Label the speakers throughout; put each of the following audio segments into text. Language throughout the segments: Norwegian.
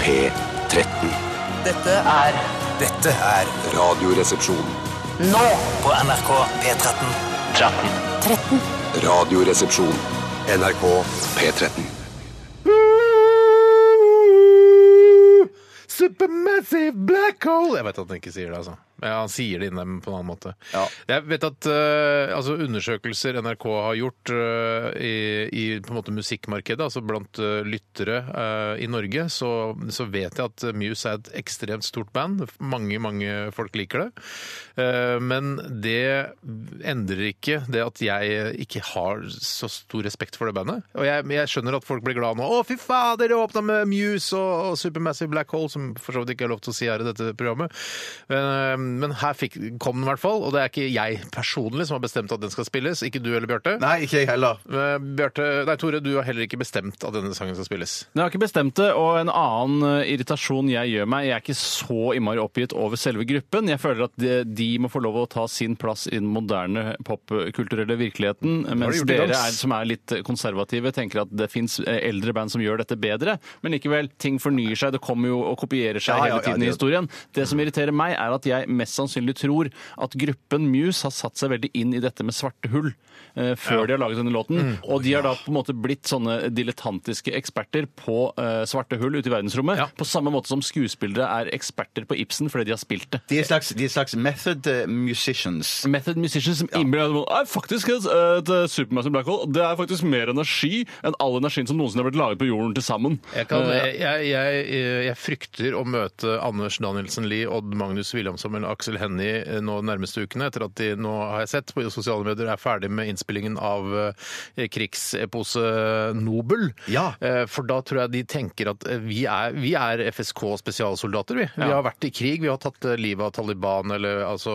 Speaker 1: P13.
Speaker 2: Dette er Dette er
Speaker 1: Radioresepsjon.
Speaker 2: nå på NRK P13. 13.
Speaker 1: Radioresepsjon. NRK P13.
Speaker 3: Supermassive black hole! Jeg vet at han ikke sier det, altså. Men han sier det inni dem på en annen måte.
Speaker 1: Ja.
Speaker 3: Jeg vet at eh, altså undersøkelser NRK har gjort eh, i, i på en måte musikkmarkedet, altså blant eh, lyttere eh, i Norge, så, så vet jeg at Muse er et ekstremt stort band. Mange, mange folk liker det. Eh, men det endrer ikke det at jeg ikke har så stor respekt for det bandet. Og jeg, men jeg skjønner at folk blir glad nå. Å, fy fader, det åpna med Muse og, og Supermassive Black Hole, som for så vidt ikke er lov til å si her i dette programmet. Eh, Men her fikk, kom den i hvert fall, og det er ikke jeg personlig som har bestemt at den skal spilles. Ikke du heller, Bjarte.
Speaker 4: Nei, ikke jeg heller.
Speaker 3: Eh, Bjarte- Nei, Tore, du har heller ikke bestemt at denne sangen skal spilles.
Speaker 5: Men Jeg har ikke bestemt det, og en annen eh, irritasjon jeg gjør meg Jeg er ikke så innmari oppgitt over selve gruppen. Jeg føler at de, de må få lov å ta sin plass i den moderne popkulturelle virkeligheten. Mens
Speaker 3: gjort i
Speaker 5: dere
Speaker 3: dans.
Speaker 5: er, som er litt konservative, tenker at det fins eldre band som gjør dette bedre. Men likevel, ting fornyer seg. Det kommer jo og kopierer seg
Speaker 4: Ja, ja,
Speaker 5: hele
Speaker 4: ja,
Speaker 5: tiden
Speaker 4: det
Speaker 5: i
Speaker 4: gjør det.
Speaker 5: historien. Det som irriterer meg, er at jeg mest sannsynlig tror at gruppen Muse har satt seg veldig inn i dette med svarte hull eh, før de har laget denne låten.
Speaker 4: Mm.
Speaker 5: Og de har da på en måte blitt sånne dilettantiske eksperter på eh, svarte hull ute i verdensrommet.
Speaker 3: Ja.
Speaker 5: På samme måte som skuespillere er eksperter på Ibsen fordi de har spilt det.
Speaker 4: De er slags, de er slags method eh, musicians.
Speaker 5: Method musicians som innbiller deg at faktisk et, et supermassive black hole det er faktisk mer energi enn all energien som noensinne har blitt laget på jorden til sammen.
Speaker 3: Jeg, kan,
Speaker 5: Eh,
Speaker 3: jeg, jeg, jeg, eh, jeg frykter å møte Anders Danielsen Lie, Odd Magnus Williamson eller Aksel Hennie eh, nå de nærmeste ukene, etter at de nå har jeg sett på sosiale medier er ferdig med innspillingen av eh, krigsepose Nobel.
Speaker 4: Ja.
Speaker 3: Eh, For da tror jeg de tenker at eh, vi er, vi er FSK spesialsoldater, vi. Vi
Speaker 5: Ja.
Speaker 3: har vært i krig, vi har tatt eh, livet av Taliban eller altså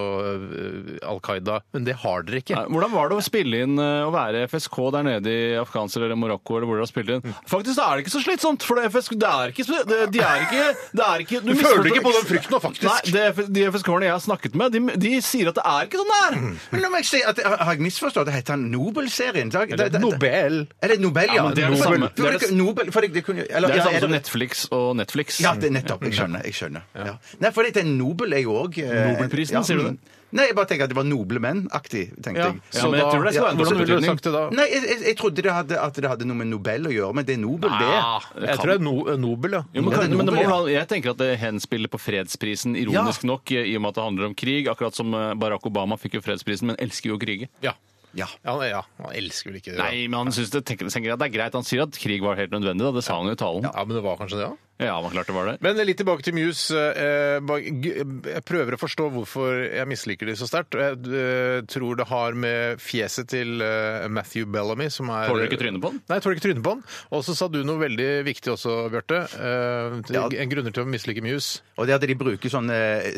Speaker 3: eh, Al Qaida, men det har dere ikke.
Speaker 5: Nei, Hvordan var det å spille inn eh, å være FSK der nede i Afghanistan eller Marokko? eller hvor dere har spilt inn? Faktisk er det ikke så slitsomt, for det FSK, det er ikke, det, de er ikke, det er ikke Du,
Speaker 3: føler
Speaker 5: misforstår-
Speaker 3: ikke på den frykten nå, faktisk.
Speaker 5: Nei, det, F- de FSK-erne jeg har snakket med, de, de sier at det er ikke sånn det er.
Speaker 3: Mm.
Speaker 4: Men la meg si at, har har jeg misforstått? Det heter han Nobel-serien? Da- da- da-
Speaker 3: Nobel.
Speaker 4: Er det Nobel, ja?
Speaker 5: Ja, men det er det
Speaker 4: Nobel.
Speaker 5: samme.
Speaker 4: For
Speaker 5: Det er det-
Speaker 4: Nobel, for det kunne, eller,
Speaker 5: Det er det
Speaker 4: ja,
Speaker 5: samme som Netflix og Netflix.
Speaker 4: Ja, det er nettopp. Jeg skjønner. jeg skjønner. Ja. Nei, for det er Nobel er jo òg
Speaker 5: Nobelprisen, sier du det?
Speaker 4: Nei, jeg bare tenker at det var noble menn-aktig, tenkte
Speaker 3: Ja,
Speaker 4: jeg.
Speaker 5: Ja, men jeg tror det skal være en
Speaker 3: hvordan ville du
Speaker 5: betydning.
Speaker 3: sagt det da?
Speaker 4: Nei, jeg, jeg, jeg trodde det hadde, at det hadde noe med Nobel å gjøre, men det er Nobel,
Speaker 3: Ja,
Speaker 4: det.
Speaker 3: jeg tror det er no Nobel, ja.
Speaker 5: Ah, Jo, men,
Speaker 4: Ja, det er
Speaker 5: kan, men det må,
Speaker 4: Nobel, ja.
Speaker 5: vel ha- jeg tenker at det henspiller på fredsprisen, ironisk nok, i og med at det handler om krig. Akkurat som eh, Barack Obama fikk jo fredsprisen, men elsker jo å krige.
Speaker 3: ja.
Speaker 4: Ja.
Speaker 3: Ja, han- ja, han elsker vel ikke det. da.
Speaker 5: Nei, men han synes det, tenker, tenker at det er greit. Han sier at krig var helt nødvendig, da. Det sa han jo i talen.
Speaker 3: Ja, men det var kanskje det, ja.
Speaker 5: Ja, men klart det var det.
Speaker 3: Men litt tilbake til Muse. eh, bak- g- Jeg prøver å forstå hvorfor jeg misliker de så sterkt. og Jeg eh, tror det har med fjeset til eh, Matthew Bellamy som er
Speaker 5: Tåler du ikke trynet på han?
Speaker 3: Nei, jeg tåler ikke trynet på han. Og så sa du noe veldig viktig også, Bjarte. eh, til- En grunner til å mislike Muse.
Speaker 4: Og det at de bruker sånne eh,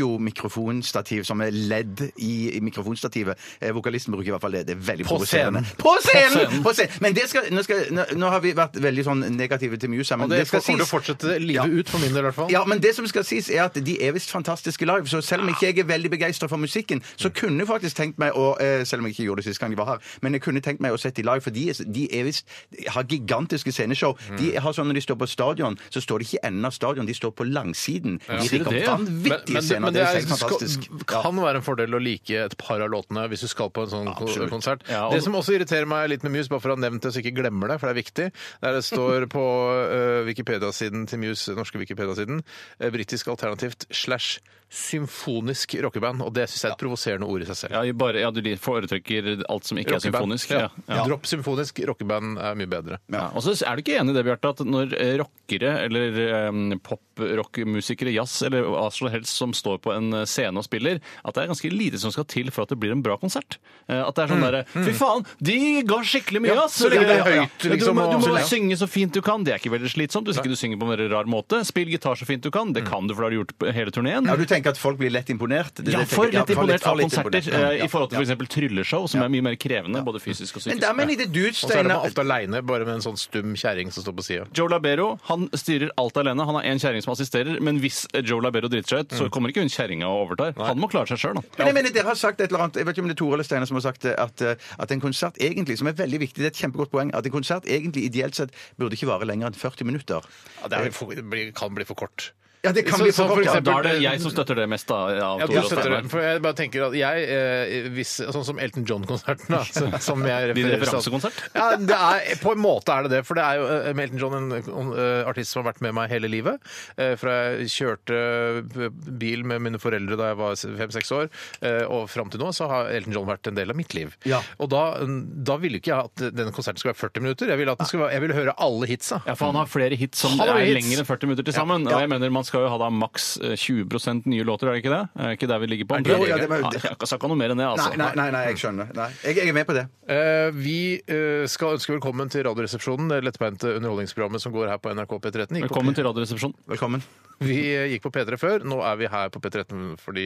Speaker 4: studiomikrofonstativ som er ledd i, i mikrofonstativet. Eh, vokalisten bruker i hvert fall det. Det er veldig
Speaker 3: På
Speaker 4: provoserende.
Speaker 3: scenen.
Speaker 4: På scenen! På scenen! Men det skal, nå, skal, nå, nå har vi vært veldig sånn negative til Muse, her,
Speaker 3: Og
Speaker 4: men
Speaker 3: det
Speaker 4: det, skal
Speaker 3: kommer til å
Speaker 4: sies
Speaker 3: fortsette livet
Speaker 4: Ja.
Speaker 3: ut, for min del i hvert fall.
Speaker 4: ja, men det som skal sies er at De er visst fantastiske live, så selv om ikke jeg er veldig begeistra for musikken, så
Speaker 5: Mm.
Speaker 4: kunne jeg faktisk tenkt meg å eh, Selv om jeg ikke gjorde det sist gang de var her, men jeg kunne tenkt meg å sette de live, for de, er- de er visst de har gigantiske sceneshow. De
Speaker 5: Mm.
Speaker 4: har sånn Når de står på stadion, så står de ikke i enden av stadion, de står på langsiden. De
Speaker 5: Sier du
Speaker 4: rigger
Speaker 5: det,
Speaker 4: opp
Speaker 5: ja?
Speaker 4: vanvittige scener.
Speaker 3: men
Speaker 4: det, er
Speaker 3: det
Speaker 4: helt
Speaker 3: er- liksom
Speaker 4: fantastisk.
Speaker 3: skal-
Speaker 4: Ja.
Speaker 3: kan være en fordel å like et par av låtene hvis du skal på en sånn ko-
Speaker 4: Absolutt.
Speaker 3: konsert.
Speaker 5: Ja, og-
Speaker 3: Det som også irriterer meg litt med Muse, bare for å ha nevnt det så jeg ikke glemmer det, for det er viktig, der det står på eh, Wikipedia-siden til Muse, norske Wikipedia-siden, uh, britisk alternativt slash symfonisk rockeband, og det syns jeg er et provoserende ord i seg selv.
Speaker 5: Ja, i bare, ja, du lik- foretrekker alt som ikke er
Speaker 3: Rockeband.
Speaker 5: symfonisk. Ja. Ja.
Speaker 3: Dropp symfonisk, rockeband er mye bedre.
Speaker 5: Ja. Og så er du ikke enig i det, Bjarte, at når eh, rockere eller um, pop-rockmusikere, jazz eller hva som helst som står på en eh, scene og spiller, at det er ganske lite som skal til for at det blir en bra konsert. Eh, At det er sånn derre Fy faen, de ga skikkelig mye,
Speaker 3: Ja,
Speaker 5: ass!
Speaker 3: så lenge det er
Speaker 5: Eh,
Speaker 3: høyt, liksom,
Speaker 5: Du må, du
Speaker 3: og-
Speaker 5: må
Speaker 3: Ja.
Speaker 5: synge så fint du kan. Det er ikke veldig slitsomt hvis ikke du synger på en veldig rar måte. Spill gitar så fint du kan. Det kan du, for det har du gjort på hele turneen.
Speaker 4: Ja, du tenker at folk blir lett imponert? Det-
Speaker 5: Ja,
Speaker 4: det tenker-
Speaker 5: for lett imponert
Speaker 4: for
Speaker 5: av
Speaker 4: lett
Speaker 5: konserter
Speaker 4: imponert.
Speaker 5: eh, i forhold til
Speaker 4: Ja.
Speaker 5: f.eks. trylleshow, som er mye mer krevende, både fysisk og
Speaker 4: Men
Speaker 5: psykisk.
Speaker 4: der mener jeg det du,
Speaker 3: Og så er de
Speaker 4: Steinar
Speaker 3: ofte aleine, bare med en sånn stum kjerring som står på sida.
Speaker 5: Joe Labero han styrer alt alene. Han har én kjerring som assisterer, men hvis Joe Labero driter seg ut, så kommer ikke hun kjerringa og overtar. Han må klare seg sjøl, da.
Speaker 4: Men jeg mener, dere har sagt et eller annet, jeg vet ikke om det er Tore eller Steinar som har sagt det, at, eh, at en konsert egentlig, som er veldig viktig, det er et kjempegodt poeng, at en konsert egentlig ideelt sett burde ikke vare lenger enn 40 minutter.
Speaker 3: Ja, det, er, for- det blir, kan bli for kort.
Speaker 4: Ja, det kan
Speaker 3: Så-
Speaker 4: bli
Speaker 3: så for
Speaker 4: for godt.
Speaker 5: Ja,
Speaker 4: Ja.
Speaker 3: eksempel-
Speaker 5: da er det jeg som støtter det mest, da. Av
Speaker 3: Ja, du
Speaker 5: Tore og
Speaker 3: støtter
Speaker 5: Steinar.
Speaker 3: det. For jeg bare tenker at jeg, eh, hvis, sånn som Elton John-konserten, da, så- som jeg
Speaker 5: Din
Speaker 3: refererer til-
Speaker 5: referansekonsert?
Speaker 3: Ja, det er, på en måte er det det. For det er jo eh, Elton John en eh, artist som har vært med meg hele livet. eh, Fra jeg kjørte eh, bil med mine foreldre da jeg var fem-seks år, eh, og fram til nå så har Elton John vært en del av mitt liv.
Speaker 4: Ja.
Speaker 3: Og da, da ville ikke jeg at denne konserten skulle være 40 minutter. Jeg ville, at den skulle være, jeg ville høre alle hitsa.
Speaker 5: Ja, for han har flere hits som
Speaker 3: Han har
Speaker 5: er
Speaker 3: hits.
Speaker 5: lengre enn 40 minutter til sammen. Og jeg mener man skal jo ha da maks eh, 20 nye låter, er det ikke det? Er det ikke der vi ligger på?
Speaker 4: det-
Speaker 5: omtrent?
Speaker 4: Jo, ja, det var jo-
Speaker 5: Ja, jeg skal ikke ha noe mer enn det, altså.
Speaker 4: Nei, nei, nei, nei, jeg skjønner. Nei. Jeg, jeg er med på det.
Speaker 3: Eh, Vi eh, skal ønske velkommen til Radioresepsjonen, det lettbeinte underholdningsprogrammet som går her på NRK P13. Gikk på
Speaker 5: Velkommen til Radioresepsjonen.
Speaker 4: Velkommen.
Speaker 3: Vi gikk på P3 før, nå er vi her på P13 fordi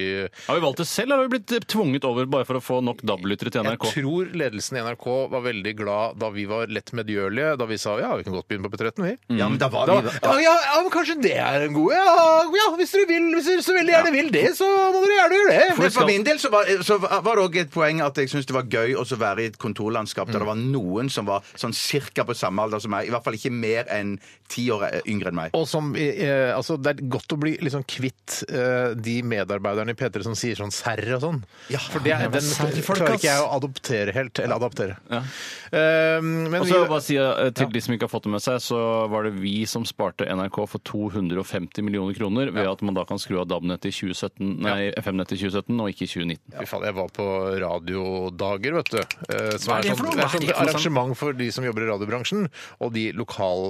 Speaker 5: Har vi valgt det selv, eller har vi blitt eh, tvunget over bare for å få nok DAB-lyttere til
Speaker 3: jeg
Speaker 5: NRK?
Speaker 3: tror ledelsen i NRK var veldig glad da vi var lett medgjørlige, da vi sa ja, vi kan godt begynne på P13, vi.
Speaker 5: Mm.
Speaker 4: Ja, men da var
Speaker 3: Da,
Speaker 4: vi
Speaker 3: ja, ja, ja, men kanskje det er en god ja, ja, hvis dere vil, hvis dere så veldig gjerne vil det, så må dere gjerne gjøre det.
Speaker 4: Men for min del så var, så var det òg et poeng at jeg syntes det var gøy å så være i et kontorlandskap
Speaker 5: Mm.
Speaker 4: der det var noen som var sånn cirka på samme alder som meg. I hvert fall ikke mer enn ti år eh, yngre enn meg.
Speaker 3: Og som, eh, altså, Det er godt å bli liksom kvitt eh, de medarbeiderne i P3 som sier sånn serr og sånn.
Speaker 4: Ja,
Speaker 3: For det, er-
Speaker 5: men
Speaker 3: den
Speaker 5: serrfolk,
Speaker 3: klarer
Speaker 5: ass.
Speaker 3: ikke jeg å adoptere helt. Eller adaptere. Eh, men
Speaker 5: Og så
Speaker 3: vi-
Speaker 5: bare si eh, til de som ikke har fått det med seg, så var det vi som sparte NRK for 250 millioner kroner ved at man da kan skru av DAB-nettet i 2017, nei, FM-nettet i 2017 og ikke i 2019.
Speaker 3: Fy faen, jeg var på radiodager, vet du. eh, Som
Speaker 5: Hva er det for noe?
Speaker 3: sånn, det
Speaker 5: Hva er
Speaker 3: er
Speaker 5: det
Speaker 3: sånn
Speaker 5: for noe?
Speaker 3: arrangement for de som jobber i radiobransjen, og de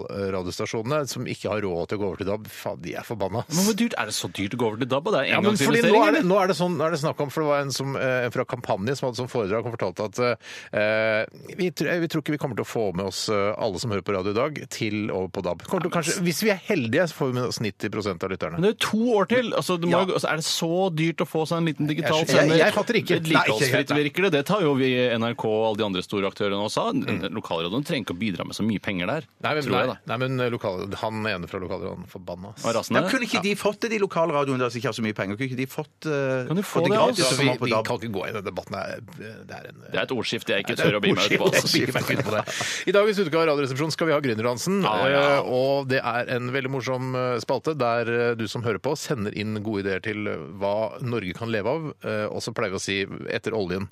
Speaker 3: lokalradiostasjonene som ikke har råd til å gå over til DAB. Faen, de er forbanna. ass.
Speaker 5: Men hvor dyrt er det så dyrt å gå over til DAB? og Det er
Speaker 3: Ja, men fordi nå
Speaker 5: engangsinvestering,
Speaker 3: er, det,
Speaker 5: eller?
Speaker 3: nå, er det sånn, nå er det snakk om, for det var en som, eh, fra Kampanje som hadde sånn foredrag og fortalte at eh, vi, tr- eh, vi tror ikke vi kommer til å få med oss eh, alle som hører på radio i dag, til over på DAB. Kommer til, å kanskje, hvis vi er heldige, så får vi med oss 90 av lytterne.
Speaker 5: Men det er jo to år til! Altså, det må, jo- altså, er det så dyrt å få seg en liten digital
Speaker 3: Jeg- jeg-
Speaker 5: sender?
Speaker 3: jeg fatter ikke.
Speaker 5: Vedlikeholdsfritt
Speaker 3: Nei,
Speaker 5: virker det. Det tar jo vi i NRK og alle de andre store aktørene også. Lokalradioen trenger ikke å bidra med så mye penger der,
Speaker 3: Nei, men,
Speaker 5: tror jeg,
Speaker 3: nei,
Speaker 5: da.
Speaker 3: nei, men eh, lokal, han ene fra lokalradioen, forbanna. ass.
Speaker 5: Og
Speaker 4: Ja,
Speaker 5: rasende.
Speaker 4: men kunne ikke de fått det, de lokalradioene der som ikke har så mye penger? Kunne ikke de fått, eh,
Speaker 5: Kan de få
Speaker 4: fått
Speaker 5: det,
Speaker 4: gratis?
Speaker 5: altså?
Speaker 3: Så
Speaker 4: som
Speaker 3: vi,
Speaker 4: var på
Speaker 3: vi
Speaker 4: DAB?
Speaker 3: kan ikke gå i den debatten. Det er, det er en
Speaker 5: Det er et ordskifte jeg ikke
Speaker 3: Det er
Speaker 5: tør å bli med ut på.
Speaker 3: ordskifte. Jeg
Speaker 5: Altså.
Speaker 3: blir ikke med på det. I dagens utgave av Radioresepsjonen skal vi ha Gründerdansen.
Speaker 5: Ja, ja.
Speaker 3: eh, Og det er en veldig morsom eh, spalte der eh, du som hører på, sender inn gode ideer til eh, hva Norge kan leve av. eh, Og så pleier vi å si etter oljen.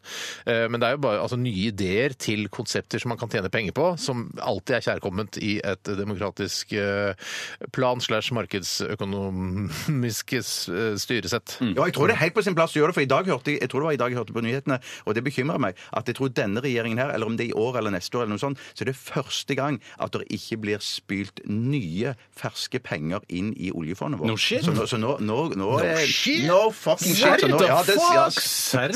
Speaker 3: Eh, Men det er jo bare altså, nye ideer til konsepter som man kan tjene penger på, som alltid er kjærkomment i et demokratisk eh, plan slash markedsøkonomisk eh, styresett.
Speaker 4: Ja, jeg tror det er helt på sin plass å gjøre det, for i dag hørte jeg, jeg tror det var i dag jeg hørte på nyhetene, og det bekymrer meg, at jeg tror denne regjeringen her, eller om det er i år eller neste år eller noe sånt, så er det første gang at det ikke blir spylt nye, ferske penger inn i oljefondet vårt.
Speaker 5: No shit.
Speaker 4: Så nå, så nå, nå, nå er,
Speaker 3: shit.
Speaker 4: No fucking shit! Så nå- ja, det- ja,
Speaker 5: Serr,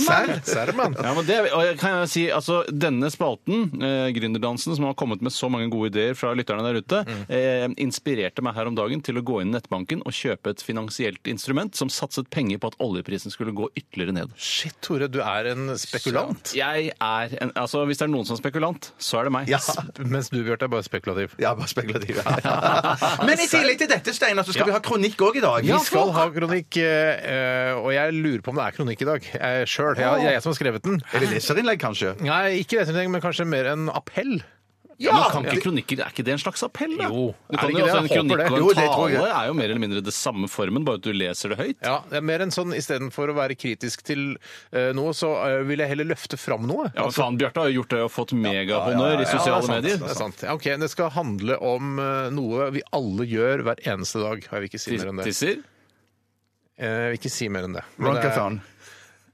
Speaker 3: Serr, mann.
Speaker 5: Ja, men det, og jeg kan jeg si, altså, Denne spalten, eh, Gründerdansen, som har kommet med så mange gode ideer fra lytterne der ute,
Speaker 3: Mm.
Speaker 5: eh, inspirerte meg her om dagen til å gå inn i nettbanken og kjøpe et finansielt instrument som satset penger på at oljeprisen skulle gå ytterligere ned.
Speaker 3: Shit, Tore, du er en spekulant.
Speaker 5: Jeg er en, altså, Hvis det er noen som er spekulant, så er det meg.
Speaker 4: Ja.
Speaker 3: Mens du, Bjarte, er bare spekulativ.
Speaker 4: Ja, bare spekulativ. Men i tillegg til dette, Steinar, så skal vi ha kronikk òg i dag.
Speaker 3: Vi skal ha kronikk, eh, eh, og jeg lurer på om det er kronikk i dag. Jeg sjøl. Jeg, jeg, er jeg som har skrevet den.
Speaker 4: Eller leserinnlegg, kanskje.
Speaker 3: Nei, ikke leserinnlegg, men kanskje mer en appell.
Speaker 5: Ja, men kan ikke kronikker, Er ikke det en slags appell? da?
Speaker 3: Jo,
Speaker 5: Du
Speaker 3: er
Speaker 5: kan
Speaker 3: det ikke det?
Speaker 5: jo, altså, en
Speaker 3: Jeg håper
Speaker 5: kronikk
Speaker 3: det.
Speaker 5: og en
Speaker 4: Jo, det tror jeg.
Speaker 5: tale er jo mer eller mindre det samme formen, bare at du leser det høyt.
Speaker 3: Ja, det er Mer en sånn istedenfor å være kritisk til eh, noe, så eh, vil jeg heller løfte fram noe.
Speaker 5: Ja, men faen, Bjarte har jo gjort det og fått megahonnør i
Speaker 3: Altså- Ja, det er
Speaker 5: sosiale
Speaker 3: sant,
Speaker 5: medier.
Speaker 3: Det er sant. Ja, ok, det skal handle om eh, noe vi alle gjør hver eneste dag. Jeg vil ikke si mer enn det.
Speaker 5: Tisser?
Speaker 3: Eh, Jeg vil ikke si mer enn det. Men det, er-
Speaker 4: Runkathon.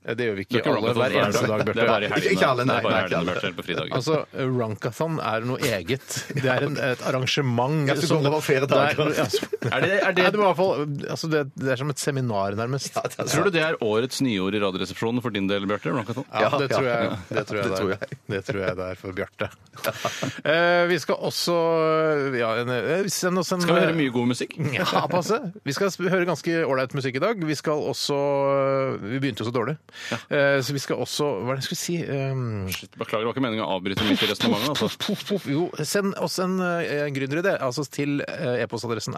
Speaker 3: det gjør vi
Speaker 5: Det
Speaker 3: ikke
Speaker 5: er
Speaker 3: alle hver eneste dag,
Speaker 5: Det er
Speaker 3: Bjarte.
Speaker 5: bare i helgene.
Speaker 4: Ikke alle, nei,
Speaker 5: det er bare
Speaker 4: nei,
Speaker 5: i helgene, Bjarte,
Speaker 4: ikke alle.
Speaker 5: eller på fridager.
Speaker 3: Altså, Runkathon er noe eget. Det er en, et arrangement
Speaker 4: Ja, som går over flere dager.
Speaker 3: Det er- ja, som-
Speaker 5: er det, er
Speaker 3: Nei,
Speaker 5: det,
Speaker 3: det, var i hvert fall, altså det, det er som et seminar, nærmest. Ja, det,
Speaker 5: tror du det er årets nyord i Radioresepsjonen for din del, Bjarte? Runkathon?
Speaker 3: tror jeg det tror jeg
Speaker 4: Det
Speaker 3: det
Speaker 4: tror
Speaker 3: er. Det tror jeg det er for Bjarte. Eh, vi skal også ja, en, eh, send oss en eh,
Speaker 5: Skal vi høre mye god musikk?
Speaker 3: Ja, passe. Vi skal sp- høre ganske ålreit musikk i dag. Vi skal også Vi begynte jo så dårlig. Eh, Så vi skal også Hva er det jeg skulle si? Um,
Speaker 5: Shit, Beklager, det var ikke meningen å avbryte midt i resonnementet. Altså.
Speaker 3: Poff, poff, poff. Jo, send oss en, eh, en gründeridé altså til eh, e-postadressen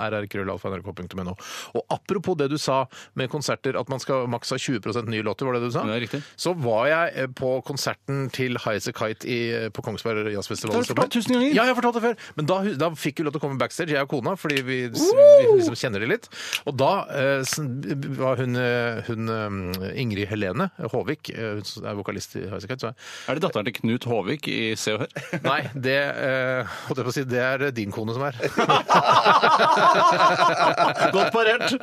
Speaker 3: rrkrøllalfa.nrk.no. Og apropos det du sa med konserter, at man skal maks ha 20 nye låter, var det du sa?
Speaker 5: Ja, det er riktig.
Speaker 3: Så var jeg eh, på konserten til Highas a Kite i, eh, på Kongsberg Jazzfestival.
Speaker 5: Det har du fortalt tusen ganger.
Speaker 3: Ja, jeg har fortalt det før. Men da, da fikk vi lov til å komme backstage, jeg og kona, fordi vi, vi liksom kjenner det litt. Og da eh, sn- var hun, eh, hun eh, Ingrid Helene Håvik, eh, hun som er vokalist i Highas a Kite, så jeg
Speaker 5: Er det datteren til Knut Håvik i Se og Hør?
Speaker 3: Nei, det eh, holdt jeg på å si, det er det din kone som er.
Speaker 5: Godt parert!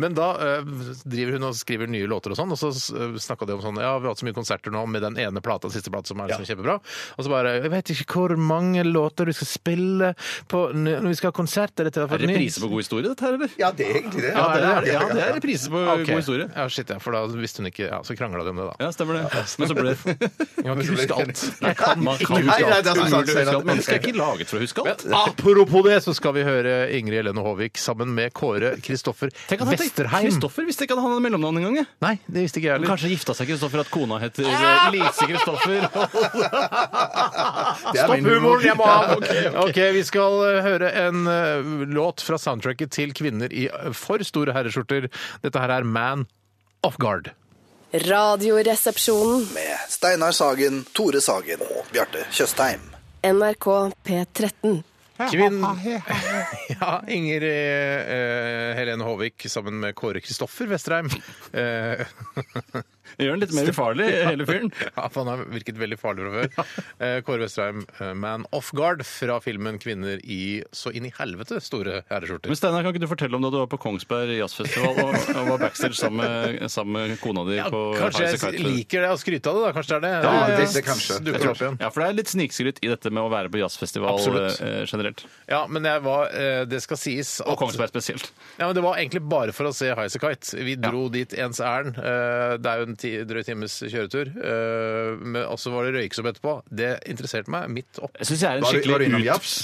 Speaker 3: Men da eh, driver hun og skriver nye låter og sånn, og så uh, snakka de om sånn Ja, vi har hatt så mye konserter nå med den ene plata, siste plata, som er liksom kjempebra. Og så bare Jeg vet ikke hvor mange låter vi skal spille på n- når vi skal ha konsert. Er dette
Speaker 5: Er det reprise på god historie, dette her, eller?
Speaker 4: Ja, det er egentlig det.
Speaker 3: Ja, det er
Speaker 5: Ja, det er reprise på
Speaker 3: Ok.
Speaker 5: god historie.
Speaker 3: Ja, shit, ja, for da visste hun ikke Ja, så krangla de om det, da.
Speaker 5: Ja, stemmer det. Men så ble det
Speaker 3: Jeg kan ikke huske alt.
Speaker 5: Nei, kan man kan
Speaker 4: Nei,
Speaker 5: huske
Speaker 4: nei,
Speaker 5: alt.
Speaker 4: det er sant,
Speaker 5: Umulig å huske
Speaker 4: Steinar.
Speaker 5: alt. Mennesket er ikke laget for å huske alt.
Speaker 3: Men apropos det, så skal vi høre Ingrid Helene Håvik sammen med Kåre Kristoffer
Speaker 5: Tenk at han tenkte-
Speaker 3: Vesterheim.
Speaker 5: Kristoffer visste ikke at han hadde mellomnavn engang. jeg.
Speaker 3: Nei, det visste ikke jeg heller.
Speaker 5: Kanskje gifta seg Kristoffer at kona heter eh, Lise Kristoffer.
Speaker 4: Det er min
Speaker 3: jeg må ha! ok, vi skal eh, høre en eh, låt fra soundtracket til kvinner i eh, for store herreskjorter. Dette her er Man Off Guard.
Speaker 6: Radioresepsjonen.
Speaker 7: med Steinar Sagen, Tore Sagen og Bjarte Tjøstheim.
Speaker 6: NRK P13.
Speaker 3: Kvinn... Ja, Inger eh, Helene Håvik sammen med Kåre Kristoffer Vesterheim. Eh,
Speaker 5: Gjør den litt mer ufarlig, hele fyren.
Speaker 3: ja, for han har virket veldig farlig fra før. Eh, Kåre Vesterheim, eh, Man Off Guard fra filmen 'Kvinner i så inn i helvete store herreskjorter'.
Speaker 5: Men Steinar, kan ikke du fortelle om da du var på Kongsberg jazzfestival og, og var backstage sammen med, sammen med kona di
Speaker 3: Ja,
Speaker 5: på
Speaker 3: kanskje
Speaker 5: Highasakite
Speaker 3: jeg
Speaker 5: Festival?
Speaker 3: liker det og skryter av det, da. Kanskje det er det.
Speaker 4: Ja,
Speaker 3: Eh,
Speaker 4: det- det kanskje.
Speaker 3: Dukker opp igjen.
Speaker 5: Ja, for det er litt snikskryt i dette med å være på jazzfestival
Speaker 3: Absolutt.
Speaker 5: eh, generelt.
Speaker 3: Ja, men jeg var, eh, det skal sies
Speaker 5: Og
Speaker 3: at
Speaker 5: Kongsberg spesielt.
Speaker 3: ja, men Det var egentlig bare for å se Highasakite. Vi dro dit ens ærend. Eh, Det er jo en ti, drøy times kjøretur. Eh, Men også var det røyksopp etterpå. Det interesserte meg midt opp.
Speaker 5: Jeg syns jeg er en
Speaker 4: Var du, var du
Speaker 5: skikkelig
Speaker 4: innom
Speaker 5: ut...
Speaker 4: Jafs?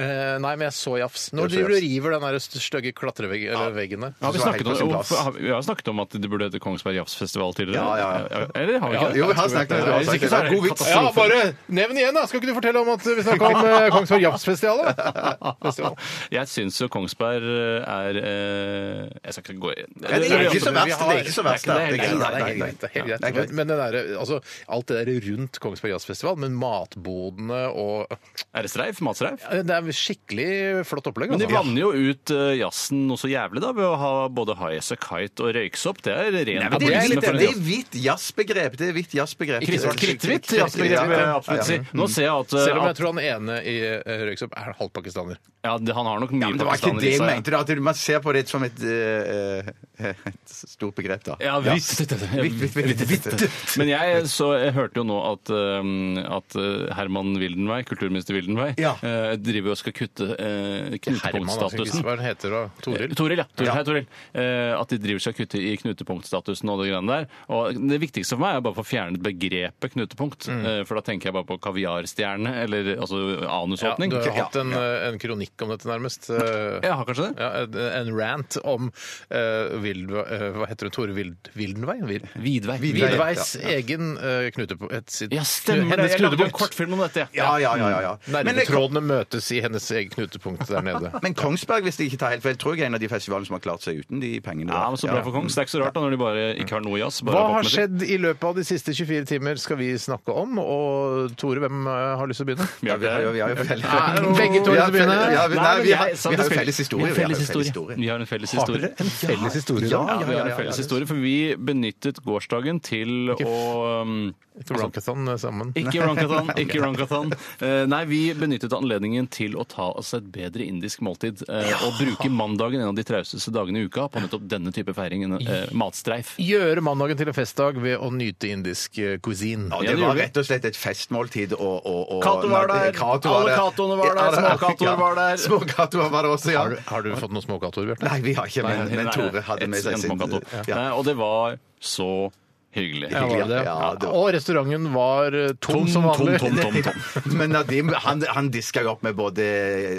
Speaker 3: Eh, Nei, men jeg så jafs.
Speaker 4: Du så
Speaker 3: Nå driver du
Speaker 4: jafs.
Speaker 3: og river den der st- stygge klatreveggen eller veggen der.
Speaker 5: Har vi,
Speaker 4: Så var jeg
Speaker 5: snakket
Speaker 4: Altså, helt på
Speaker 5: om,
Speaker 4: sin
Speaker 5: jo,
Speaker 4: plass.
Speaker 5: for- har vi vi har snakket om at det burde hete Kongsberg jazzfestival tidligere.
Speaker 4: Ja, ja, ja.
Speaker 5: Eller har vi ikke det?
Speaker 4: Jo, vi har snakket om det.
Speaker 5: Hvis ikke så er det
Speaker 4: God vits.
Speaker 3: Ja, bare nevn igjen, da! Skal ikke du fortelle om at vi snakka om eh, Kongsberg Jafs-festival? da?
Speaker 5: Jeg syns jo Kongsberg er eh, Jeg skal ikke gå i
Speaker 4: Ja, det er ikke så
Speaker 3: Vi
Speaker 4: verst.
Speaker 3: har-
Speaker 4: Det er ikke så verst.
Speaker 5: Det er
Speaker 4: da.
Speaker 5: ikke-
Speaker 4: Det er ikke-
Speaker 3: Nei, det
Speaker 5: Nei,
Speaker 3: er helt greit. Det er helt greit. Men, men det der, altså, alt det der rundt Kongsberg Jazzfestival, med matbodene og
Speaker 5: Er det streif? Matstreif?
Speaker 3: Ja, Det er skikkelig flott opplegg.
Speaker 5: Men de
Speaker 3: altså.
Speaker 5: vanner jo ut eh, jazzen noe så jævlig da, ved å ha både highas og kite og røyksopp. Det er ren
Speaker 4: Det er
Speaker 5: populisme
Speaker 4: litt-
Speaker 5: for en
Speaker 4: det er
Speaker 5: jazz.
Speaker 4: hvitt jazzbegrep. Det er hvitt jazzbegrep.
Speaker 3: Ikke svart
Speaker 5: Kritthvitt jazzbegrep, vil jeg absolutt si. Nå ser jeg at,
Speaker 3: Selv om
Speaker 5: eh,
Speaker 3: jeg
Speaker 5: at
Speaker 3: tror han ene i eh, Røyksopp er halvt pakistaner.
Speaker 5: eh, ja, det- han har nok mye
Speaker 4: Men det var ikke
Speaker 5: pakistaner
Speaker 4: det
Speaker 5: i
Speaker 4: jeg
Speaker 5: seg.
Speaker 4: mente. da, at Man ser på det som et, eh, eh, et stort begrep, da.
Speaker 5: Ja, hvitt.
Speaker 4: Hvitt, hvitt, hvitt, hvitt.
Speaker 5: Men jeg, så, jeg hørte jo nå at, eh, at eh, Herman Wildenvey, kulturminister Wildenvey,
Speaker 4: Ja.
Speaker 5: eh, driver og skal kutte uh,
Speaker 3: Herman, altså,
Speaker 5: knutepunktstatusen.
Speaker 3: hva heter det? Toril?
Speaker 5: Toril, ja. Toril,
Speaker 3: Ja.
Speaker 5: Hei, Toril. Eh, at de driver seg og kutter i knutepunktstatusen og det greiene der. Og det viktigste for meg er bare å få fjernet begrepet knutepunkt. Eh, for da tenker jeg bare på kaviarstjerne, eller altså
Speaker 3: Ja, du
Speaker 5: anusåpning.
Speaker 3: har
Speaker 5: Ja.
Speaker 3: hatt en, eh, en kronikk om dette, nærmest. Eh,
Speaker 5: Jeg har kanskje det.
Speaker 3: Ja, en- en rant om eh, Vild, eh, Hva heter hun? Tore Vild, Vildenvei? Vil-
Speaker 5: Vidvei.
Speaker 3: Vidveis egen eh, knutepunkt. et sitt-
Speaker 5: Ja, stemmer det.
Speaker 3: hennes
Speaker 5: Jeg lagde en
Speaker 3: knutepunkt.
Speaker 5: kortfilm om dette.
Speaker 4: Ja, ja, ja. ja,
Speaker 3: Mm.
Speaker 4: ja. Men,
Speaker 3: Nervetrådene møtes i hennes eget knutepunkt der nede.
Speaker 4: men Kongsberg, hvis jeg ikke tar helt feil, tror jeg er en av de festivalene som har klart seg uten de pengene.
Speaker 5: Ja,
Speaker 4: der.
Speaker 5: men Så bra for Kongs. Det er ikke så rart da når de bare ikke har noe jazz. bare
Speaker 3: Hva har
Speaker 5: popmusikk.
Speaker 3: skjedd i løpet av de siste 24 timer, skal vi snakke om. Og Tore, hvem eh, har lyst til å begynne?
Speaker 4: Ja, vi har jo- vi har jo felles-
Speaker 3: Nei, begge to
Speaker 4: Vi har
Speaker 3: vil begynne.
Speaker 4: felles-
Speaker 5: Nei,
Speaker 4: ja, vi- Nei,
Speaker 5: men
Speaker 4: vi har
Speaker 5: jeg-
Speaker 4: vi har jo felles historie.
Speaker 5: Vi har felles historie. Vi har en felles historie.
Speaker 3: felles historie?
Speaker 4: Ja,
Speaker 5: Ja,
Speaker 4: ja,
Speaker 5: vi
Speaker 4: ja,
Speaker 5: har en
Speaker 4: ja,
Speaker 5: felles
Speaker 4: ja.
Speaker 5: historie, for vi benyttet gårsdagen til å um,
Speaker 3: Ikke Blanketon sammen.
Speaker 5: Ikke Rankathon. ikke Rankathon. Eh, Nei, vi benyttet anledningen til å ta oss et bedre indisk måltid. eh, Og bruke mandagen, en av de trausteste dagene i uka, på nettopp denne type feiring. en, eh, matstreif.
Speaker 3: Gjøre mandagen til en festdag ved å nyte indisk eh, cuisine.
Speaker 5: Ja,
Speaker 4: Ja, det
Speaker 5: det
Speaker 4: var
Speaker 5: gjorde vi.
Speaker 4: rett og slett et festmåltid. Og, og, og,
Speaker 5: Cato var der.
Speaker 4: Cato
Speaker 5: Alle
Speaker 4: der.
Speaker 5: Catoene var der.
Speaker 4: Ja, det-
Speaker 5: Småcatoer var der.
Speaker 4: Småcatoer var der også, ja.
Speaker 3: Har, du- har du fått noen småkatoer, Bjarte?
Speaker 4: Nei, vi har ikke, men,
Speaker 5: Nei,
Speaker 4: men
Speaker 5: nei,
Speaker 4: Tore
Speaker 5: nei,
Speaker 4: hadde
Speaker 5: et- Eh,
Speaker 4: med seg
Speaker 5: en
Speaker 4: sin
Speaker 5: smakkato.
Speaker 4: ja.
Speaker 5: Nei, Og det var så Hyggelig.
Speaker 3: Ja, var det det?
Speaker 4: eh, Ja, det var-
Speaker 3: Og restauranten var eh, tom, som vanlig.
Speaker 5: Tom, tom, tom, tom.
Speaker 4: Men Nadim han, han diska jo opp med både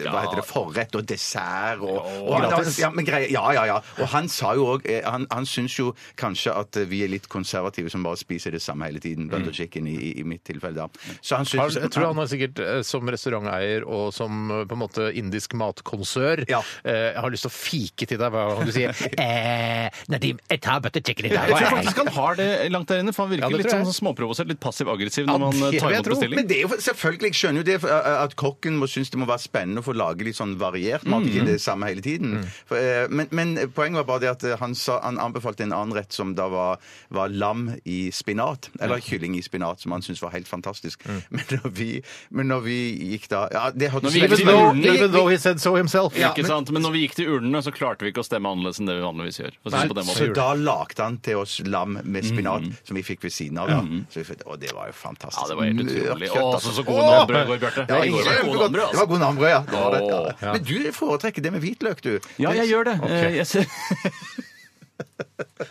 Speaker 4: hva heter det, forrett og dessert. Og, og han-
Speaker 5: gratis.
Speaker 4: Ja, men greie, ja, ja, ja. Og han sa jo òg han, han syns jo kanskje at vi er litt konservative som bare spiser det samme hele tiden.
Speaker 5: Mm.
Speaker 4: Butter chicken i, i mitt tilfelle, da. Så han
Speaker 3: Har,
Speaker 4: syns
Speaker 3: jeg tror han har sikkert eh, som restauranteier og som eh, på en måte indisk matkonsør
Speaker 4: Ja.
Speaker 3: eh, Jeg har lyst til å fike til deg hva du sier. eh, Nadim, jeg tar butter chicken i dag.
Speaker 5: Jeg tror faktisk han har det langt der inne, for han
Speaker 3: Ja,
Speaker 5: virker
Speaker 3: det
Speaker 5: litt
Speaker 3: tror jeg.
Speaker 5: sånn småprovosert, litt passiv-aggressiv
Speaker 3: Ja,
Speaker 5: når man
Speaker 3: det
Speaker 5: eh,
Speaker 3: vil
Speaker 5: tar
Speaker 3: jeg
Speaker 5: imot
Speaker 3: tro,
Speaker 5: bestilling.
Speaker 4: Men det er jo for- selvfølgelig, jeg skjønner jo det, for, eh, at kokken må synes det må være spennende å få lage litt sånn variert mat,
Speaker 5: Mm.
Speaker 4: ikke det samme hele tiden. For, eh, men, men poenget var bare det at eh, han, sa, han anbefalte en annen rett som da var, var lam i spinat, eller
Speaker 5: Mm.
Speaker 4: kylling i spinat, som han syntes var helt fantastisk. Men, når vi, men når vi gikk da ja, det hørtes
Speaker 5: Når vi gikk
Speaker 4: veldig-
Speaker 3: Even
Speaker 5: til
Speaker 3: though,
Speaker 5: Vi-
Speaker 3: even though he said so himself.
Speaker 4: Ja,
Speaker 5: ikke sant? Men når vi gikk til urnene, så klarte vi ikke å stemme annerledes enn det vi vanligvis gjør. For å si det på den
Speaker 4: Så
Speaker 5: måten.
Speaker 4: da lagde han til oss lam med spinat, som vi fikk ved siden av. Da. Så vi fikk, og det var jo
Speaker 5: Mm.
Speaker 4: fantastisk.
Speaker 5: Ja, det var helt utrolig. Å,
Speaker 4: Mørkt
Speaker 5: så,
Speaker 4: kjøtt, altså.
Speaker 5: så gode navnbrød i går, Bjarte.
Speaker 4: Ja,
Speaker 5: I går var det gode
Speaker 4: kjempegodt.
Speaker 5: navnbrød,
Speaker 4: Det var
Speaker 5: altså.
Speaker 4: god navnbrød, ja. Det var det,
Speaker 5: Åh,
Speaker 4: ja. Men du foretrekker det med hvitløk, du.
Speaker 5: Ja, jeg gjør det. Eh, Jeg ser...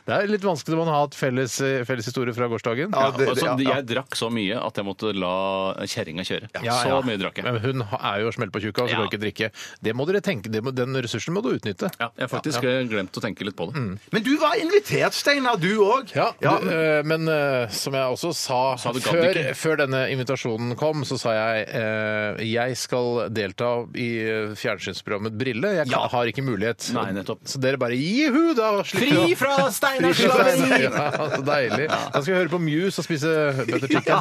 Speaker 3: Det er litt vanskelig når man har hatt felles, eh, felles historie fra gårsdagen.
Speaker 4: Ja, det-
Speaker 5: Altså,
Speaker 4: det- ja, ja.
Speaker 5: jeg drakk så mye at jeg måtte la kjerringa kjøre.
Speaker 3: Ja,
Speaker 5: Så
Speaker 3: ja.
Speaker 5: mye drakk jeg.
Speaker 3: Men hun ha- er jo smell på tjukka og så kan
Speaker 5: Ja.
Speaker 3: hun ikke drikke. Det må dere tenke, det må, Den ressursen må du utnytte.
Speaker 5: Ja, jeg har faktisk eh, glemt å tenke litt på det.
Speaker 3: Mm.
Speaker 4: Men du var invitert, Steinar, du òg.
Speaker 3: Ja, du, eh, men eh, som jeg også sa,
Speaker 5: Sa du gadd
Speaker 3: før,
Speaker 5: ikke?
Speaker 3: før denne invitasjonen kom, så sa jeg eh, jeg skal delta i eh, fjernsynsprogrammet Brille. Jeg kan,
Speaker 5: Ja.
Speaker 3: har ikke mulighet.
Speaker 5: Nei, nettopp.
Speaker 3: Så dere bare juhu, da slipper jeg å-
Speaker 5: fra Steinar
Speaker 3: Fri fra slaveri! Ja, så deilig. Da skal vi høre på Muse og spise butter chicken.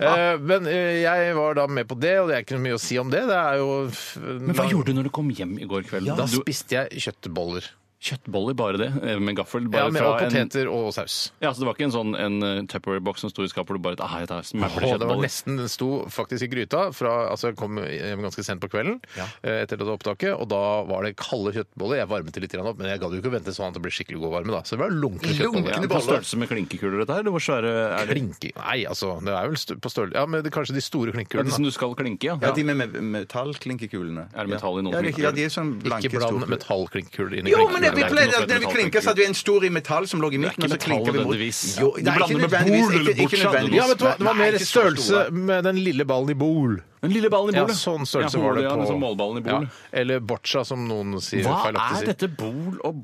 Speaker 3: Eh, Men eh, jeg var da med på det, og det er ikke noe mye å si om det. Det er jo eh,
Speaker 5: Men hva gjorde du når du kom hjem i går kveld?
Speaker 3: Da
Speaker 5: du,
Speaker 3: spiste jeg kjøttboller.
Speaker 5: kjøttboller, bare det, eh, med gaffel? Bare
Speaker 3: Ja, med,
Speaker 5: fra
Speaker 3: og
Speaker 5: en-
Speaker 3: poteter og saus.
Speaker 5: Ja, så det var ikke en sånn en eh, Tupperware-boks som sto i skapet hvor du bare ah, jeg tar smørbrød,
Speaker 3: Åh, det var
Speaker 5: kjøttboller.
Speaker 3: nesten, Den sto faktisk i gryta. Fra, altså jeg kom hjem ganske sent på kvelden eh, etter dette opptaket, og da var det kalde kjøttboller. Jeg varmet det litt grann opp, men jeg gadd jo ikke å vente sånn at det ble skikkelig god varme. da. Så det var lunkne
Speaker 5: Ja,
Speaker 3: kjøttboller.
Speaker 5: på størrelse med klinkekuler, dette her? Eller hvor svære er det?
Speaker 3: Klinke. Nei, altså, det er vel stø- på størrelse Ja, men det, kanskje de store
Speaker 5: Er det sånn
Speaker 3: klinkekulene.
Speaker 5: som du skal klinke, ja?
Speaker 4: Ja, de med med- metallklinkekulene.
Speaker 5: Er det metall i noen
Speaker 4: Ja, det er ikke- ja, de er sånn blanke
Speaker 3: Ikke bland
Speaker 4: store-
Speaker 3: metallklinkekuler inn i
Speaker 4: Jo, men det,
Speaker 5: Det er
Speaker 4: vi
Speaker 5: ikke
Speaker 4: pleide
Speaker 5: noe som
Speaker 4: at når vi
Speaker 5: heter
Speaker 4: klinker, så hadde vi en stor i metall som lå i midten,
Speaker 5: ikke
Speaker 4: og så
Speaker 5: metall
Speaker 4: klinker vi mot.
Speaker 5: nødvendigvis.
Speaker 4: Jo,
Speaker 5: Du
Speaker 4: nei,
Speaker 5: blander
Speaker 4: ikke
Speaker 5: med
Speaker 4: nødvendigvis.
Speaker 5: bol eller
Speaker 4: Ikke, ikke
Speaker 5: boccia, du
Speaker 4: nødvendigvis.
Speaker 5: nå.
Speaker 3: Ja, men det var, det var
Speaker 4: Nei,
Speaker 3: mer
Speaker 4: ikke så
Speaker 3: størrelse
Speaker 4: store.
Speaker 3: med den lille ballen i bol.
Speaker 5: Den lille ballen i
Speaker 3: Ja,
Speaker 5: bordet.
Speaker 3: sånn størrelse var det
Speaker 5: hodet, ja,
Speaker 3: på.
Speaker 5: den sånn målballen i bordet.
Speaker 3: Ja, Eller boccia, som noen sier
Speaker 5: Hva
Speaker 3: feilaktig
Speaker 5: er
Speaker 3: sier.
Speaker 5: dette bol- og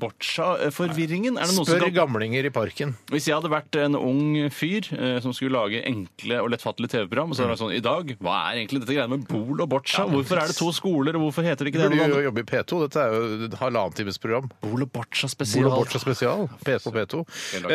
Speaker 5: boccia-forvirringen? Er det noen
Speaker 3: Spør
Speaker 5: som kan...
Speaker 3: gamlinger i parken.
Speaker 5: Hvis jeg hadde vært en ung fyr eh, som skulle lage enkle og lettfattelige TV-program, så hadde det vært sånn I dag, hva er egentlig dette greiene med bol og boccia? Hvorfor er det to skoler, og hvorfor heter det ikke
Speaker 3: Du
Speaker 5: det?
Speaker 3: burde
Speaker 5: ene og
Speaker 3: jo
Speaker 5: det andre?
Speaker 3: jobbe i P2. Dette er jo et halvannen times program.
Speaker 5: Bol og boccia spesial.
Speaker 3: Bolo Boccia spesial. P på P2.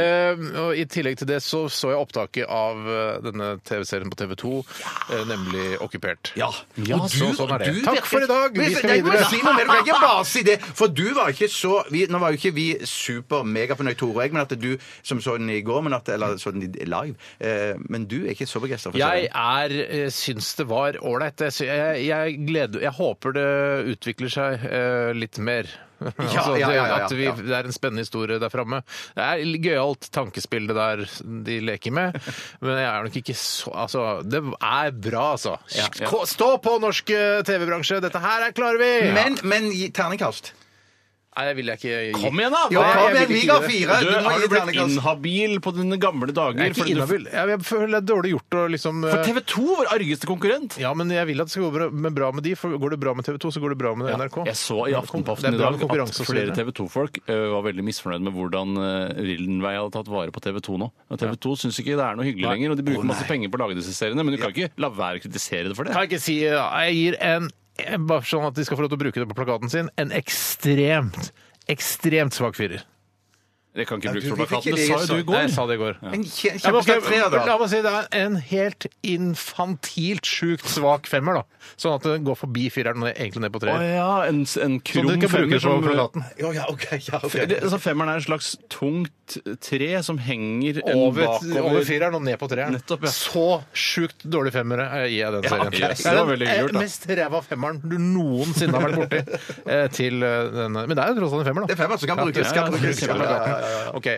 Speaker 3: Eh, og I tillegg til det så så jeg opptaket av eh, denne TV-serien på TV2, eh, nemlig Okkupert.
Speaker 4: Ja.
Speaker 3: Ja,
Speaker 4: Og
Speaker 3: så sånn er det.
Speaker 4: og du
Speaker 3: Takk
Speaker 4: virker-
Speaker 3: for i dag. Vi
Speaker 4: Men,
Speaker 3: skal
Speaker 4: nei,
Speaker 3: videre.
Speaker 4: men Si noe mer. Du kan ikke bare si det. For du var ikke så vi, Nå var jo ikke vi super-megafornøyd, Tore og jeg, men at du som så den i går, men at, eller så den i- live, eh, men du er ikke så begeistra for
Speaker 3: Jeg
Speaker 4: serien.
Speaker 3: er, eh, syns det var ålreit. Jeg, sy- jeg, jeg, gleder- jeg håper det utvikler seg eh, litt mer. altså,
Speaker 4: ja,
Speaker 3: det,
Speaker 4: ja, ja, ja,
Speaker 3: at vi,
Speaker 4: ja.
Speaker 3: det er en spennende historie der framme. Det er litt gøyalt tankespill det der de leker med, men jeg er nok ikke så Altså, det er bra, altså. K- Stå på, norsk eh, TV-bransje! Dette her er klarer vi!
Speaker 4: Men, men gi terningkast.
Speaker 3: Nei, det vil jeg ikke gi.
Speaker 5: Kom igjen, da!
Speaker 4: Jo,
Speaker 5: Hva er-
Speaker 4: kom
Speaker 3: jeg
Speaker 4: igjen,
Speaker 3: vil
Speaker 4: vi
Speaker 3: ikke
Speaker 4: ga
Speaker 3: gi det.
Speaker 4: fire.
Speaker 5: Du,
Speaker 4: Du må
Speaker 5: har
Speaker 4: gi
Speaker 5: du blitt
Speaker 4: terningkast.
Speaker 5: inhabil på dine gamle dager?
Speaker 3: Jeg er ikke
Speaker 5: fordi du-
Speaker 3: inhabil. Jeg, jeg føler det er dårlig gjort å liksom
Speaker 5: For
Speaker 3: eh,
Speaker 5: TV 2, vår argeste konkurrent!
Speaker 3: Ja, men jeg vil at det skal gå bra med, bra med de, for går det bra med TV 2, så går det bra med NRK.
Speaker 5: Jeg så i
Speaker 3: Det
Speaker 5: Aftenpoften
Speaker 3: er bra
Speaker 5: i dag
Speaker 3: med konkurranse
Speaker 5: at
Speaker 3: og så
Speaker 5: flere
Speaker 3: videre.
Speaker 5: TV 2-folk var veldig misfornøyd med hvordan eh, Rildenvei hadde tatt vare på TV 2 nå. Og TV 2 syns ikke det er noe hyggelig lenger, og de bruker masse penger på å lage disse seriene, men du kan ikke la være å kritisere det for det.
Speaker 3: kan jeg ikke si da. Jeg gir en Bare sånn at de skal få lov til å bruke det på plakaten sin. En ekstremt, ekstremt svak firer.
Speaker 5: Det kan ikke brukes
Speaker 4: du
Speaker 5: for
Speaker 4: fikk
Speaker 5: plakaten,
Speaker 4: ikke
Speaker 5: det sa jo
Speaker 4: lese-
Speaker 5: du i
Speaker 3: Nei,
Speaker 5: går.
Speaker 3: jeg sa det i går.
Speaker 4: En kje-
Speaker 3: Ja, men ok,
Speaker 4: kjempesterk treer, da.
Speaker 3: la meg si det er en helt infantilt sjukt svak femmer, da. Sånn at den går forbi fireren og ned- egentlig ned på
Speaker 5: Å
Speaker 3: treer.
Speaker 5: ja, en, en
Speaker 3: Sånn at
Speaker 5: krum
Speaker 3: den kan
Speaker 5: femmer
Speaker 3: brukes på
Speaker 5: som
Speaker 3: plakaten.
Speaker 4: Jo, ja, ok, ja, ok.
Speaker 5: det, altså Femmeren er et slags tungt tre som henger en
Speaker 3: Over,
Speaker 5: bakover.
Speaker 3: over fireren og ned på treeren.
Speaker 5: Nettopp, ja.
Speaker 3: Så sjukt dårlig femmere eh, gir jeg den serien.
Speaker 5: ok.
Speaker 3: Det
Speaker 5: Det var
Speaker 3: er den
Speaker 5: veldig
Speaker 3: eh,
Speaker 5: lurt, da.
Speaker 3: mest ræva femmeren du noensinne har vært borti. eh, til eh, denne. Men det er jo tross alt en femmer, da.
Speaker 4: Det er femmer som kan brukes.
Speaker 5: ja,
Speaker 4: Skal
Speaker 5: ja,
Speaker 4: brukes. Ja, ja, ja, ja.
Speaker 3: Ok,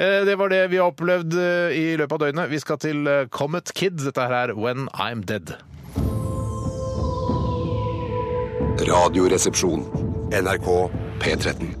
Speaker 3: Eh, Det var det vi har opplevd eh, i løpet av døgnet. Vi skal til eh, Comet Kid. Dette her er When I'm Dead.
Speaker 1: Radioresepsjon. NRK P13.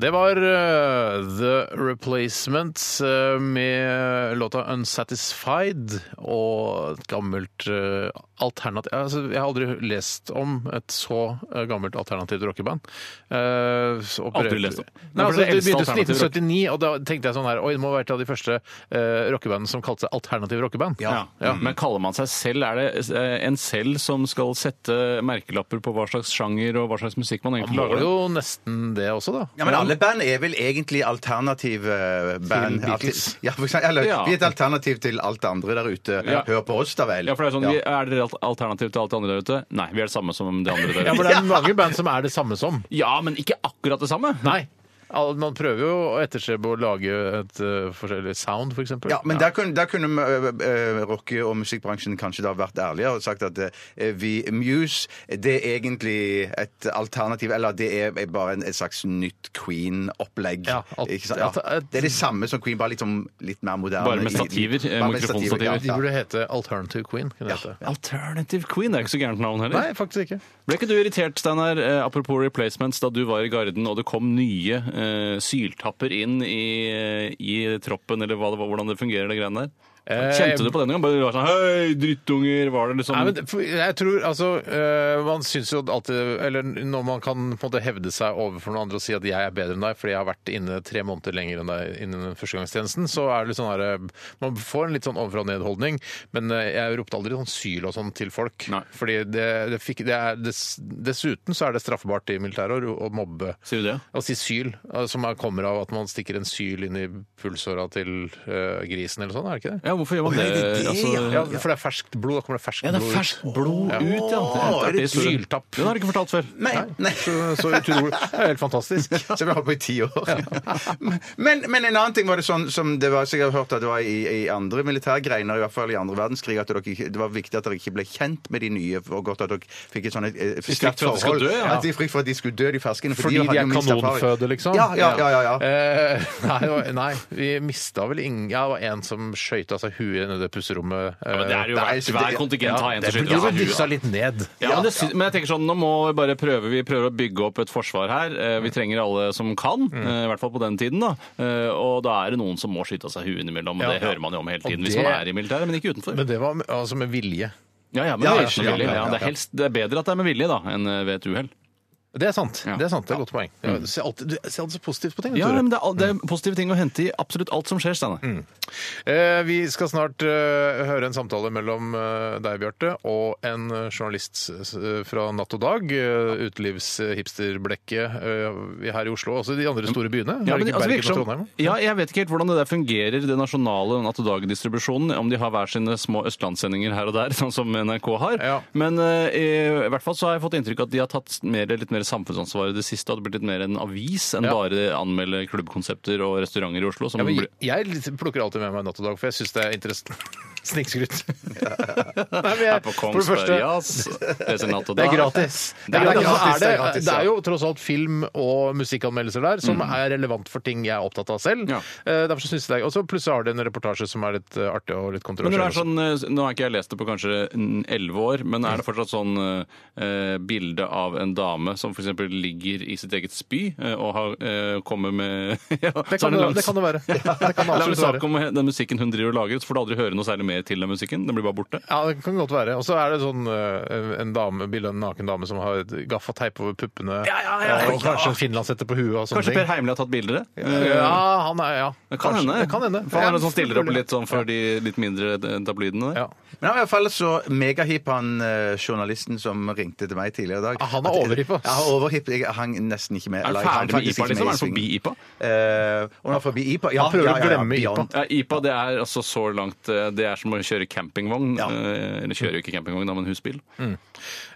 Speaker 3: Det var eh, The Replacements eh, med låta 'Unsatisfied' og et gammelt uh, alternativ altså, Jeg har aldri lest om et så eh, gammelt alternativt rockeband. Eh, så opererte-
Speaker 5: lest om.
Speaker 3: Nei,
Speaker 5: Det
Speaker 3: altså,
Speaker 5: er det
Speaker 3: det begynte
Speaker 5: eldste
Speaker 3: i
Speaker 5: alternative rock.
Speaker 3: 1979, og da tenkte jeg sånn her Oi, det må ha vært et av de første uh, rockebandene som kalte seg alternative rockeband.
Speaker 5: Ja.
Speaker 3: Mm.
Speaker 5: Men kaller man seg selv Er det eh, en selv som skal sette merkelapper på hva slags sjanger og hva slags musikk man
Speaker 3: Man
Speaker 5: egentlig
Speaker 3: må
Speaker 5: lager?
Speaker 3: jo nesten det også, da.
Speaker 4: Ja, men alle band er vel egentlig alternative eh, band.
Speaker 3: Beatles.
Speaker 4: Ja, for eksempel, eller,
Speaker 5: Ja.
Speaker 4: Vi er et alternativ til alt det andre der ute.
Speaker 5: Ja.
Speaker 4: Hør på oss, da vel.
Speaker 5: Ja, for det Er sånn,
Speaker 4: Ja.
Speaker 5: vi- er dere alt- alternativ til alt det andre der ute? Nei, vi er det samme som de andre
Speaker 3: Ja,
Speaker 5: der
Speaker 3: for
Speaker 5: ute.
Speaker 3: det er mange band som er det samme som.
Speaker 5: Ja, men ikke akkurat det samme.
Speaker 3: Nei. Al- Man prøver jo å etterstrebe å lage et eh, forskjellig sound, f.eks. eksempel.
Speaker 4: Ja, men der kunne, der kunne eh, eh, rocke- og musikkbransjen kanskje da vært ærligere og sagt at eh, vi, Muse det er egentlig et alternativ, eller det er bare en, et slags nytt Queen-opplegg.
Speaker 3: Ja, alt-
Speaker 4: Ikke sant? ja.
Speaker 3: alt-
Speaker 4: Det er det samme som Queen, bare litt, sånn- litt mer moderne.
Speaker 5: Bare med
Speaker 4: i-
Speaker 5: stativer, eh,
Speaker 4: Bare med stativer,
Speaker 5: mikrofonstativer.
Speaker 3: De burde hete Alternative Queen. kunne det hete.
Speaker 5: Alternative Queen er ikke så gærent navn heller.
Speaker 3: Nei, faktisk ikke.
Speaker 5: Ble ikke du irritert, Steinar, eh, apropos replacements, da du var i Garden og det kom nye eh, syltapper inn i, eh, i troppen, eller hva det var, hvordan det fungerer, det greiene der?
Speaker 3: Eh,
Speaker 5: Kjente du på denne gangen? Bare du var sånn Hei, drittunger! Var det liksom
Speaker 3: Nei, men det- for jeg tror, altså, øh, Man syns jo alltid Eller når man kan på en måte hevde seg overfor noen andre og si at jeg er bedre enn deg fordi jeg har vært inne tre måneder lenger enn deg innen førstegangstjenesten, så er det litt sånn her øh, Man får en litt sånn ovenfra og ned-holdning, men øh, jeg ropte aldri sånn syl og sånn til folk.
Speaker 5: Nei.
Speaker 3: Fordi det, det fikk, det er, dess, Dessuten så er det straffbart i militæret å, å mobbe.
Speaker 5: Sier du det?
Speaker 3: Å si syl, øh, som er, kommer av at man stikker en syl inn i pulsåra til øh, grisen eller sånn, er det ikke det?
Speaker 5: Ja, hvorfor gjør man det? Altså,
Speaker 3: Ja, for det er ferskt blod. Da kommer det ferskt
Speaker 5: ja, det er
Speaker 3: blod
Speaker 5: ferskt blod
Speaker 3: Ja.
Speaker 5: ut, ja. Det er
Speaker 4: er det
Speaker 5: artig historie.
Speaker 3: syltapp?
Speaker 5: Den har du ikke fortalt før.
Speaker 4: Nei, nei.
Speaker 3: Så, så utrolig. Det er helt fantastisk.
Speaker 4: Som jeg har holdt på i ti år. Men, men en annen ting var det sånn som det var, så jeg har hørt at det var i, i andre militærgreiner, i hvert fall i andre verdenskrig, at dere, ikke- det var viktig at dere ikke ble kjent med de nye, og godt at dere fikk et sånn et, et
Speaker 5: frykt for at de skulle dø, ja.
Speaker 4: At de frykt for at de skulle dø, de ferskene. for
Speaker 3: Fordi
Speaker 4: hadde
Speaker 3: de er
Speaker 4: jo mistet erfaring.
Speaker 3: kanonføde, liksom?
Speaker 4: Ja, ja, ja. ja, ja.
Speaker 3: Eh, nei, det var- nei, vi mista vel ingen Ja, det var en som skøyta seg huet ned i det pusterommet.
Speaker 5: Ja, men det er jo
Speaker 4: Nei,
Speaker 5: hvert,
Speaker 4: så det-
Speaker 5: hver kontingent har en som skyter
Speaker 3: ja,
Speaker 5: av
Speaker 3: men
Speaker 5: huet.
Speaker 3: dyssa litt ned.
Speaker 5: Ja, men, det, sy- men jeg tenker sånn, nå må vi bare prøve. Vi prøver å bygge opp et forsvar her. Eh, Vi trenger alle som kan, eh, i hvert fall på den tiden. da. Eh, Og da er det noen som må skyte av seg huet innimellom. og
Speaker 3: Ja,
Speaker 5: Det
Speaker 3: ja.
Speaker 5: hører man jo om hele
Speaker 3: Og
Speaker 5: tiden hvis
Speaker 3: det-
Speaker 5: man er i militæret, men ikke utenfor.
Speaker 3: Men det var altså med vilje.
Speaker 5: ja, ja, men
Speaker 4: Ja,
Speaker 5: det,
Speaker 4: ja,
Speaker 5: er så
Speaker 4: ja,
Speaker 5: villig.
Speaker 4: ja, ja,
Speaker 5: ja, det, er
Speaker 4: ja.
Speaker 5: helst, det er bedre at det er med vilje da, enn eh, ved et uhell.
Speaker 3: Det er sant.
Speaker 5: Ja.
Speaker 3: Det er sant, det er et godt poeng. Ja, du ser alltid, du ser alltid så positivt på ting.
Speaker 5: Ja,
Speaker 3: Tore.
Speaker 5: men det er, al- det er positive ting å hente i absolutt alt som skjer, Steinar.
Speaker 3: Eh, vi skal snart eh, høre en samtale mellom eh, deg, Bjarte, og en eh, journalist s- s- fra Natt og Dag. Eh, Utelivshipsterblekket eh, her i Oslo, også i de andre store byene.
Speaker 5: Mm. Ja,
Speaker 3: Er det
Speaker 5: men det-
Speaker 3: ikke
Speaker 5: altså, virker
Speaker 3: Bergen og
Speaker 5: som-
Speaker 3: Trondheim?
Speaker 5: ja, jeg vet ikke helt hvordan det der fungerer, det nasjonale Natt og Dag-distribusjonen, om de har hver sine små østlandssendinger her og der, sånn som NRK har.
Speaker 3: Ja.
Speaker 5: Men eh, i, i hvert fall så har jeg fått inntrykk av at de har tatt mer, litt mer samfunnsansvar i det siste, at det blir litt mer en avis enn
Speaker 3: Ja.
Speaker 5: bare anmelde klubbkonsepter og restauranter i Oslo. Som
Speaker 3: Ja, men
Speaker 5: blir-
Speaker 3: Mm. jeg- jeg plukker alltid med meg Natt og Dag, for jeg syns det er interessant. Snikskryt. Nei, men jeg-
Speaker 5: er på
Speaker 3: for det første-
Speaker 5: Kongsberg, jazz, leser Natt og
Speaker 3: Det
Speaker 5: Dag.
Speaker 3: er gratis.
Speaker 5: Det er gratis.
Speaker 3: Og så
Speaker 4: det er
Speaker 3: er, det,
Speaker 4: gratis,
Speaker 3: det
Speaker 4: ja.
Speaker 3: er jo tross alt film og musikkanmeldelser der som er relevant for ting jeg er opptatt av selv.
Speaker 5: Ja.
Speaker 3: Eh, Derfor synes jeg det er Og så plutselig har de en reportasje som er litt eh, artig og litt
Speaker 5: Men når det
Speaker 3: kontroversiell.
Speaker 5: er sånn, eh, Nå har ikke jeg lest det på kanskje elleve år, men er det fortsatt sånn eh, bilde av en dame som f.eks. ligger i sitt eget spy eh, og har eh, kommet med ja,
Speaker 3: det, kan det, det kan det være. Det kan det
Speaker 5: La meg
Speaker 3: absolutt være.
Speaker 5: snakke om den musikken hun driver og lager, så får du aldri høre noe særlig mer til den musikken. Den blir bare borte.
Speaker 3: Ja, det kan godt være. Og så er det sånn eh, en dame, bilde av en naken dame som har et gaffateip over puppene,
Speaker 5: Ja, ja, ja,
Speaker 3: eh, og
Speaker 5: ja.
Speaker 3: kanskje en finlandshette på huet og sånne
Speaker 5: Kanskje Per
Speaker 3: ting. Eh,
Speaker 5: Heimli har tatt bilder? Eh,
Speaker 3: Ja, han er, ja.
Speaker 5: Det kan
Speaker 3: Kanskje.
Speaker 5: hende.
Speaker 3: Det kan hende.
Speaker 5: For han er den som stiller opp
Speaker 3: mulig.
Speaker 5: litt sånn for de litt mindre eh, tabloidene. der.
Speaker 3: Ja.
Speaker 4: Men han var i hvert fall så megahip, han eh, journalisten som ringte til meg tidligere i dag.
Speaker 3: Ah, han er
Speaker 4: At-
Speaker 3: overhipp, ass.
Speaker 4: Ja, overhipp. Jeg hang nesten ikke med.
Speaker 5: Er
Speaker 4: eller
Speaker 5: det
Speaker 4: jeg hang
Speaker 5: ferdig med
Speaker 4: faktisk
Speaker 5: IPA, liksom? Er
Speaker 4: ikke med i
Speaker 5: det forbi
Speaker 4: svingen.
Speaker 5: IPA?
Speaker 4: Eh, og han er forbi IPA. Ja,
Speaker 3: Han prøver
Speaker 4: ja, ja, ja,
Speaker 3: å glemme
Speaker 4: Beyond.
Speaker 3: IPA.
Speaker 5: Ja, IPA det er altså så langt eh, Det er som å kjøre campingvogn.
Speaker 4: Ja.
Speaker 5: eh, Eller kjører jo ikke campingvogn, da, men husbil.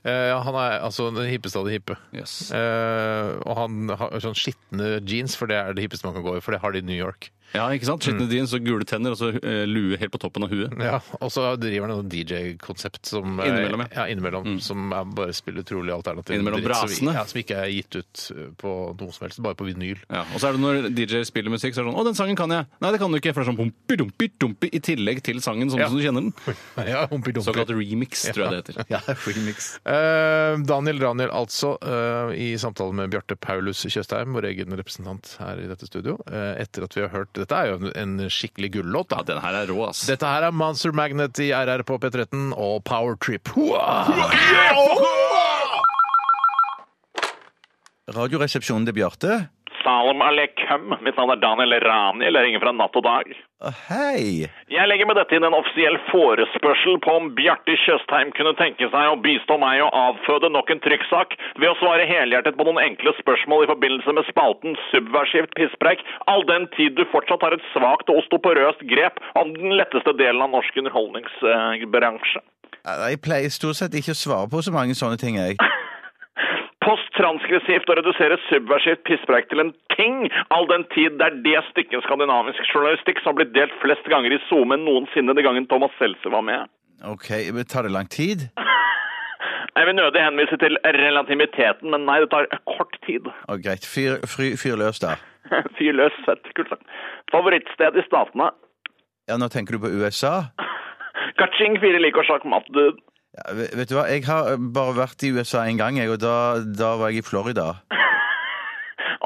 Speaker 3: Eh, ja, han er altså den hippeste av de hippe.
Speaker 5: Yes.
Speaker 3: Eh, og han har sånn skitne jeans, for det er det hippeste man kan gå i, for det har de i New York.
Speaker 5: Ja, ikke sant? Skitne jeans og gule tenner og så eh, lue helt på toppen av huet.
Speaker 3: Ja, og så driver han noe DJ-konsept som eh,
Speaker 5: Innimellom, ja. Mm.
Speaker 3: ja. innimellom som er bare spiller utrolig alternativ.
Speaker 5: Innimellom
Speaker 3: dritt som vi-
Speaker 5: brasene.
Speaker 3: Ja, som ikke er gitt ut eh, på noe som helst, bare på vinyl.
Speaker 5: Ja, og så er det når DJ spiller musikk, så er det sånn 'Å, den sangen kan jeg!' Nei, det kan du ikke, for det er sånn pumpi, dumpi, dumpi i tillegg til sangen sånn
Speaker 3: Ja.
Speaker 5: som du kjenner den.
Speaker 3: Ja, humpi dumpi.
Speaker 5: Såkalt remix, tror jeg det heter.
Speaker 4: Ja, remix.
Speaker 3: Eh, Daniel Daniel, altså, eh, i samtale med Bjarte Paulus Tjøstheim, vår egen representant her i dette studio, eh, etter at vi har hørt Dette er jo en, en skikkelig gullåt, da.
Speaker 5: Ja, den her er rå, ass.
Speaker 3: Dette her er Monster Magnet i RR på P13 og Power Trip. Hua!
Speaker 4: Radioresepsjonen til Bjarte.
Speaker 8: Salam aleikum. Mitt navn er Daniel Rani. Jeg ringer fra Natt og Dag.
Speaker 4: Å, Hei!
Speaker 8: Jeg legger med dette inn en offisiell forespørsel på om Bjarte Tjøstheim kunne tenke seg å bistå meg å avføde nok en trykksak ved å svare helhjertet på noen enkle spørsmål i forbindelse med spalten subversivt pisspreik, all den tid du fortsatt har et svakt og ostoporøst grep om den letteste delen av norsk underholdningsbransje.
Speaker 4: Jeg pleier stort sett ikke å svare på så mange sånne ting, jeg.
Speaker 8: Posttranskripsivt å redusere subversivt pisspreik til en ting, all den tid det er det stykket skandinavisk journalistikk som har blitt delt flest ganger i SoMe noensinne den gangen Thomas Seltzer var med.
Speaker 4: OK, men tar det lang tid?
Speaker 8: Jeg vil nødig henvise til relativiteten, men nei, det tar kort tid.
Speaker 4: Å, greit. Fyr, fyr, fyr løs, da.
Speaker 8: Fyr løs fett, kult sagt. Favorittsted i statene?
Speaker 4: Ja, nå tenker du på USA?
Speaker 8: Kaching, fire lik og sjakkmatt, dude.
Speaker 4: Ja, ve- vet du hva, jeg har eh, bare vært i USA én gang, jeg, og da, da var jeg i Florida.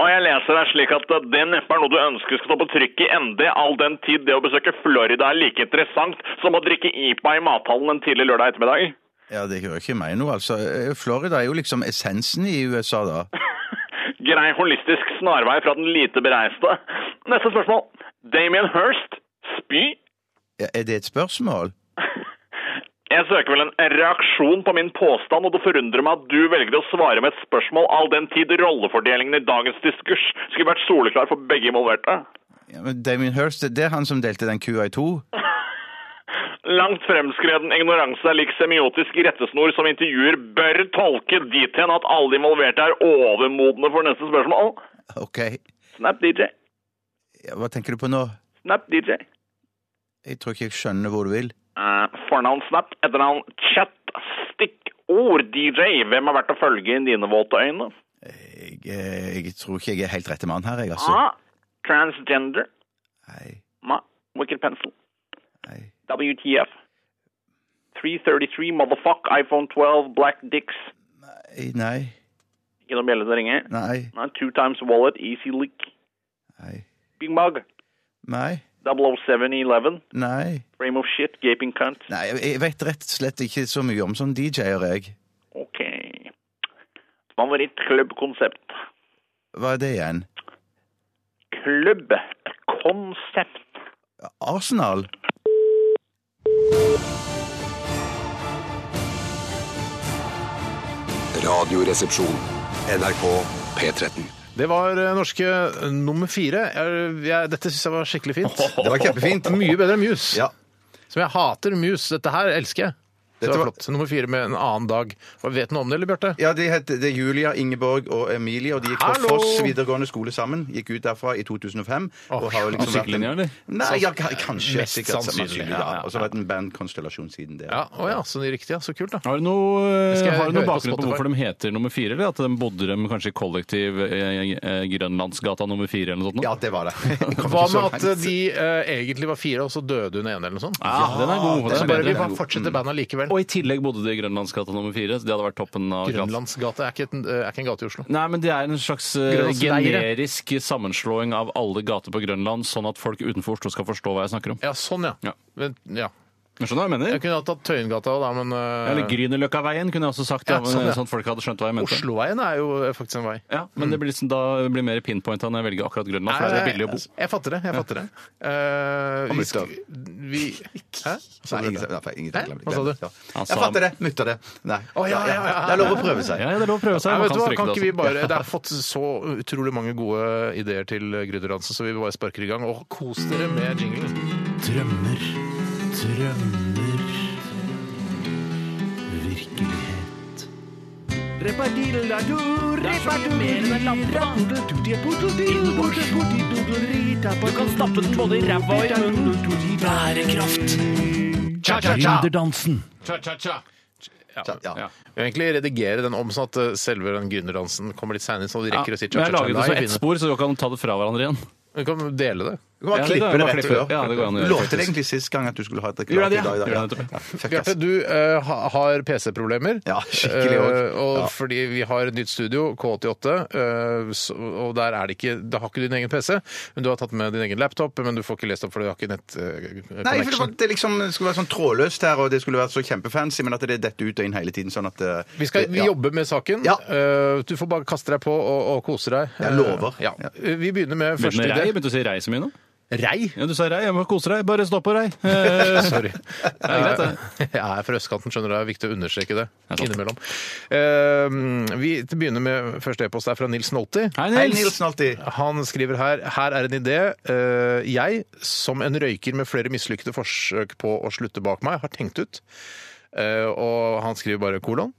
Speaker 8: Og jeg leser her slik at det neppe er noe du ønsker skal stå på trykk i ND, all den tid det å besøke Florida er like interessant som å drikke IPA i mathallen en tidlig lørdag ettermiddag.
Speaker 4: Ja, det hører ikke meg nå, altså. Eh, Florida er jo liksom essensen i USA, da.
Speaker 8: Grei holistisk snarvei fra den lite bereiste. Neste spørsmål. Damien Hirst, spy?
Speaker 4: Ja, er det et spørsmål?
Speaker 8: Jeg søker vel en reaksjon på min påstand, og det forundrer meg at du velger å svare med et spørsmål all den tid rollefordelingen i dagens diskurs skulle vært soleklar for begge involverte.
Speaker 4: Ja, men Damien Hirst, det er han som delte den kua i to?
Speaker 8: Langt fremskreden ignoranse er lik semiotisk rettesnor som intervjuer bør tolke dit hen at alle involverte er overmodne for neste spørsmål.
Speaker 4: OK.
Speaker 8: Snap DJ.
Speaker 4: Ja, hva tenker du på nå?
Speaker 8: Snap DJ.
Speaker 4: Jeg tror ikke jeg skjønner hvor du vil.
Speaker 8: Eh, fornavn Snap, etternavn Chat, stikkord DJ. Hvem er verdt å følge i dine våte øyne?
Speaker 4: Jeg, eh, jeg tror ikke jeg er helt rette mann her, jeg, altså.
Speaker 3: Ah.
Speaker 8: A. Transgender.
Speaker 4: Nei,
Speaker 8: Ma. Wicked Pencil.
Speaker 4: nei.
Speaker 8: WTF. 333 motherfuck iPhone 12 black dicks.
Speaker 4: Nei, Nei,
Speaker 8: Ikke noe bjelle til å ringe.
Speaker 4: nei,
Speaker 8: Nei, Two times wallet, easy leak.
Speaker 4: nei.
Speaker 8: Big mug.
Speaker 4: Nei,
Speaker 8: 00711.
Speaker 4: nei.
Speaker 8: Frame of shit, gaping cunt.
Speaker 4: Nei, jeg- jeg vet rett og slett ikke så mye om sånn DJ-er, jeg.
Speaker 8: Ok. Favorittklubbkonsept.
Speaker 4: Hva er det igjen?
Speaker 8: Klubbkonsept.
Speaker 4: Arsenal?
Speaker 1: Radioresepsjon. NRK P13.
Speaker 3: Det var eh, norske eh, nummer fire. Jeg, jeg, dette syns jeg var skikkelig fint.
Speaker 4: Det var kjempefint.
Speaker 3: Mye bedre enn Muse.
Speaker 4: Ja.
Speaker 3: Som jeg hater Muse. Dette her elsker jeg. Det
Speaker 4: Dette
Speaker 3: var
Speaker 4: var-
Speaker 3: flott. Nummer fire med en annen dag. Hva Vet noe om det, eller Bjarte?
Speaker 4: Ja, de het, det er Julia, Ingeborg og Emilie, og de gikk på
Speaker 3: Hallo!
Speaker 4: Foss videregående skole sammen. Gikk ut derfra i 2005. og har jo liksom vært en-
Speaker 5: Musikklinja, eller?
Speaker 4: Nei, ja, ka- kanskje.
Speaker 3: Mest
Speaker 4: sikkert
Speaker 3: sannsynlig,
Speaker 4: sannsynlig,
Speaker 3: ja, ja,
Speaker 4: ja. Og
Speaker 3: ja.
Speaker 4: så har det vært en bandkonstellasjon siden det.
Speaker 3: Ja, å ja, så det er riktig. Ja. Så kult, da.
Speaker 5: Har du noe,
Speaker 3: Skal jeg
Speaker 5: har du
Speaker 3: høre
Speaker 5: noe
Speaker 3: på
Speaker 5: bakgrunn på,
Speaker 3: Spotify?
Speaker 5: hvorfor de heter nummer fire? Eller at de bodde dem kanskje i kollektiv eh, eh, Grønlandsgata nummer fire eller noe sånt? nå?
Speaker 4: Ja, det var det. Jeg kom ikke
Speaker 3: Hva med
Speaker 4: så langt.
Speaker 3: at eh, de eh, egentlig var fire, og så døde hun ene, eller noe sånt?
Speaker 5: Ah, den er god.
Speaker 3: Så
Speaker 5: Den er
Speaker 3: bare vi
Speaker 5: bedre.
Speaker 3: bare fortsetter bandet likevel.
Speaker 5: Og i tillegg bodde de i Grønlandsgata nummer fire. så Det hadde vært toppen av gata.
Speaker 3: Grønlandsgata er ikke, en, er ikke en gate i Oslo.
Speaker 5: Nei, men det er en slags eh,
Speaker 3: Grønlandsleire.
Speaker 5: generisk sammenslåing av alle gater på Grønland, sånn at folk utenfor Oslo skal forstå hva jeg snakker om.
Speaker 3: Ja, sånn, ja.
Speaker 5: Ja.
Speaker 3: Men, ja.
Speaker 5: Men skjønner du hva jeg
Speaker 3: Jeg
Speaker 5: mener?
Speaker 3: kunne ha tatt Tøyengata òg, da, men eh,
Speaker 5: Eller Grünerløkkaveien kunne jeg også sagt, ja,
Speaker 3: Ja,
Speaker 5: men,
Speaker 3: sånn, ja.
Speaker 5: sånn at folk hadde skjønt hva jeg mente.
Speaker 3: Osloveien er jo eh, faktisk en vei.
Speaker 5: Ja, men det blir liksom, da blir det mer pinpointa når jeg velger akkurat Grønland, for det er billig å bo.
Speaker 3: Eh, Jeg fatter det. jeg fatter det. Eh, vi skal, vi, hæ?
Speaker 4: Nei, ingen- nei, ingen-
Speaker 3: Hæ? Hva sa du?
Speaker 4: Ja.
Speaker 5: Han sa-
Speaker 4: Jeg fatter det. Mutter det. Nei.
Speaker 3: Å, ja, ja, ja, ja.
Speaker 4: Det er lov å prøve seg.
Speaker 5: Ja, ja, det er lov å prøve seg.
Speaker 3: Nei,
Speaker 5: man
Speaker 3: vet du hva,
Speaker 5: stryke
Speaker 3: kan
Speaker 5: det
Speaker 3: ikke vi
Speaker 5: også.
Speaker 3: bare, Det er fått så utrolig mange gode ideer til Grydderdansen, så vi bare sparker i gang. Og kos dere med jinglen.
Speaker 9: Drømmer, drømmer, virkelighet. Du kan stappe den både i ræva og i munnen. Bærekraft. Gründerdansen.
Speaker 5: Cha-cha-cha.
Speaker 4: Ja. Ja.
Speaker 3: Vi må egentlig redigere den om sånn at eh, selve den gründerdansen kommer litt seinere, så de
Speaker 5: Ja,
Speaker 3: rekker å si
Speaker 5: men jeg
Speaker 3: cha-cha-cha
Speaker 5: laget det som
Speaker 3: live.
Speaker 5: ett spor, så dere kan ta det fra hverandre igjen.
Speaker 3: Vi kan dele det.
Speaker 4: Du kan bare
Speaker 5: Ja, det
Speaker 4: klippe
Speaker 5: går an,
Speaker 4: det
Speaker 5: bare
Speaker 4: rett
Speaker 5: klippe.
Speaker 4: før.
Speaker 5: Ja, det går an å gjøre,
Speaker 4: du lovte det egentlig sist gang at du skulle ha et
Speaker 5: Gjorde jeg
Speaker 4: reklame
Speaker 5: det,
Speaker 4: i dag.
Speaker 5: ja?
Speaker 4: da,
Speaker 5: Gjorde jeg nettopp.
Speaker 4: Fuck,
Speaker 3: Bjarte,
Speaker 4: ass.
Speaker 3: du eh, ha- har PC-problemer.
Speaker 4: Ja, skikkelig også.
Speaker 3: Eh, og
Speaker 4: Ja.
Speaker 3: fordi vi har et nytt studio, K88, eh, så- og der er det ikke Da har ikke du din egen PC, men du har tatt med din egen laptop, men du får ikke lest opp, for du har ikke nett eh,
Speaker 4: Nei, for det, var,
Speaker 3: connection.
Speaker 4: det liksom skulle være sånn trådløst her, og det skulle vært så kjempefancy, men at det detter ut og inn hele tiden. sånn at... eh,
Speaker 3: Vi skal
Speaker 4: det- ja.
Speaker 3: jobbe med saken.
Speaker 4: Ja.
Speaker 3: Eh, Du får bare kaste deg på og, og kose deg.
Speaker 4: Jeg lover.
Speaker 3: Eh, Ja. Vi begynner med
Speaker 5: Begynte
Speaker 3: første
Speaker 5: med rei,
Speaker 3: idé.
Speaker 5: begynte å si rei så mye nå.
Speaker 3: Rei?
Speaker 5: Ja, du sa rei, jeg må kose deg. Bare stopp på rei. Eh,
Speaker 3: Sorry.
Speaker 5: det er greit, det.
Speaker 3: Jeg er fra østkanten, skjønner du. Det er viktig å understreke det
Speaker 5: sant.
Speaker 3: innimellom. Eh, Vi begynner med første e-post er fra Nils Nolti.
Speaker 5: Hei,
Speaker 4: Hei,
Speaker 5: Nils.
Speaker 4: Nilsen alltid.
Speaker 3: Han skriver her her er en idé. eh, Jeg, som en røyker med flere mislykkede forsøk på å slutte bak meg, har tenkt ut. Eh, Og han skriver bare kolon.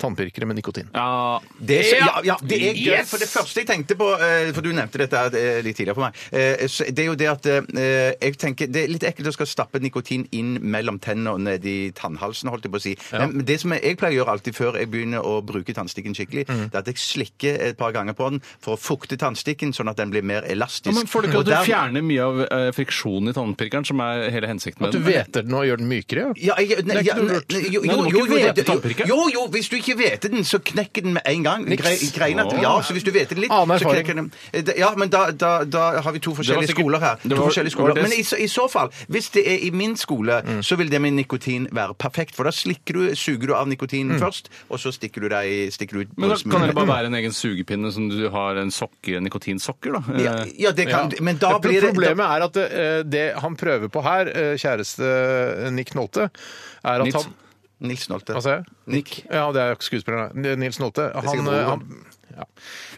Speaker 3: Tannpirkere med nikotin.
Speaker 5: Ja,
Speaker 4: Det er, så- ja, ja, det er gøy,
Speaker 5: Yes!
Speaker 4: for det første jeg tenkte på eh, For du nevnte dette her, eh, litt tidligere for meg. eh, så Det er jo det at eh, jeg tenker Det er litt ekkelt å skal stappe nikotin inn mellom tennene og ned i tannhalsen, holdt jeg på å si. Men det som jeg, jeg pleier å gjøre alltid før jeg begynner å bruke tannstikken skikkelig,
Speaker 5: Mm.
Speaker 4: det er at jeg slikker et par ganger på den for å fukte tannstikken, sånn at den blir mer elastisk.
Speaker 5: Ja, men får du ikke
Speaker 4: Og
Speaker 5: at du
Speaker 4: der-
Speaker 5: fjerner mye av eh, friksjonen i tannpirkeren, som er hele hensikten
Speaker 3: At
Speaker 5: med
Speaker 3: du
Speaker 5: den?
Speaker 3: hveter den og gjør den mykere? ja.
Speaker 4: Ja, jeg,
Speaker 3: Det
Speaker 4: nei,
Speaker 3: er ikke
Speaker 4: ja,
Speaker 3: noe
Speaker 4: nei,
Speaker 3: lurt.
Speaker 4: jo,
Speaker 5: Nei,
Speaker 4: jo,
Speaker 5: du må
Speaker 4: jo,
Speaker 5: ikke
Speaker 4: jo,
Speaker 5: vurdere
Speaker 4: det-
Speaker 5: tannpirker.
Speaker 4: jo, jo, hvis du ikke vet den, så knekker den med en gang.
Speaker 3: Niks.
Speaker 4: Grei, greien er at, ja, så hvis du vet den litt,
Speaker 3: Annen
Speaker 4: så
Speaker 3: erfaring.
Speaker 4: knekker den. Eh, det- Ja, men da, da, da har vi to forskjellige
Speaker 5: sikkert-
Speaker 4: skoler her.
Speaker 5: det
Speaker 4: to
Speaker 5: var-
Speaker 4: forskjellige
Speaker 5: det var
Speaker 4: skoler.
Speaker 5: det- Mm.
Speaker 4: Men i, så- i så fall, hvis det er i min skole, så vil det med nikotin være perfekt, for da slikker du, suger du av nikotinen først, og så stikker du deg, i- stikker du ut
Speaker 5: Mm. Men da
Speaker 4: brødsmulen.
Speaker 5: kan det bare være en egen sugepinne som du har en sokker, en nikotinsokker, da. Eh,
Speaker 4: ja, ja, det kan, men da
Speaker 3: Pro-
Speaker 4: blir det...
Speaker 3: Problemet er at eh, det han prøver på her, eh, kjæreste Nick Nolte, er at
Speaker 5: Nils.
Speaker 3: han
Speaker 4: Nils Nolte.
Speaker 3: Hva sa jeg?
Speaker 4: Nick.
Speaker 3: Ja, det er jo ikke skuespilleren. da. Nils Nolte. Han, eh,
Speaker 4: sikkert
Speaker 3: han, ja.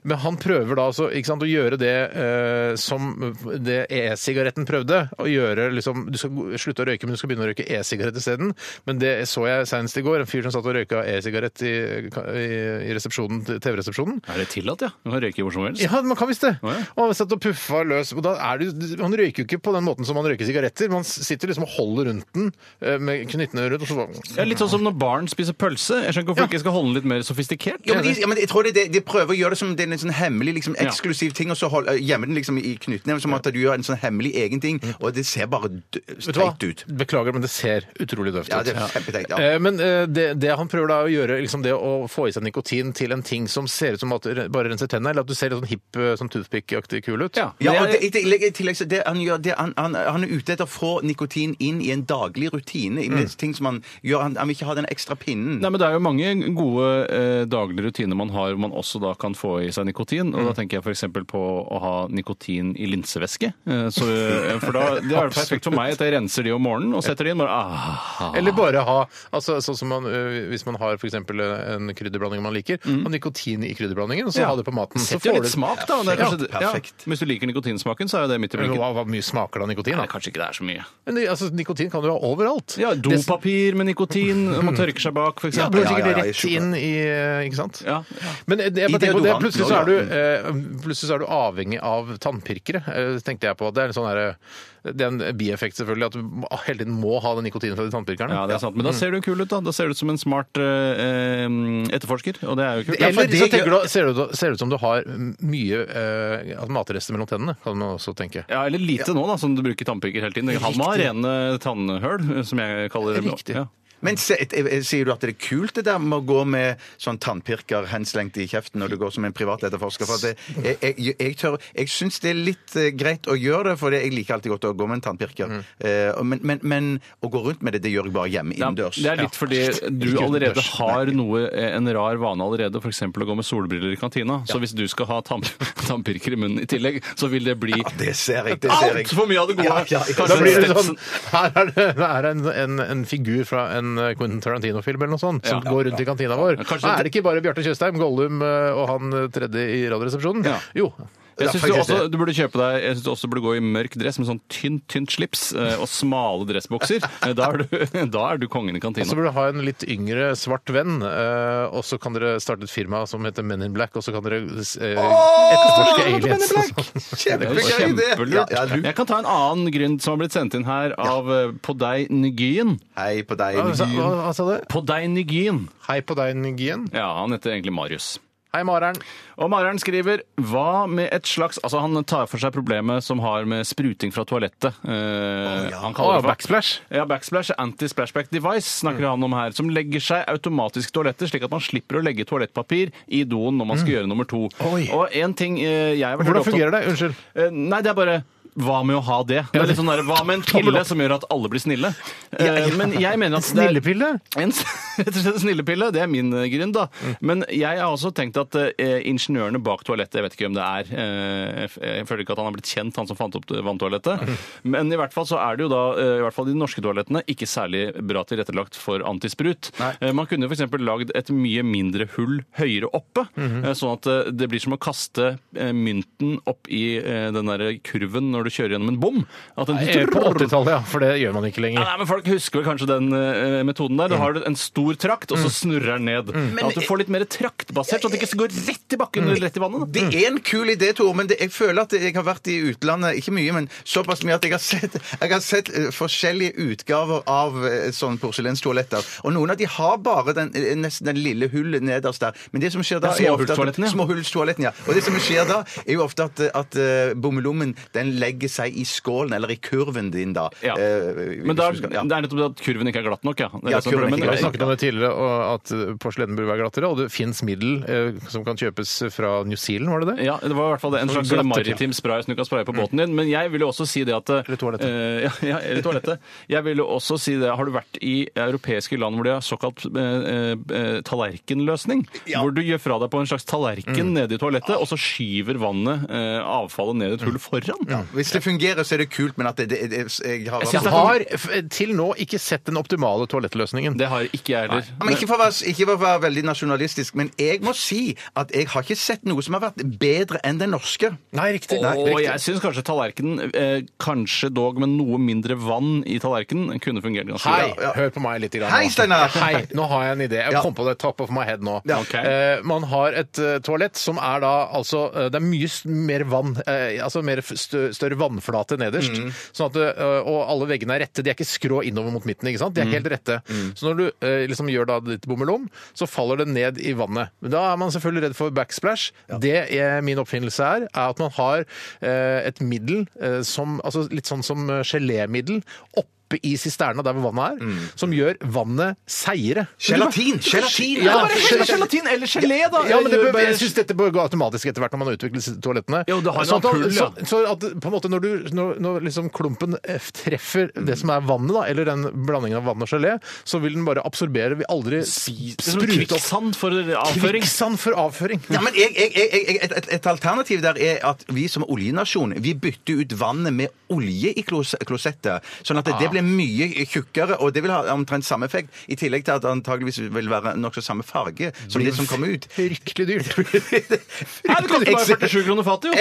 Speaker 3: Men han prøver da altså, ikke sant, å gjøre det eh, som det e-sigaretten prøvde. Å gjøre liksom Du skal gå- slutte å røyke, men du skal begynne å røyke e-sigarett isteden. Men det så jeg senest i går. En fyr som satt og røyka e-sigarett i, i, i resepsjonen til TV-resepsjonen.
Speaker 5: Er det tillatt, ja? Du kan røyke hvor som helst.
Speaker 3: Ja, man kan visst det.
Speaker 5: Å, ja.
Speaker 3: Og han satt og puffa løs. Og da er det, han røyker jo ikke på den måten som man røyker sigaretter. Man sitter liksom og holder rundt den eh, med knyttene rundt. Og så bare
Speaker 5: Ja, litt sånn som når barn spiser pølse. Jeg skjønner ikke hvorfor
Speaker 3: Ja.
Speaker 5: ikke jeg skal holde den litt mer sofistikert.
Speaker 4: Ja, men de, ja, men jeg tror det, det- de prøver å gjøre det som det er en sånn hemmelig, liksom,
Speaker 5: Ja.
Speaker 4: eksklusiv ting, og så hold- øh, gjemmer den liksom i knutene, som at du gjør en sånn hemmelig egen ting, og det ser bare d-
Speaker 3: Vet du hva?
Speaker 4: streit ut.
Speaker 3: Beklager, men det ser utrolig døvt ut.
Speaker 4: Ja, det er kjempeteit, ja.
Speaker 3: Eh, Men eh, det, det han prøver da å gjøre, liksom det å få i seg nikotin til en ting som ser ut som at du re- bare renser tennene, eller at du ser litt sånn hipp eh, sånn toothpick-aktig kul ut.
Speaker 5: Ja.
Speaker 4: Ja, og
Speaker 5: Men jeg-
Speaker 4: det, i tillegg- i tillegg så det han gjør, det han, han, han er ute etter å få nikotin inn i en daglig rutine, i minst ting som han gjør, han, han vil ikke ha den ekstra pinnen.
Speaker 5: Nei, men Det er jo mange gode eh, daglige rutiner man har hvor man også da kan få i seg nikotin. og Da tenker jeg f.eks. på å ha nikotin i linsevæske. Eh, så, eh, for da, Det er det perfekt for meg at jeg renser de om morgenen og setter de inn. bare ah,
Speaker 3: Eller bare ha altså, sånn som man, ø, Hvis man har for eksempel eh, en krydderblanding man liker, ha nikotin i krydderblandingen, og så
Speaker 5: Mm. Ja.
Speaker 3: ha det på maten. Så
Speaker 5: Setter jo
Speaker 3: får
Speaker 5: litt
Speaker 3: du-
Speaker 5: smak, da. og Det er
Speaker 3: Ja,
Speaker 5: kanskje, ja,
Speaker 4: perfekt.
Speaker 5: Hvis du liker nikotinsmaken, så er jo det midt i
Speaker 3: Men
Speaker 5: blinken.
Speaker 3: Hva, hva mye smaker det av nikotin?
Speaker 5: Nei,
Speaker 3: Da?
Speaker 5: kanskje ikke det er så mye.
Speaker 3: Men, det- altså, nikotin kan du ha overalt.
Speaker 5: Ja,
Speaker 3: Det-
Speaker 5: Dopapir med nikotin, når man tørker seg bak, f.eks.
Speaker 3: Ja, det går sikkert
Speaker 4: ja, ja,
Speaker 3: rett
Speaker 4: jeg skjønner.
Speaker 3: inn i eh, Ikke sant?
Speaker 5: Ja.
Speaker 3: Men jeg, jeg
Speaker 4: I
Speaker 3: bare tenker på det,
Speaker 4: deodoranten
Speaker 3: plutselig så,
Speaker 4: også,
Speaker 3: er du, eh, plutselig så er du avhengig av tannpirkere, eh, tenkte jeg på. Det er en sånn her, eh, det er en bieffekt, selvfølgelig, at du må- ah, hele tiden må ha den nikotinen fra de tannpirkerne.
Speaker 5: Ja, det er sant. Men da ser du kul ut, da. Da ser du ut som en smart eh, eh, etterforsker, og det er jo kult.
Speaker 4: Ja,
Speaker 3: Eller
Speaker 4: for
Speaker 3: så
Speaker 4: det
Speaker 3: tenker
Speaker 4: gjør-
Speaker 3: du, ser det ut- ser det ut som du har mye eh, altså matrester mellom tennene, kan man også tenke.
Speaker 5: Ja, eller lite nå, da, som du bruker tannpirker hele tiden. Han må ha rene tannhøl, som jeg kaller det.
Speaker 3: Riktig.
Speaker 5: Ja.
Speaker 4: Men se, et- eh, sier du at det er kult det der med å gå med sånn tannpirker henslengt i kjeften når du går som en privatetterforsker? For at det, jeg, jeg, jeg, tør- jeg syns det er litt eh, greit å gjøre det, for det, jeg liker alltid godt å gå med en tannpirker. Eh, og- men, men, men å gå rundt med det, det gjør jeg bare hjemme
Speaker 5: Ja,
Speaker 4: innendørs.
Speaker 5: det er litt fordi du
Speaker 3: Ikke
Speaker 5: allerede
Speaker 3: utendørs,
Speaker 5: har noe, eh, en rar vane allerede, f.eks. å gå med solbriller i kantina. Så hvis du skal ha tann tannpirker i munnen i tillegg, så vil det bli
Speaker 4: Det ser jeg. det ser jeg.
Speaker 5: altfor mye av det gode!
Speaker 4: Ja, ja, ja.
Speaker 5: Kanskje
Speaker 3: Da blir det
Speaker 5: Stetson-
Speaker 3: sånn Her er det, det er en, en, en figur fra en eh, Quentin Tarantino-film eller noe sånt som
Speaker 5: Ja.
Speaker 3: går rundt i kantina vår.
Speaker 5: Ja, kanskje-
Speaker 3: er det ikke bare Bjarte Tjøstheim, Gollum eh, og han eh, tredje i Radioresepsjonen?
Speaker 5: Ja.
Speaker 3: Jo.
Speaker 5: Jeg
Speaker 4: Ja,
Speaker 5: syns du,
Speaker 4: faktisk
Speaker 5: også-
Speaker 4: det.
Speaker 5: du burde kjøpe deg Jeg synes du også burde gå i mørk dress med sånn tynt tynt slips eh, og smale dressbukser. Eh, Da er du, da er du kongen i
Speaker 3: Og så
Speaker 5: kantina.
Speaker 3: burde du ha en litt yngre svart venn, eh, og så kan dere starte et firma som heter Men in Black, og så kan dere eh, etterforske aliens. og sånn.
Speaker 5: Det er
Speaker 4: Kjempegøy idé! Ja,
Speaker 5: Kjempelurt.
Speaker 4: ja, du,
Speaker 5: Jeg kan ta en annen grunn som har blitt sendt inn her av eh, Podei Nygyen.
Speaker 4: hei på deg.
Speaker 3: Hva sa- Hva hva sa du?
Speaker 5: Podei Nygyen.
Speaker 3: Hei på deg, Nygien.
Speaker 5: Ja, han heter egentlig Marius.
Speaker 3: Hei, Mareren.
Speaker 5: Og Mareren skriver hva med et slags Altså, han tar for seg problemet som har med spruting fra toalettet. Eh, Han kaller
Speaker 3: Å,
Speaker 5: det for-
Speaker 3: backsplash.
Speaker 5: Ja, backsplash, anti-splashback device, snakker
Speaker 3: Mm.
Speaker 5: han om her, som legger seg automatisk i toaletter, slik at man slipper å legge toalettpapir i doen når man skal gjøre nummer to.
Speaker 3: Mm. Oi.
Speaker 5: Og en ting eh, jeg har vært
Speaker 3: Hvordan fungerer det? Unnskyld.
Speaker 5: Eh, Nei, det er bare hva med å ha det? Det er litt sånn der, Hva med en
Speaker 3: Tommel
Speaker 5: pille
Speaker 3: opp.
Speaker 5: som gjør at alle blir snille? Eh, Men jeg mener at det er-
Speaker 3: Snillepille?
Speaker 5: en s- rett og slett en snillepille. Det er min eh, grunn, da. Men jeg har også tenkt at eh, ingeniørene bak toalettet Jeg vet ikke hvem det er. Eh, jeg f- jeg føler ikke at han har blitt kjent, han som fant opp det- vanntoalettet. Men i hvert fall så er det jo da, eh, i hvert fall de norske toalettene, ikke særlig bra tilrettelagt for antisprut. Eh, Man kunne f.eks. lagd et mye mindre hull høyere oppe, eh, sånn at eh, det blir som å kaste eh, mynten opp i eh, den derre kurven når du kjører gjennom en bom. At den
Speaker 3: Eh, På 80-tallet, ja. For det gjør man ikke
Speaker 5: ja,
Speaker 3: lenger.
Speaker 5: nei, men Folk husker vel kanskje den eh, metoden
Speaker 4: Mm.
Speaker 5: der. Du har en stor trakt, og så snurrer den ned. At du får litt mer traktbasert, så at det ikke går rett i bakken eller rett i vannet. da.
Speaker 4: Mm. Det er en kul idé, Tore, men det, jeg føler at jeg har vært i utlandet, ikke mye, men såpass mye at jeg har sett, jeg har sett eh, forskjellige utgaver av eh, sånne porselenstoaletter. Og noen av de har bare den, eh, nesten den lille hullet nederst der. Men det som skjer da
Speaker 5: Det er
Speaker 4: er ofte at-
Speaker 5: småhullstoaletten, ja.
Speaker 4: Småhullstoaletten, ja. Og det som skjer da, er jo ofte at, at eh, bommelommen den legger seg i skålen, eller i kurven din da.
Speaker 5: Ja.
Speaker 4: Eh,
Speaker 5: Men da,
Speaker 4: hvis du
Speaker 5: det
Speaker 4: skal- ja.
Speaker 5: er nettopp det at kurven ikke er glatt nok. Ja, det er
Speaker 4: Ja,
Speaker 5: det som er
Speaker 4: kurven er
Speaker 5: problemet.
Speaker 4: ikke
Speaker 3: Vi har snakket om det tidligere, og at porselenet burde være glattere. Og det fins middel eh, som kan kjøpes fra New Zealand, var det det?
Speaker 5: Ja, det var i hvert fall det. En
Speaker 3: Sånn
Speaker 5: slags
Speaker 3: glatter,
Speaker 5: maritim spray som du kan
Speaker 4: Mm.
Speaker 5: spraye på båten din. Men jeg vil jo også si det at
Speaker 3: Eller toalettet.
Speaker 5: Eh, ja, ja, eller toalettet. Jeg vil jo også si det. Har du vært i europeiske land hvor de har såkalt eh, eh, tallerkenløsning? Hvor du gjør fra deg på en slags tallerken
Speaker 4: Mm.
Speaker 5: nede i toalettet, og så skyver vannet eh, avfallet ned i et hull
Speaker 4: Mm.
Speaker 5: foran?
Speaker 4: Hvis det fungerer, så er det kult, men at det, det, det jeg har...
Speaker 3: Jeg Altså, har f- til nå ikke sett den optimale toalettløsningen.
Speaker 5: Det har ikke jeg heller.
Speaker 4: Ja, Men ikke for, å være, ikke for å være veldig nasjonalistisk, men jeg må si at jeg har ikke sett noe som har vært bedre enn den norske.
Speaker 3: Nei, riktig.
Speaker 5: og jeg syns kanskje tallerkenen, eh, kanskje dog med noe mindre vann i tallerkenen, kunne fungert ganske
Speaker 3: Hei,
Speaker 5: bra.
Speaker 4: Ja, ja.
Speaker 3: hør på meg litt. Grann, nå.
Speaker 4: Hei, Steinar!
Speaker 3: Hei, nå har jeg en idé. Jeg
Speaker 4: Ja.
Speaker 3: kom på det top of my head nå.
Speaker 4: Ja.
Speaker 5: Ok.
Speaker 3: Eh, man har et eh, toalett som er da altså eh, Det er mye s- mer vann, eh, altså mer f- stø større vannflate nederst. Sånn at, eh, og alle veggene er rette. De er ikke skrå innover mot midten. ikke sant? De er helt rette. Så når du eh, liksom gjør da ditt bommelom, så faller det ned i vannet. Men da er man selvfølgelig redd for backsplash. Det er min oppfinnelse er, er at man har eh, et middel eh, som altså Litt sånn som eh, gelémiddel. oppe i sisterna der hvor vannet er, som gjør vannet seigere.
Speaker 4: Gelatin! Gelatin!
Speaker 3: Ja,
Speaker 5: Bare hell på gelatin eller gelé, da!
Speaker 3: Ja, men det bør,
Speaker 5: Bare-
Speaker 3: jeg synes dette bør gå automatisk etter hvert når man har utviklet disse toalettene.
Speaker 5: Jo, det har en
Speaker 3: sånn at,
Speaker 5: ampull, ja.
Speaker 3: så, så at på en måte når, du, når, når liksom klumpen eh, treffer det som er vannet, da, eller den blandingen av vann og gelé, så vil den bare absorbere, vil aldri
Speaker 5: Det er som
Speaker 3: sprute opp
Speaker 5: Kvikksand for avføring.
Speaker 3: kvikksand for avføring.
Speaker 4: Ja, men jeg, jeg, jeg, jeg, et, et, et alternativ der er at vi som oljenasjon vi bytter ut vannet med olje i klos klosettet. Sånn at det blir mye tjukkere, og det vil ha omtrent samme effekt. I tillegg til at det antageligvis vil være nokså samme farge som det som kommer ut.
Speaker 3: Fryktelig dyrt.
Speaker 5: Nei, det koster bare 47 kroner fatet, jo!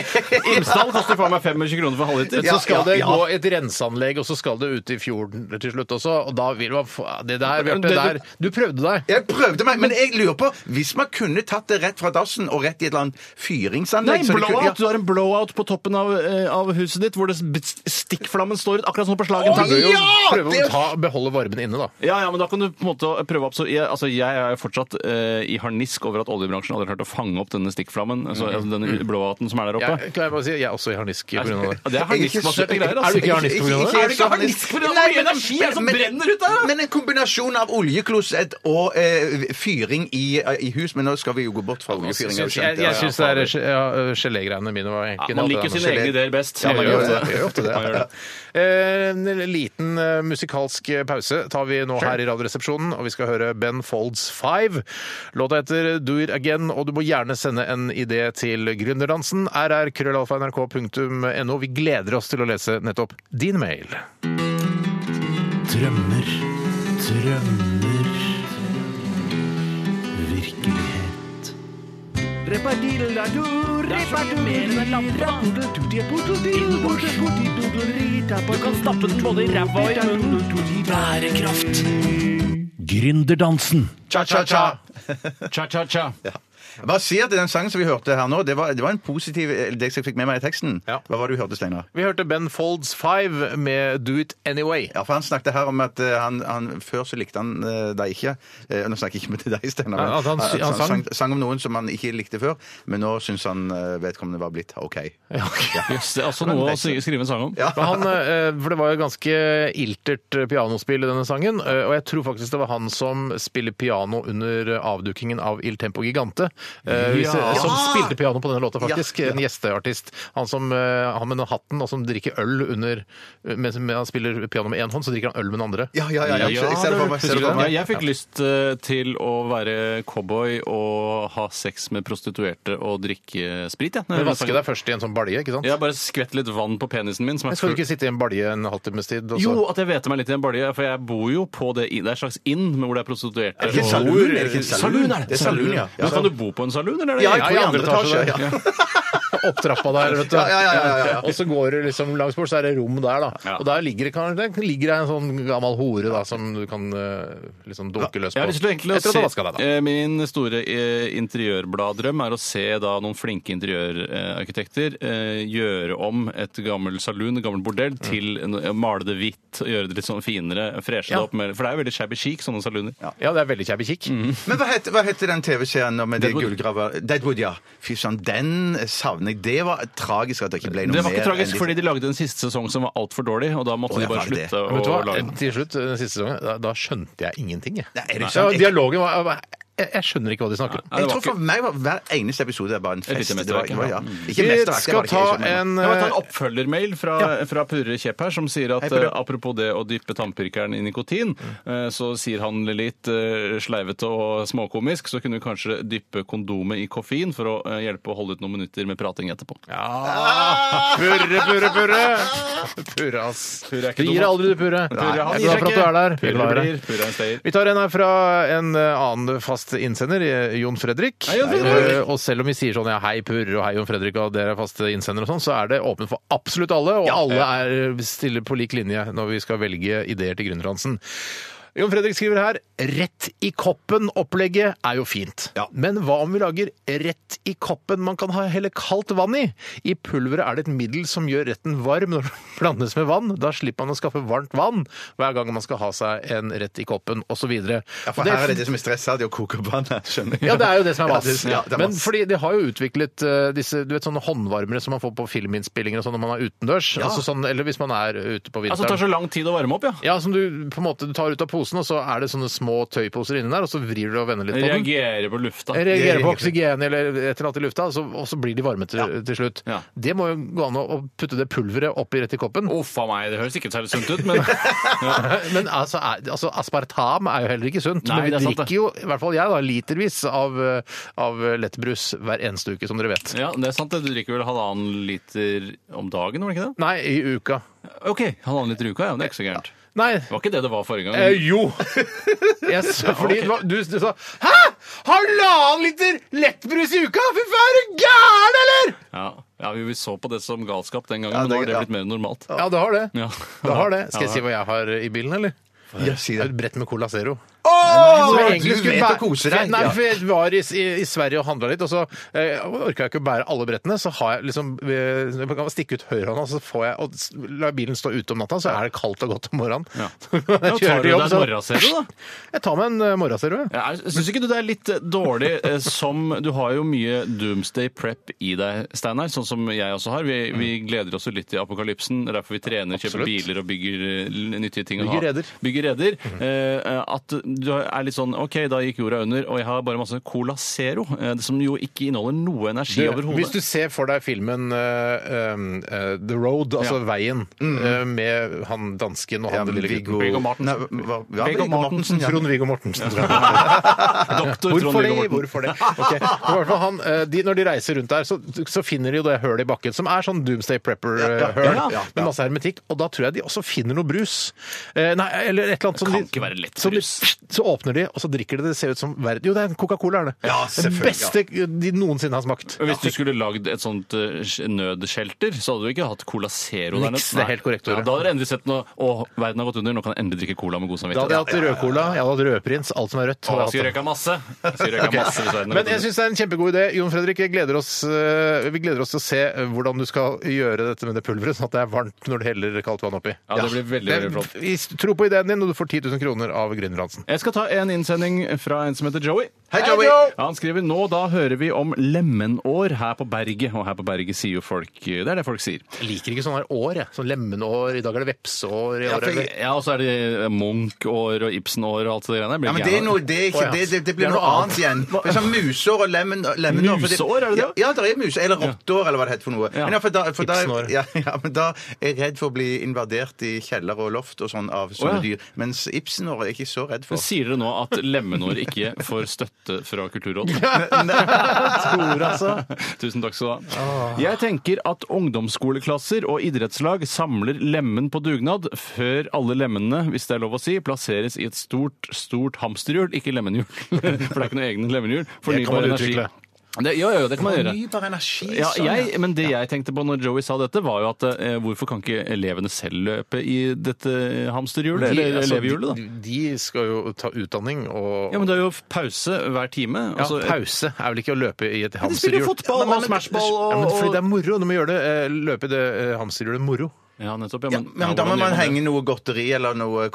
Speaker 5: Imsdal koster faen meg 25 kroner for halvliter.
Speaker 3: Så
Speaker 5: Så
Speaker 3: skal
Speaker 4: ja,
Speaker 3: det
Speaker 4: ja.
Speaker 3: gå et renseanlegg, og så skal det ut i fjorden til slutt også. Og da vil man få Det der,
Speaker 5: Men
Speaker 3: Bjarte,
Speaker 5: det
Speaker 3: der
Speaker 5: du-
Speaker 3: Du prøvde deg.
Speaker 4: Jeg prøvde meg, men jeg lurer på Hvis man kunne tatt det rett fra dassen og rett i et eller annet
Speaker 5: Nei,
Speaker 4: fyringsanlegg så det kunne-
Speaker 5: blowout! Du
Speaker 4: ja.
Speaker 5: har en blowout på toppen av, eh, av huset ditt, hvor det s- stikkflammen står ut, akkurat som på slagen.
Speaker 3: Du bør jo
Speaker 4: Ja!
Speaker 3: prøve
Speaker 4: Det-
Speaker 3: å ta, beholde varmen inne, da.
Speaker 5: Ja, ja, men da kan du på en måte prøve opp, så jeg, altså, jeg er jo fortsatt eh, i harnisk over at oljebransjen aldri har klart å fange opp denne stikkflammen, altså, altså denne blowouten som er der oppe.
Speaker 3: Jeg, kan jeg bare si, jeg er også i harnisk pga.
Speaker 5: Ja,
Speaker 3: det.
Speaker 5: Det er harniskbaserte greier, altså.
Speaker 3: Er du ikke harnisk på grunn av det?
Speaker 5: Er du ikke harnisk på grunn av det? Hvor mye energi er det som
Speaker 4: men-
Speaker 5: brenner ut der, da?
Speaker 4: Men en kombinasjon av oljeklosett og eh, fyring i, eh, i hus. Men nå skal vi jo gå bort fra oljefyring.
Speaker 3: Jeg, jeg,
Speaker 4: skjønte, ja.
Speaker 3: jeg syns det er ge- ja, gelégreiene mine var egentlig
Speaker 5: Ja, man
Speaker 3: noe
Speaker 5: liker
Speaker 3: av
Speaker 5: jo
Speaker 3: det
Speaker 5: sine
Speaker 4: gelé.
Speaker 5: egne ideer best.
Speaker 3: Ja, man gjør det.
Speaker 5: Man
Speaker 3: Man gjør ofte det.
Speaker 5: gjør det.
Speaker 3: Eh, En liten eh, musikalsk pause tar vi nå her i Radioresepsjonen, og vi skal høre Ben Folds Five. Låta heter Do It Again, og du må gjerne sende en idé til gründerdansen. rr.krøllalfa.nrk.no. Vi gleder oss til å lese nettopp din mail.
Speaker 9: Drømmer, drømmer Virkelighet Det er så mye mer enn en lampe, da. Du kan stappe den både i ræva og i munnen. Bærekraft. Gründerdansen.
Speaker 4: Cha-cha-cha!
Speaker 5: Cha-cha-cha.
Speaker 4: Hva sier til den sangen som vi hørte her nå? Det var, det var en positiv eh, Det jeg fikk med meg i teksten.
Speaker 3: Ja.
Speaker 4: Hva var det du hørte, Steinar?
Speaker 3: Vi hørte Ben Folds Five med Do It Anyway.
Speaker 4: Ja, for Han snakket her om at eh, han, han før så likte han eh, deg ikke. Eh, nå snakker jeg ikke med deg, Steinar. men
Speaker 3: Ja, at han sy- han sang?
Speaker 4: sang, sang om noen som han ikke likte før, men nå syns han eh, vedkommende var blitt OK. Ja,
Speaker 5: Jøss, det er altså noe å si- skrive en sang om.
Speaker 3: Men Han, eh, for Det var jo ganske iltert pianospill i denne sangen. eh, Og jeg tror faktisk det var han som spiller piano under avdukingen av Il Tempo Gigante. eh, hvis-
Speaker 5: Ja.
Speaker 3: Som spilte piano på denne låta, faktisk.
Speaker 4: Ja, ja.
Speaker 3: En gjesteartist. Han som eh, han med den hatten og som drikker øl under Mens mens han spiller piano med én hånd, så drikker han øl med den andre.
Speaker 4: ja, ja, ja, jeg ser- jeg ser det for meg.
Speaker 5: Husker
Speaker 4: Ser
Speaker 5: du
Speaker 4: det for
Speaker 5: det?
Speaker 4: meg.
Speaker 5: Jeg fikk lyst eh, til å være cowboy og ha sex med prostituerte og drikke sprit. Ja.
Speaker 3: Men vaske deg først i en sånn balje, ikke sant?
Speaker 5: Jeg bare skvett litt vann på penisen min. Som
Speaker 3: Men
Speaker 5: er
Speaker 3: skal du ikke sitte i en balje en halvtimes tid? altså? og så-
Speaker 5: Jo, at jeg vet meg litt i en balje, for jeg bor jo på det inn- Det er et slags inn med hvor det er prostituerte.
Speaker 4: Er det ikke en saloon? Er det ikke en saloon?
Speaker 5: Saloon er
Speaker 4: Det er saloon, ja.
Speaker 5: Men kan du bo på en saloon, eller? er det-
Speaker 4: Ja, jeg tror i andre etasje.
Speaker 5: der.
Speaker 4: ja.
Speaker 3: Opp trappa der, vet du.
Speaker 4: Ja, ja, ja, ja, ja, ja.
Speaker 3: Og så går du liksom langs bort, så er det rom der, da.
Speaker 5: Ja.
Speaker 3: Og der ligger det kan- der ligger det en sånn gammel hore da, som du kan eh, liksom dunke løs på.
Speaker 5: Jeg har lyst til å egentlig
Speaker 3: Etter at du har
Speaker 5: å
Speaker 3: vaska deg,
Speaker 5: se
Speaker 3: da.
Speaker 5: eh, Min store eh, interiørbladdrøm er å se da noen flinke interiørarkitekter eh, gjøre om et gammelt saloon, et gammelt bordell, til en- eh, male det hvitt og gjøre det litt sånn finere, freshe
Speaker 3: Ja.
Speaker 5: det opp mer. For det er jo veldig shabby chic, sånne salooner.
Speaker 3: Ja, det er veldig kjæbe kikk.
Speaker 5: Mhm.
Speaker 4: Men hva heter, hva heter den TV-serien nå med det
Speaker 5: Deadwood.
Speaker 4: gullgraver... Deadwood, ja. Fy søren, den savner jeg. Det var tragisk at det ikke ble noe mer.
Speaker 5: Det var ikke tragisk,
Speaker 4: enn-
Speaker 5: fordi de lagde en siste sesong som var altfor dårlig, og da måtte
Speaker 4: Å,
Speaker 5: de
Speaker 4: ja,
Speaker 5: bare
Speaker 4: var det det?
Speaker 5: slutte å
Speaker 3: Men vet du hva?
Speaker 5: lage den.
Speaker 3: Til slutt, den siste sesongen, da, da skjønte jeg ingenting, jeg.
Speaker 4: Nei, er det ikke
Speaker 3: Ja,
Speaker 4: sant?
Speaker 3: dialogen var var- jeg, jeg skjønner ikke hva de snakker om.
Speaker 5: Nei, det
Speaker 4: Jeg
Speaker 5: var
Speaker 4: tror for
Speaker 5: ikke-
Speaker 4: meg var hver eneste episode bare en fest.
Speaker 5: lite
Speaker 4: Det var-
Speaker 5: mesterverk,
Speaker 4: det
Speaker 5: ja.
Speaker 4: var- ja. Ikke
Speaker 3: Vi
Speaker 4: mesterverk, det var
Speaker 3: skal
Speaker 4: det
Speaker 3: ta
Speaker 4: ikke, jeg skjønner.
Speaker 3: en
Speaker 5: Jeg må ta en
Speaker 3: eh,
Speaker 5: oppfølgermail fra, fra Purre Kjepp her, som sier at
Speaker 4: Hei, Purre.
Speaker 5: eh, apropos det å dyppe tannpirkeren i nikotin, eh, så sier han litt eh, sleivete og småkomisk, så kunne vi kanskje dyppe kondomet i koffein for å eh, hjelpe å holde ut noen minutter med prating etterpå.
Speaker 3: ja. Purre, purre, purre! Purre, ass.
Speaker 5: Purre er ikke
Speaker 3: Du
Speaker 5: dum,
Speaker 3: gir deg
Speaker 5: ass.
Speaker 3: aldri, du, Purre.
Speaker 5: Purre, han
Speaker 3: Jeg
Speaker 5: gir
Speaker 3: er glad
Speaker 5: seg
Speaker 3: for at du
Speaker 5: ikke.
Speaker 3: er der. Jeg er
Speaker 5: Purre
Speaker 3: glad i deg.
Speaker 5: blir, Purre er en stayer.
Speaker 3: Vi tar en her fra en eh, annen fast innsender, eh, Jon Fredrik.
Speaker 5: Hei, Jon Fredrik!
Speaker 3: Eh, Og selv om vi sier sånn ja, hei Purre og hei Jon Fredrik og dere er faste innsendere og sånn, så er det åpent for absolutt alle, og alle er eh, stille på lik linje når vi skal velge ideer til Gründerdansen. Jon Fredrik skriver her rett i koppen-opplegget er jo fint. Men hva om vi lager rett i koppen man kan ha helle kaldt vann i? I pulveret er det et middel som gjør retten varm når den blandes med vann. Da slipper man å skaffe varmt vann hver gang man skal ha seg en rett i koppen osv.
Speaker 4: Ja, for her er det det som er stressa, det å koke vann. jeg Skjønner
Speaker 3: Ja, det er jo det som er
Speaker 4: Ja,
Speaker 3: vass.
Speaker 4: det- ja, det er
Speaker 3: Men
Speaker 4: vass.
Speaker 3: fordi de har jo utviklet eh, disse du vet, sånne håndvarmere som man får på filminnspillinger og sånn når man er utendørs. Altså sånn, eller hvis man er ute på
Speaker 5: Altså, det tar
Speaker 3: vinteren.
Speaker 5: så lang tid å varme opp, ja.
Speaker 3: Ja, som du på en måte du tar ut av posen, og så er det sånne små tøyposer inni der, og så vrir du og vender litt på den.
Speaker 5: Reagere på lufta.
Speaker 3: Reagerer på oksygen eller et eller annet i lufta, og så, og så blir de varme til, til slutt.
Speaker 5: Ja.
Speaker 3: Det må jo gå an å å putte det pulveret oppi rett i koppen.
Speaker 5: Uff a meg, det høres ikke særlig sunt ut, men
Speaker 3: Men altså, er, altså, aspartam er jo heller ikke sunt.
Speaker 5: Nei,
Speaker 3: men vi
Speaker 5: det er sant, det.
Speaker 3: drikker jo, i hvert fall jeg, da, litervis av, eh, av lettbrus hver eneste uke, som dere vet.
Speaker 5: ja, det er sant. det. Du drikker vel halvannen liter om dagen, var det ikke det?
Speaker 3: Nei, i uka.
Speaker 5: OK, halvannen liter i uka, ja. men Det er ikke så gærent.
Speaker 3: Nei.
Speaker 5: Det var ikke det det var forrige gang.
Speaker 3: Eh, jo! Jeg sa- fordi det var- du, du sa Hæ?! Halvannen liter lettbrus i uka?! Fy faen, er du gæren, eller?!
Speaker 5: Ja, ja vi, vi så på det som galskap den gangen,
Speaker 4: Ja,
Speaker 5: men nå
Speaker 4: det-
Speaker 5: har det
Speaker 4: ja.
Speaker 5: blitt mer normalt.
Speaker 3: Ja, det har det.
Speaker 5: Ja.
Speaker 3: Det har det. Skal jeg
Speaker 5: Ja.
Speaker 3: si hva jeg har i bilen, eller?
Speaker 4: Ja, si
Speaker 3: Et
Speaker 4: det.
Speaker 3: brett med Cola Zero.
Speaker 4: Åh,
Speaker 3: Som jeg
Speaker 4: du
Speaker 3: egentlig skulle
Speaker 4: vet å
Speaker 3: bære-
Speaker 4: kose deg.
Speaker 3: Nei,
Speaker 4: Ja.
Speaker 3: for jeg var i, i, i Sverige og handla litt, og så eh, orka jeg ikke å bære alle brettene. Så har jeg liksom eh, Jeg kan stikke ut høyrehånda, så får jeg og s- lar bilen stå ute om natta, så er det kaldt og godt om morgenen.
Speaker 5: Ja.
Speaker 3: Så kan
Speaker 5: Ja,
Speaker 3: jeg
Speaker 5: tar
Speaker 3: kjører
Speaker 5: du
Speaker 3: til
Speaker 5: deg
Speaker 3: jobb,
Speaker 5: en
Speaker 3: så
Speaker 5: morrasero, da?
Speaker 3: Jeg tar meg en eh, morrasero, jeg.
Speaker 5: Ja, Syns ikke du det er litt eh, dårlig eh, som Du har jo mye doomsday prep i deg, Steinar, sånn som jeg også har. Vi, vi gleder oss jo litt til apokalypsen. Det er derfor vi trener,
Speaker 3: Mm. Absolutt.
Speaker 5: kjøper biler og bygger eh, nyttige ting. å
Speaker 3: Bygger
Speaker 5: ha.
Speaker 3: reder. Mm.
Speaker 5: Bygger reder. Eh, eh, at du er litt sånn OK, da gikk jorda under, og jeg har bare masse Cola Zero, eh, som jo ikke inneholder noe energi
Speaker 3: Du, hvis du
Speaker 5: overhodet.
Speaker 3: ser for deg filmen eh, um, eh, The Road, altså
Speaker 5: Ja. Mm,
Speaker 3: Veien, eh, med han dansken og han den lille gutten.
Speaker 5: Viggo Mortensen.
Speaker 4: Nei, hva- hva-
Speaker 5: Viggo
Speaker 4: Viggo Mortensen, ja.
Speaker 3: Trond-Viggo Mortensen, tror jeg. Hvorfor
Speaker 5: Doktor
Speaker 3: det?
Speaker 5: Trond-Viggo Morten.
Speaker 3: Hvorfor det? Ok. Men i hvert fall han, eh, de, når de reiser rundt der, så, så finner de jo det hølet i bakken, som er sånn Doomsday Prepper-høl,
Speaker 5: Ja, ja, ja.
Speaker 3: med masse hermetikk. Og da tror jeg de også finner noe brus. Eh, nei, eller et eller annet som
Speaker 5: kan
Speaker 3: de,
Speaker 5: ikke være lett
Speaker 3: som de
Speaker 5: brus.
Speaker 3: Så åpner de, og så drikker de det. Det ser ut som verden Jo, det er en Coca-Cola, er det.
Speaker 4: Ja,
Speaker 3: den
Speaker 4: selvfølgelig,
Speaker 3: beste de noensinne har smakt.
Speaker 5: Men Hvis du skulle lagd et sånt eh, sk- nødskjelter, så hadde du ikke hatt Cola Zero der
Speaker 3: Niks, det er helt korrekt, Tore.
Speaker 5: Ja, da hadde du endelig sett noe Å, verden har gått under, nå kan jeg endelig drikke cola med god
Speaker 3: Da hadde jeg
Speaker 5: samvittighet.
Speaker 3: hatt rødcola, jeg hadde hatt rødprins, alt som er rødt.
Speaker 5: Å,
Speaker 3: hadde
Speaker 5: jeg
Speaker 3: jeg
Speaker 5: skulle
Speaker 3: hatt.
Speaker 5: røyka masse. Jeg skulle røyka masse hvis verden
Speaker 3: Men
Speaker 5: hadde
Speaker 3: jeg
Speaker 5: gått under.
Speaker 3: syns det er en kjempegod idé. Jon Fredrik, jeg gleder oss, eh, vi gleder oss til å se hvordan du skal gjøre dette med det pulveret, sånn at det er varmt når du heller kaldt vann oppi.
Speaker 5: Ja, det blir veldig, veldig flott.
Speaker 3: Vi tror på ideen din, og du får 10 000 kroner av Gründerhansen.
Speaker 5: Jeg skal ta en innsending fra en som heter Joey.
Speaker 4: Hei, Joey! Joe!
Speaker 5: Ja, han skriver nå da hører vi om lemenår her på berget, og her på berget sier jo folk eh, Det er det folk sier.
Speaker 3: Jeg liker ikke sånne her år, jeg. Sånn lemenår, i dag er det vepseår i år, eller-
Speaker 5: Ja, og så er det Munch-år og Ibsen-år og alt det greiene. Jeg blir
Speaker 4: Ja, men det,
Speaker 5: gæren
Speaker 4: er
Speaker 5: av
Speaker 4: noe, det, er ikke,
Speaker 3: Å, ja.
Speaker 4: det, det, det
Speaker 3: Det
Speaker 4: blir
Speaker 3: er
Speaker 4: noe,
Speaker 3: noe
Speaker 4: annet igjen. Det er sånn musår og lemen, lemenår. for
Speaker 5: Museår, er det det?
Speaker 4: Ja, ja, det er mus, eller rotteår, eller hva det heter for noe.
Speaker 5: Ja.
Speaker 4: Men, ja, for da, for da,
Speaker 3: Ibsenår.
Speaker 4: ja, ja, men da er jeg redd for å bli invadert i kjeller og loft og sånn av sånne
Speaker 5: Å, ja.
Speaker 4: dyr. Mens Ibsenår er jeg ikke så redd
Speaker 5: Men
Speaker 4: for.
Speaker 5: Sier dere nå at lemenår ikke får støtte fra Kulturrådet?
Speaker 3: Tror, altså.
Speaker 5: Tusen takk skal du ha. Jeg tenker at ungdomsskoleklasser og idrettslag samler lemen på dugnad før alle lemmene, hvis det er lov å si, plasseres i et stort, stort hamsterhjul. Ikke lemenhjul, for det er ikke noe egne lemenhjul.
Speaker 3: Det kan man
Speaker 5: Fornybar energi.
Speaker 3: utvikle.
Speaker 5: Det, jo, jo, det kan man gjøre.
Speaker 4: Fornybar energi.
Speaker 5: Ja,
Speaker 4: sånn,
Speaker 5: jeg, men det jeg tenkte på når Joey sa dette, var jo at eh, hvorfor kan ikke elevene selv løpe i dette hamsterhjulet?
Speaker 3: De,
Speaker 5: eller
Speaker 3: altså,
Speaker 5: elevhjulet, da?
Speaker 3: de, de skal jo ta utdanning og
Speaker 5: Ja, men det er jo pause hver time.
Speaker 3: Ja,
Speaker 5: altså-
Speaker 3: pause er vel ikke å løpe i et
Speaker 5: de
Speaker 3: hamsterhjul?
Speaker 5: spiller jo fotball
Speaker 3: Ja, men-
Speaker 5: og
Speaker 3: men-
Speaker 5: smashball og-
Speaker 3: Ja, men fordi det er moro. Du må gjøre det, eh, løpe i det eh, hamsterhjulet moro.
Speaker 5: Ja, nettopp.
Speaker 4: Ja,
Speaker 5: Ja,
Speaker 4: men
Speaker 5: ja,
Speaker 4: Da
Speaker 5: hvordan
Speaker 4: må
Speaker 5: gjør
Speaker 4: man
Speaker 5: det?
Speaker 4: henge noe godteri eller noe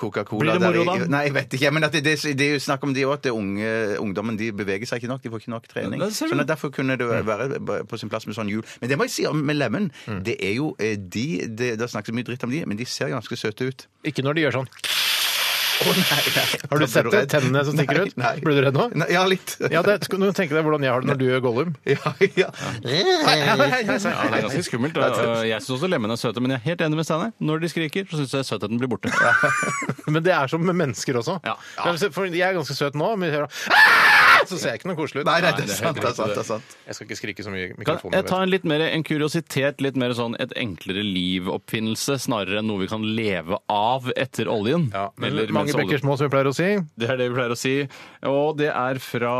Speaker 5: Blir
Speaker 4: Coca-Cola.
Speaker 5: det moro
Speaker 4: der i-
Speaker 5: da?
Speaker 4: Nei, jeg vet ikke. Men at det, det, det er jo snakk om de også, at det unge, ungdommen de beveger seg ikke nok. De får ikke nok trening.
Speaker 5: Ja, det ser du.
Speaker 4: Sånn at Derfor kunne
Speaker 3: Mm.
Speaker 4: det være på sin plass med sånn hjul. Men det må jeg si om med Lemen. Det er jo eh, de Det, det snakkes mye dritt om de, men de ser ganske søte ut.
Speaker 3: Ikke når de gjør sånn.
Speaker 4: Å, nei, nei.
Speaker 3: Har du
Speaker 4: Da ble
Speaker 3: sett det?
Speaker 4: redd.
Speaker 3: Tennene som stikker ut?
Speaker 4: Nei, nei.
Speaker 3: Ble du redd nå?
Speaker 4: Nei, ja, litt.
Speaker 3: Ja, det, skal du tenke deg hvordan jeg har det når du gjør Gollum.
Speaker 4: Ja, ja.
Speaker 5: Ja, det er ganske skummelt. da. Og Jeg syns også lemmene er søte, men jeg er helt enig med Steinar. Når de skriker, så syns jeg søtheten blir borte.
Speaker 3: Men det er som med mennesker også.
Speaker 5: Ja.
Speaker 3: Men se, For jeg er ganske søt nå, men jeg hører «Ah!» så ser jeg ikke noe koselig ut.
Speaker 4: Nei, nei, det er sant. Det er sant, det er sant.
Speaker 3: Jeg skal ikke skrike så mye i
Speaker 5: Kan
Speaker 3: mikrofonen.
Speaker 5: jeg
Speaker 3: vet
Speaker 5: ta
Speaker 3: du.
Speaker 5: en litt mer en kuriositet, litt mer sånn et enklere liv-oppfinnelse, snarere enn noe vi kan leve av etter oljen?
Speaker 3: Ja, men
Speaker 5: Eller
Speaker 3: mange
Speaker 5: mens oljen-
Speaker 3: bekker små, som vi pleier å si.
Speaker 5: Det er det vi pleier å si. Og det er fra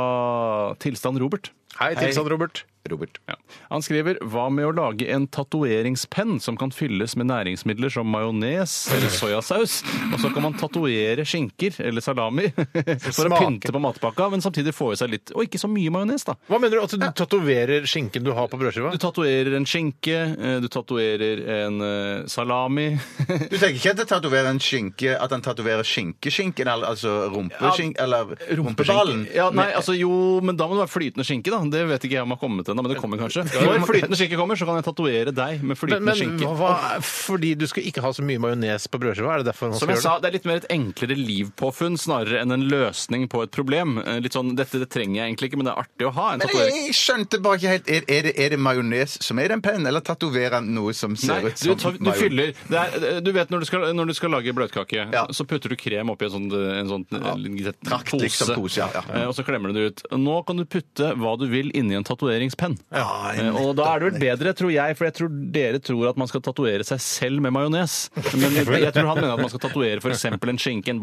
Speaker 5: Tilstand Robert.
Speaker 3: Hei, tilstand, Robert.
Speaker 4: Robert.
Speaker 5: Ja. Han skriver hva med å lage en tatoveringspenn som kan fylles med næringsmidler som majones eller soyasaus, og så kan man tatovere skinker eller salami for å
Speaker 3: smaker.
Speaker 5: pynte på matpakka, men samtidig få i seg litt Og ikke så mye majones, da.
Speaker 3: Hva mener du? At du tatoverer skinken du har på brødskiva?
Speaker 5: Du tatoverer en skinke, eh, du tatoverer en eh, salami
Speaker 4: Du tenker ikke at det tatoverer en skinke At han tatoverer skinkeskinken, eller- altså rumpeskink, eller rumpeballen?
Speaker 5: Ja, nei, altså jo, men da må det være flytende skinke, da. Det vet ikke jeg om har kommet ennå, men det kommer kanskje. Når flytende skinke kommer, så kan jeg tatovere deg med
Speaker 3: Men,
Speaker 5: flytende
Speaker 3: men
Speaker 5: skinke.
Speaker 3: hva, fordi du skal ikke ha så mye majones på brødskiva? Er det derfor man
Speaker 5: Som
Speaker 3: skal gjøre
Speaker 5: jeg
Speaker 3: det?
Speaker 5: sa, Det er litt mer et enklere livpåfunn snarere enn en løsning på et problem. Eh, Litt sånn, Dette det trenger jeg egentlig ikke, men det er artig å ha. en
Speaker 4: Men
Speaker 5: tatovering.
Speaker 4: jeg, jeg skjønte bare ikke helt Er, er, det, er det majones som er den pennen, eller tatoverer han noe som ser
Speaker 5: Nei,
Speaker 4: ut som
Speaker 5: du, tar, du
Speaker 4: majones?
Speaker 5: fyller det er, eh, Du vet når du skal, når du skal lage brødkake,
Speaker 4: Ja.
Speaker 5: så putter du krem oppi en sånn, en sånn en
Speaker 4: Trakt,
Speaker 5: pose,
Speaker 4: liksom, pose, ja, ja.
Speaker 5: Eh, og så klemmer du det ut. Nå kan du putte hva du vil inni en tatoveringspenn.
Speaker 4: Ja,
Speaker 5: Eh, Og da er det vel bedre, tror jeg, for jeg tror dere tror at man skal tatovere seg selv med majones. Men jeg tror han mener at man skal tatovere f.eks. en skinke, en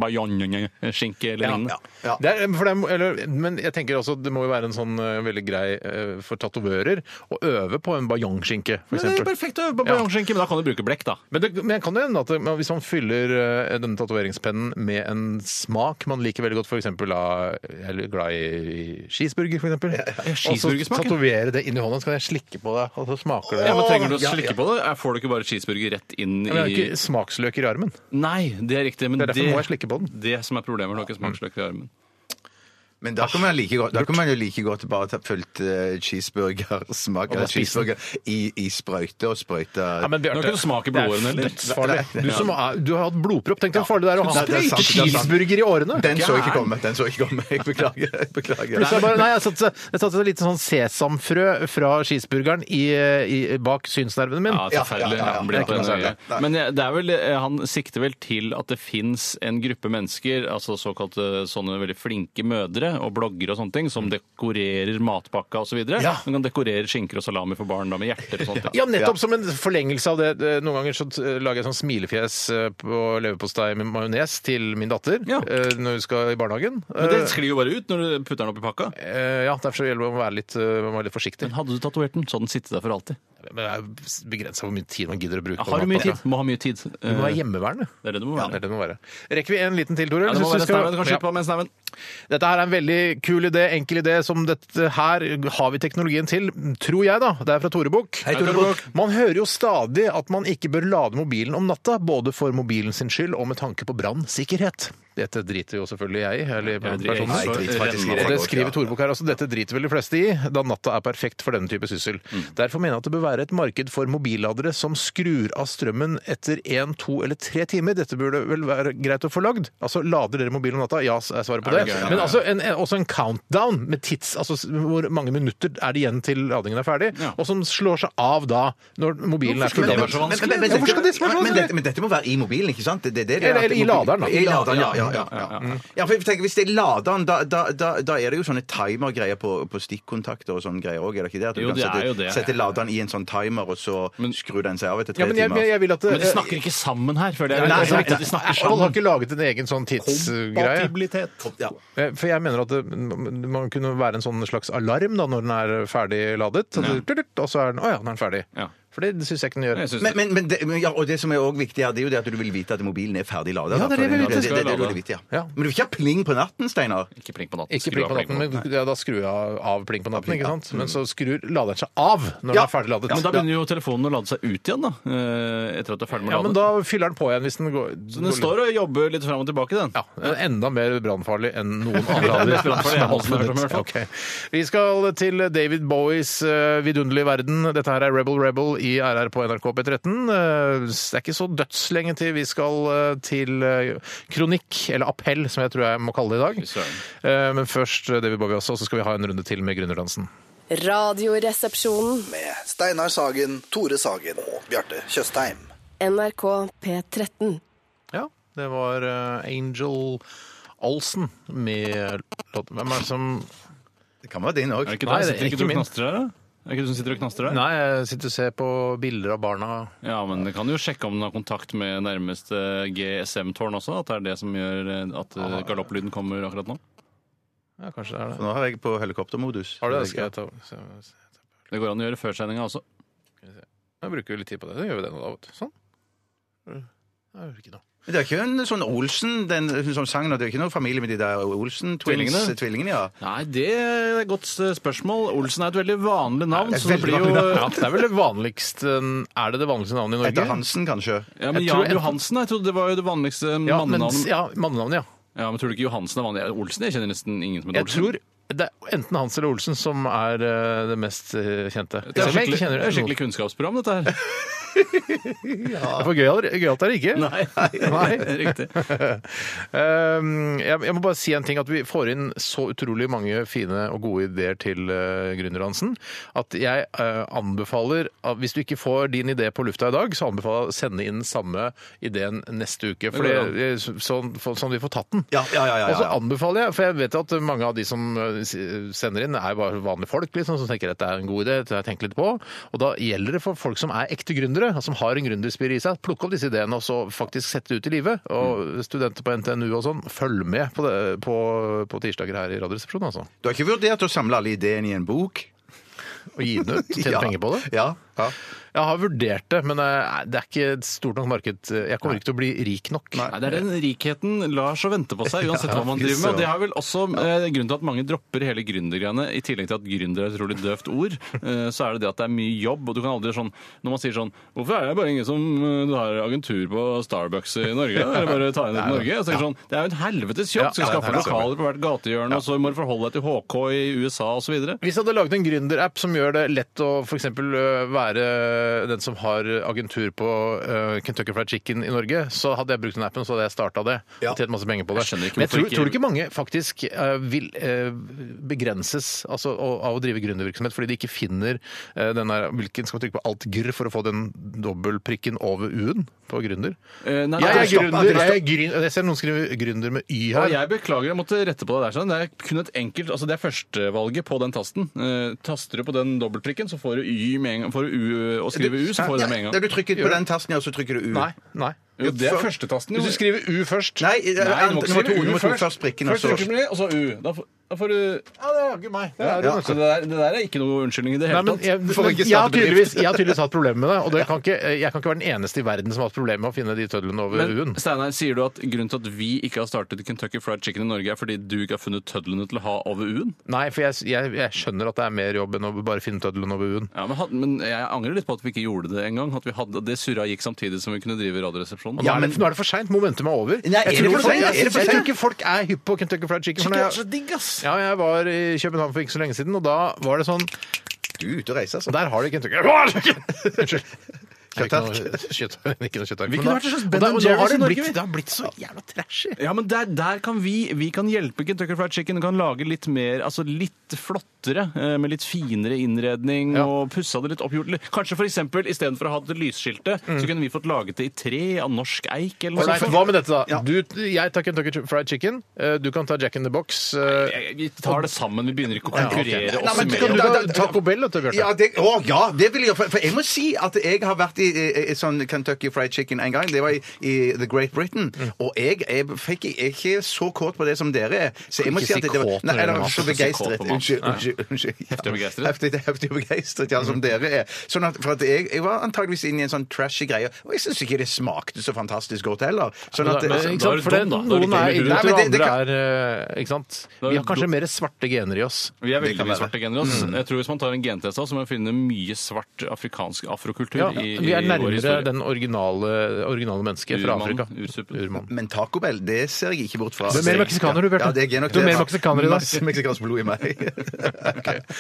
Speaker 5: bajonjeskinke eller lignende.
Speaker 4: Ja.
Speaker 3: Det er, for det er, eller, men jeg tenker også at det må jo være en sånn eh, veldig grei eh, for tatovører å øve på en bajongskinke,
Speaker 5: Men det er
Speaker 3: f.eks.
Speaker 5: perfekt å øve på bajonjeskinke, men da kan du bruke blekk, da.
Speaker 3: Men, det, men kan det hende at det, men hvis man fyller eh, denne tatoveringspennen med en smak man liker veldig godt, f.eks. Jeg er glad i cheeseburger, f.eks. Og så
Speaker 5: cheeseburgersmak, ja.
Speaker 3: tatovere det inn i hånda, så kan jeg slikke på det, og så smaker det.
Speaker 5: Ja, men Trenger du å slikke på det? Er- Får du ikke bare cheeseburger rett inn
Speaker 3: Men jeg har jo
Speaker 5: i
Speaker 3: ikke smaksløker i armen.
Speaker 5: Nei, det er riktig. Men
Speaker 3: Det er derfor må jeg slikke på den. Mm.
Speaker 5: Det som er problemet, er nok smaksløk i armen.
Speaker 4: Men da kan man, like godt, da kan man jo like godt bare ta fulgt eh, cheeseburgersmak eller
Speaker 3: spise den.
Speaker 4: cheeseburger i, i sprøyte og sprøyte
Speaker 3: Ja, men
Speaker 5: Nå
Speaker 3: Bjarte,
Speaker 5: kan du smake blodårene,
Speaker 3: Det
Speaker 5: eller?
Speaker 3: er dødsfarlig. Du, som er, du har hatt blodpropp. Tenk deg hvor farlig det er å ha
Speaker 4: Nei, det er sant, det er sant.
Speaker 3: cheeseburger i årene.
Speaker 4: Den så ikke komme. Den så ikke komme. Jeg beklager. Jeg beklager.
Speaker 3: Plutselig bare, nei, jeg satte, jeg satte et lite sånn sesamfrø fra cheeseburgeren i, i, bak synsnervene mine.
Speaker 5: Ja, altså- forferdelig.
Speaker 4: Ja, ja, ja, ja.
Speaker 5: Han blir
Speaker 4: Det er
Speaker 5: på den
Speaker 4: ikke noe
Speaker 5: øya. Men eh, det er vel, eh, han sikter vel til at det fins en gruppe mennesker, altså såkalte sånne veldig flinke mødre, bloggere og bloggere og sånne ting som dekorerer matpakka osv.
Speaker 3: Mm. Ja.
Speaker 5: Man kan dekorere skinker og salami for barn da med hjerter og sånt.
Speaker 3: Ja, nettopp som en forlengelse av det. Det- Noen ganger så eh, lager jeg sånn smilefjes eh, på leverpostei med majones til min datter
Speaker 5: Ja.
Speaker 3: eh, når hun skal i barnehagen.
Speaker 5: Men det
Speaker 3: Eh,
Speaker 5: sklir jo bare ut når du putter den oppi pakka.
Speaker 3: eh, ja, derfor så gjelder det å være litt, eh, være litt forsiktig.
Speaker 5: Men hadde du tatovert den, så hadde den sittet der for alltid.
Speaker 3: Men det er begrensa hvor mye tid man gidder å bruke. på
Speaker 5: Har du mye
Speaker 3: natta.
Speaker 5: tid? Må ha mye tid. eh,
Speaker 3: Du må være hjemmeværende.
Speaker 5: Det er det du må
Speaker 3: Ja,
Speaker 5: være.
Speaker 3: det er det det må være. Rekker vi en liten til, Tore?
Speaker 5: Ja, det må
Speaker 3: Synes
Speaker 5: være
Speaker 3: du skal-
Speaker 5: sneven. Du kan
Speaker 3: Ja.
Speaker 5: slippe av med sneven.
Speaker 3: Dette her er en veldig kul idé, enkel idé, som dette her har vi teknologien til, tror jeg da. Det er fra Tore Bukk.
Speaker 5: Tore Bukk.
Speaker 3: Man hører jo stadig at man ikke bør lade mobilen om natta, både for mobilen sin skyld og med tanke på brannsikkerhet. Dette driter jo selvfølgelig jeg i, eller personen.
Speaker 5: så
Speaker 4: jeg driter faktisk i
Speaker 5: renner
Speaker 3: Og
Speaker 5: det.
Speaker 3: det skriver Torbok her også, dette driter vel de fleste i, da natta er perfekt for denne type syssel.
Speaker 5: Mm.
Speaker 3: Derfor mener jeg at det bør være et marked for mobilladere som skrur av strømmen etter én, to eller tre timer. Dette burde vel være greit å få lagd? Altså, lader dere mobilen om natta? Ja, er svaret på
Speaker 5: Er
Speaker 3: det.
Speaker 5: det gøy?
Speaker 3: Men altså, en, en- også en countdown med tids, altså s- hvor mange minutter er det igjen til ladingen er ferdig,
Speaker 5: Ja.
Speaker 3: og som slår seg av da, når mobilen er
Speaker 5: Hvorfor
Speaker 3: skrudd av.
Speaker 5: skal det være så vanskelig?
Speaker 4: men- men-
Speaker 3: Ja, hvorfor skal det være så
Speaker 4: men- men
Speaker 3: vanskelig?
Speaker 4: dette- Men dette må være i mobilen, ikke sant? Det, det, det, det,
Speaker 3: Eller- eller i laderen, Mm. da.
Speaker 4: I laderen, ja. ja, ja, ja.
Speaker 5: Mm.
Speaker 4: ja for jeg tenker, hvis det er laderen, da, da, da, da er det jo sånne timergreier på, på stikkontakter og sånne greier òg, er det ikke det? At du
Speaker 5: Jo,
Speaker 4: kan
Speaker 5: det er
Speaker 4: sette,
Speaker 5: jo det.
Speaker 4: sette laderen i en sånn timer, og så skrur den seg av etter
Speaker 3: Ja,
Speaker 4: tre
Speaker 3: men jeg,
Speaker 4: timer.
Speaker 3: jeg, jeg vil at eh,
Speaker 5: Men de snakker ikke sammen her, føler jeg.
Speaker 3: Nei,
Speaker 5: Det er så
Speaker 3: nei,
Speaker 5: viktig
Speaker 3: nei.
Speaker 5: at de snakker sånn.
Speaker 3: Apple har
Speaker 5: sammen.
Speaker 3: ikke laget en egen sånn tidsgreie.
Speaker 4: Ja.
Speaker 3: Eh, For jeg mener at det, m- man kunne være en sånn slags alarm da, når den er ferdig ladet. Så det- tut-tut, Og så er den Å ja, nå er den ferdig.
Speaker 5: Ja.
Speaker 3: For det syns jeg ikke den gjør.
Speaker 5: Jeg synes
Speaker 4: Men, men, men, det, men ja, og det som er også viktig, her, det er jo det at du vil vite at mobilen er ferdig ladet.
Speaker 3: Ja, det er det vi vil.
Speaker 4: det, det, det, det,
Speaker 5: Skal
Speaker 4: vil vite, ja.
Speaker 3: Ja.
Speaker 4: Men du vil ikke ha pling på natten, Steinar?
Speaker 5: det- Ikke pling på natten.
Speaker 3: Ikke
Speaker 5: skru
Speaker 3: pling
Speaker 5: av
Speaker 3: på natten, men ja, da skrur jeg av pling på natten, ikke sant? Men så skrur laderen seg av når den
Speaker 4: Ja.
Speaker 3: er ferdig ladet.
Speaker 5: Mm. Men da begynner jo telefonen å lade seg ut igjen, da. eh, Etter at du er ferdig med å
Speaker 3: ja,
Speaker 5: lade.
Speaker 3: men da fyller den på igjen hvis den går
Speaker 5: Så Den står og jobber litt fram og tilbake, den.
Speaker 3: Ja, den er Enda mer brannfarlig enn noen andre
Speaker 5: Ja, det
Speaker 3: andre
Speaker 5: er brandfarlig, jeg har også hørt om det, i hvert fall.
Speaker 3: Ok. Vi skal til David Bowies eh, vidunderlige verden. Dette her er Rebel Rebel i RR på NRK P13. Eh, Det er ikke så dødslenge til vi skal eh, til eh, kronikk, eller appell, som jeg tror jeg må kalle det i dag. Eh, Men først eh, David Bowie også, og så skal vi ha en runde til med Gründerdansen.
Speaker 6: Radioresepsjonen.
Speaker 7: Med Steinar Sagen, Tore Sagen og Bjarte Tjøstheim.
Speaker 6: NRK P13.
Speaker 3: Ja, det var eh, Angel Olsen med låten Hvem er det som
Speaker 4: Det kan være din òg.
Speaker 5: Er det ikke
Speaker 3: Nei,
Speaker 5: deg?
Speaker 3: det er
Speaker 5: Sitter
Speaker 3: ikke
Speaker 5: ikke du og
Speaker 3: min.
Speaker 5: knastrer her, da? Er det ikke du som sitter og knastrer her?
Speaker 3: Nei, jeg sitter og ser på bilder av barna.
Speaker 5: Ja, men det kan jo sjekke om den har kontakt med nærmeste eh, GSM-tårn også. At det er det som gjør eh, at
Speaker 3: Ah.
Speaker 5: eh, galopplyden kommer akkurat nå.
Speaker 3: Ja, kanskje det er det.
Speaker 4: Nå er jeg på helikoptermodus.
Speaker 3: Har du det? Skal jeg ta se- se-
Speaker 5: Det går an å gjøre før sendinga også.
Speaker 3: Jeg bruker jo litt tid på det. Så gjør vi det nå, da. vet du. Sånn. Mm. Jeg gjør ikke noe.
Speaker 4: Men Det er ikke en sånn Olsen, den som sang nå, det er ikke noen familie med de der Olsen-tvillingene?
Speaker 5: Tvillingene?
Speaker 4: eh, Tvillingene, ja.
Speaker 5: Nei, det er et godt eh, spørsmål. Olsen er et veldig vanlig navn.
Speaker 4: Nei, det er
Speaker 5: så det
Speaker 4: veldig
Speaker 5: blir jo...
Speaker 4: vanlig
Speaker 3: Ja, det er vel det vanligste Er det det vanligste navnet i Norge?
Speaker 4: Etter Hansen, kanskje.
Speaker 5: Ja, men
Speaker 3: Jeg tror
Speaker 5: Jan
Speaker 3: enten-
Speaker 5: Johansen jeg trodde det var jo det vanligste
Speaker 3: Ja, men,
Speaker 5: mannenavnet.
Speaker 3: ja, mannenavnet, ja.
Speaker 5: Ja, men tror du ikke Johansen er vanlig? Olsen? Jeg kjenner nesten ingen som heter
Speaker 3: Jeg
Speaker 5: Olsen.
Speaker 3: tror det er enten Hans eller Olsen som er eh, det mest eh, kjente. Selv
Speaker 5: det er
Speaker 3: om jeg ikke
Speaker 5: skikkelig,
Speaker 3: kjenner
Speaker 5: det er skikkelig
Speaker 3: noen.
Speaker 5: kunnskapsprogram, dette her.
Speaker 3: Det er For gøyalt gøyalt er det ikke. Nei.
Speaker 5: Riktig.
Speaker 3: Um, jeg, jeg må bare si en ting at vi får inn så utrolig mange fine og gode ideer til uh, Gründerdansen at jeg eh, anbefaler at hvis du ikke får din idé på lufta i dag, så anbefaler jeg å sende inn samme ideen neste uke. For
Speaker 5: Det går
Speaker 3: det- så- sånn for- sånn vi får tatt den.
Speaker 4: Ja, ja, ja, ja,
Speaker 3: Og så
Speaker 4: ja.
Speaker 3: anbefaler jeg, for jeg vet at mange av de som eh, s- sender inn, er bare vanlige folk liksom, som tenker at det er en god idé, det har jeg tenkt litt på. Og da gjelder det for folk som er ekte gründere, og som har en gründerspirit i seg, plukke opp disse ideene og så faktisk sette det ut i livet.
Speaker 4: Mm.
Speaker 3: Og studenter på NTNU og sånn, følg med på, det, på, på tirsdager her i Radioresepsjonen, altså.
Speaker 4: Du har ikke vurdert å samle alle ideene i en bok?
Speaker 3: Og gi den ut, tjene
Speaker 4: Ja.
Speaker 3: penger på det.
Speaker 4: Ja. ja.
Speaker 3: Jeg har vurdert det, men eh, det er ikke et stort nok marked. Jeg kommer ikke til å bli rik nok.
Speaker 5: Nei, det er den rikheten lar så vente på seg, uansett hva man driver med. Og det er vel også eh, grunnen til at mange dropper hele gründergreiene. I tillegg til at gründer er et utrolig døvt ord, eh, så er det det at det er mye jobb. Og du kan aldri sånn Når man sier sånn Hvorfor er det bare ingen som eh, har agentur på Starbucks i Norge? Eller bare ta inn det til Norge? Og så tenker jeg sånn, det er jo en helvetes jobb.
Speaker 3: Ja,
Speaker 5: Skal
Speaker 3: ja, det
Speaker 5: skaffe
Speaker 3: er det.
Speaker 5: lokaler på hvert gatehjørne, og så må du forholde deg til HK i USA osv.
Speaker 3: Hvis jeg hadde laget en gründerapp som gjør det lett å for eksempel, ø, være den som har agentur på eh, Kentucky Fried Chicken i Norge, så hadde jeg brukt den appen, så hadde jeg starta det. Og tjent masse penger på det.
Speaker 5: Jeg skjønner ikke
Speaker 3: Men jeg
Speaker 5: hvorfor
Speaker 3: tror,
Speaker 5: ikke-
Speaker 3: tror du ikke mange faktisk eh, vil eh, begrenses altså, å- av å drive gründervirksomhet fordi de ikke finner eh, den der Hvilken skal man trykke på? Alt-gr for å få den dobbeltprikken over u-en på gründer?
Speaker 5: Eh, nei,
Speaker 3: jeg
Speaker 5: nei,
Speaker 3: er
Speaker 5: stopp,
Speaker 3: gründer.
Speaker 5: Andreas,
Speaker 3: Jeg, er grün- jeg ser noen skrive gründer med y
Speaker 5: Og
Speaker 3: her.
Speaker 5: jeg beklager, jeg måtte rette på deg der. Sånn. Det er kun et enkelt, altså det er førstevalget på den tasten. Eh, taster du på den dobbeltprikken, så får du Y med en gang. Får du U og skriver U, så får du det med en
Speaker 4: Ja,
Speaker 5: gang.
Speaker 4: du trykker på den tasten, ja, så trykker du U.
Speaker 3: Nei. nei.
Speaker 5: Jo, det er førstetasten.
Speaker 3: Hvis du
Speaker 5: Jo.
Speaker 3: skriver u først
Speaker 4: Nei, det er-
Speaker 5: Nei, du må ikke
Speaker 4: nummer to,
Speaker 5: skrive U
Speaker 4: nummer to først prikken, og
Speaker 5: Først
Speaker 4: så
Speaker 5: trykker du på det, og så U. Da, får- da får du
Speaker 3: Ja, det er jaggu meg. Det er
Speaker 5: ja, Så det der, det der er ikke noe unnskyldning i det
Speaker 3: Nei,
Speaker 5: hele
Speaker 3: men
Speaker 5: tatt.
Speaker 3: jeg,
Speaker 4: får
Speaker 3: men
Speaker 4: ikke
Speaker 3: jeg, har
Speaker 4: starte bedrift.
Speaker 3: tydeligvis, jeg har tydeligvis hatt problemer med det, og det kan ikke, jeg kan ikke være den eneste i verden som har hatt problemer med å finne de tødlene over
Speaker 5: Men
Speaker 3: u-en.
Speaker 5: Steinar, sier du at grunnen til at vi ikke har startet Kentucky Fried Chicken i Norge, er fordi du ikke har funnet tødlene til å ha over U-en?
Speaker 3: Nei, for jeg, jeg, jeg skjønner at det er mer jobb enn å bare finne tødlene over u-en.
Speaker 5: Ja, men, had- men jeg angrer litt på at vi ikke gjorde det engang. At vi hadde, det surra gikk samtidig som vi kunne drive Radioresepsjonen.
Speaker 3: Og nå, er det, nå er det for seint. Momentum er over.
Speaker 4: Nei,
Speaker 3: jeg,
Speaker 4: er det
Speaker 3: tror
Speaker 4: for
Speaker 3: folk,
Speaker 4: sent?
Speaker 3: jeg,
Speaker 4: Er det for
Speaker 3: jeg tror
Speaker 4: sent?
Speaker 3: ikke folk er hypp på Kentucky Fried Chicken. for når jeg-
Speaker 5: digg, ass!
Speaker 3: Ja, jeg var i København for ikke så lenge siden, og da var det sånn
Speaker 4: Du er ute og reiser, altså.
Speaker 3: Der har de Kentucky Unnskyld.
Speaker 4: Kjøttark.
Speaker 3: Kjøttark. Ikke noe kjøttark.
Speaker 5: Vi
Speaker 3: Men da-
Speaker 5: kunne vært et slags
Speaker 3: og
Speaker 5: Ben
Speaker 3: da- og nå
Speaker 5: Jerry's
Speaker 3: har det
Speaker 5: i Norge,
Speaker 3: blitt-
Speaker 5: vi.
Speaker 3: Det har blitt så jævla trashy.
Speaker 5: Ja, men der, der kan vi Vi kan hjelpe Kentucky Fried Chicken. Vi kan lage litt mer, altså litt flottere, eh, med litt finere innredning
Speaker 3: Ja.
Speaker 5: og pussa det litt opp. gjort litt- Kanskje for eksempel istedenfor å ha det lysskiltet, så kunne vi fått laget det i tre av norsk eik eller noe
Speaker 3: Ålreit,
Speaker 5: sånt.
Speaker 3: Mm. hva med dette, da? Du, jeg tar Kentucky Fried Chicken. eh, Du kan ta Jack in the Box. eh,
Speaker 5: Jeg- Vi tar det sammen, vi begynner ikke å
Speaker 3: Ja, ok.
Speaker 5: konkurrere
Speaker 4: Nei,
Speaker 5: oss
Speaker 4: men
Speaker 3: Du
Speaker 5: imellom.
Speaker 3: kan
Speaker 4: Da-
Speaker 3: ta
Speaker 4: da-
Speaker 3: Taco Bell, vet du, Bjarte.
Speaker 4: Ja, det, å, ja, det vil jeg. For, for jeg må si at jeg har vært i, i, i sånn Kentucky Fried Chicken en gang. Det var i, i The Great Britain. Og jeg, jeg fikk jeg er ikke så kåt på det som dere er. Så jeg må
Speaker 3: Ikke
Speaker 4: si at
Speaker 3: si
Speaker 4: det, det var
Speaker 3: kåt
Speaker 4: Nei,
Speaker 3: når det
Speaker 4: jeg
Speaker 3: gjelder
Speaker 4: var
Speaker 3: mat.
Speaker 4: så
Speaker 5: Ikke si kåt
Speaker 4: begeistret.
Speaker 5: på mat.
Speaker 4: Unnskyld. unnskyld, unnsyd. Ja.
Speaker 5: Heftig begeistret?
Speaker 4: Heftig, heftig begeistret, ja, som dere er. Sånn at, for at jeg, jeg var antageligvis inne i en sånn trashy greie. Og jeg syns ikke det smakte så fantastisk godt heller. Sånn
Speaker 3: Men,
Speaker 4: at,
Speaker 3: ikke sant,
Speaker 5: da er du
Speaker 3: for det-
Speaker 5: dum, da. Da er du
Speaker 3: Noen
Speaker 5: ikke
Speaker 3: er
Speaker 5: veldig
Speaker 3: idioter,
Speaker 4: dum.
Speaker 3: og
Speaker 4: Nei, men det-
Speaker 3: andre er eh, Ikke sant?
Speaker 5: er
Speaker 3: Vi har
Speaker 5: du
Speaker 3: kanskje
Speaker 5: dum.
Speaker 3: mer svarte gener i oss.
Speaker 5: Vi er veldig
Speaker 4: kan
Speaker 5: mye
Speaker 4: være.
Speaker 5: svarte gener. ass.
Speaker 3: Mm.
Speaker 5: Jeg tror Hvis man tar en gentest, av oss, så må man finne mye svart afrikansk afrokultur.
Speaker 3: Ja,
Speaker 5: i, i
Speaker 3: vi er
Speaker 5: vår
Speaker 3: nærmere
Speaker 5: historie.
Speaker 3: den originale, originale mennesket fra
Speaker 5: Urmannen,
Speaker 3: Afrika.
Speaker 5: ursuppen.
Speaker 3: Urmannen.
Speaker 4: men Taco Bell, det ser jeg ikke bort fra.
Speaker 3: Du er mer meksikaner, du, Bjarte.
Speaker 4: Ja, det er nok
Speaker 3: Du er
Speaker 4: det,
Speaker 3: mer
Speaker 4: da.
Speaker 3: meksikaner i dag.
Speaker 4: Masse meksikansk blod i meg.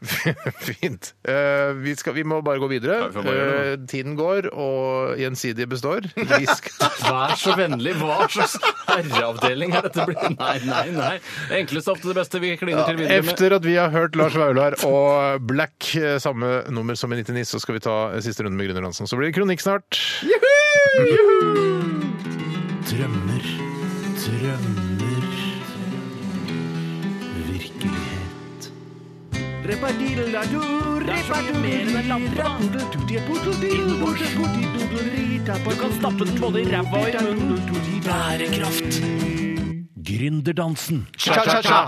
Speaker 3: Fint. Eh, vi, skal, vi må bare gå videre.
Speaker 5: Ja, vi får bare gjøre
Speaker 3: Eh, tiden går, og gjensidige består. Vi skal
Speaker 5: Vær så vennlig, hva slags herreavdeling er dette blitt? Nei, nei, nei. Det enkleste er ofte det beste. Vi kliner til videre med
Speaker 3: Efter at vi har hørt Lars Vaular og Black, eh, samme nummer som i 99, så skal vi ta eh, siste runde med Gründerdansen. Så blir det kronikk snart.
Speaker 9: Drømmer, drømmer Virkelighet
Speaker 2: Du kan stappe den både i ræva og i munnen. Bærekraft.
Speaker 9: Gründerdansen
Speaker 3: Cha-cha-cha!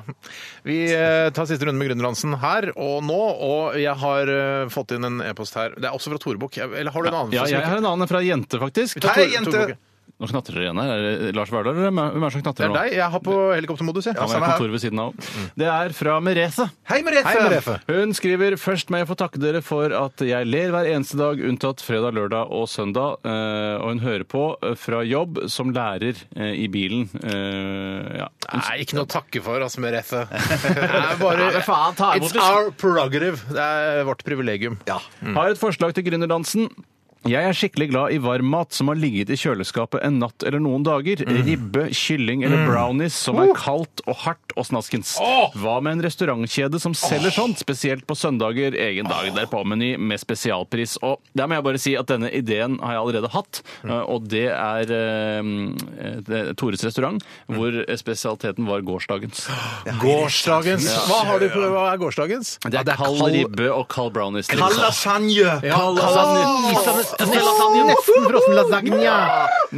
Speaker 3: Vi eh, tar siste runde med Gründerdansen her og nå. Og jeg har eh, fått inn en e-post her. Det er også fra Tore Bukk. Eller har du en annen?
Speaker 5: Ja,
Speaker 3: som
Speaker 5: jeg
Speaker 3: ikke-
Speaker 5: har en annen fra en jente, faktisk.
Speaker 3: Tore-
Speaker 4: Hei,
Speaker 3: Tore
Speaker 4: jente!
Speaker 3: Bukk.
Speaker 5: Nå knatrer dere igjen her. Er det Lars Vaular, eller hvem er det som
Speaker 3: Det er
Speaker 5: knatrer nå?
Speaker 3: deg. Jeg har på helikoptermodus, jeg.
Speaker 5: Han
Speaker 4: samme
Speaker 5: er
Speaker 4: her.
Speaker 5: kontoret ved siden av.
Speaker 3: Mm.
Speaker 5: Det er fra Merete.
Speaker 4: Hei, Merete!
Speaker 3: Hei, Merefe.
Speaker 5: Hun skriver først må jeg få takke dere for at jeg ler hver eneste dag unntatt fredag, lørdag og søndag. Eh, og hun hører på eh, fra jobb som lærer eh, i bilen. Eh, ja.
Speaker 3: Nei, ikke noe å takke for, altså, Merete. Det er bare
Speaker 5: Nei, men faen, ta imot
Speaker 3: It's
Speaker 5: det.
Speaker 3: our prerogative. Det er vårt privilegium.
Speaker 5: Har et forslag til gründerdansen. Jeg er skikkelig glad i varm mat som har ligget i kjøleskapet en natt eller noen dager. Ribbe, kylling eller brownies som er kaldt og hardt og snaskens. Hva med en restaurantkjede som selger sånt, spesielt på søndager, egen dag derpå meny med spesialpris. Og der må jeg bare si at denne ideen har jeg allerede hatt, og det er eh, det er Tores restaurant, hvor spesialiteten var gårsdagens.
Speaker 3: Gårsdagens. Hva, har du på, hva er gårsdagens?
Speaker 5: Det er kald ribbe og kald brownies.
Speaker 4: Kall lasagne!
Speaker 3: Ja, lasagne. Åh, Nesten frossen lasagne.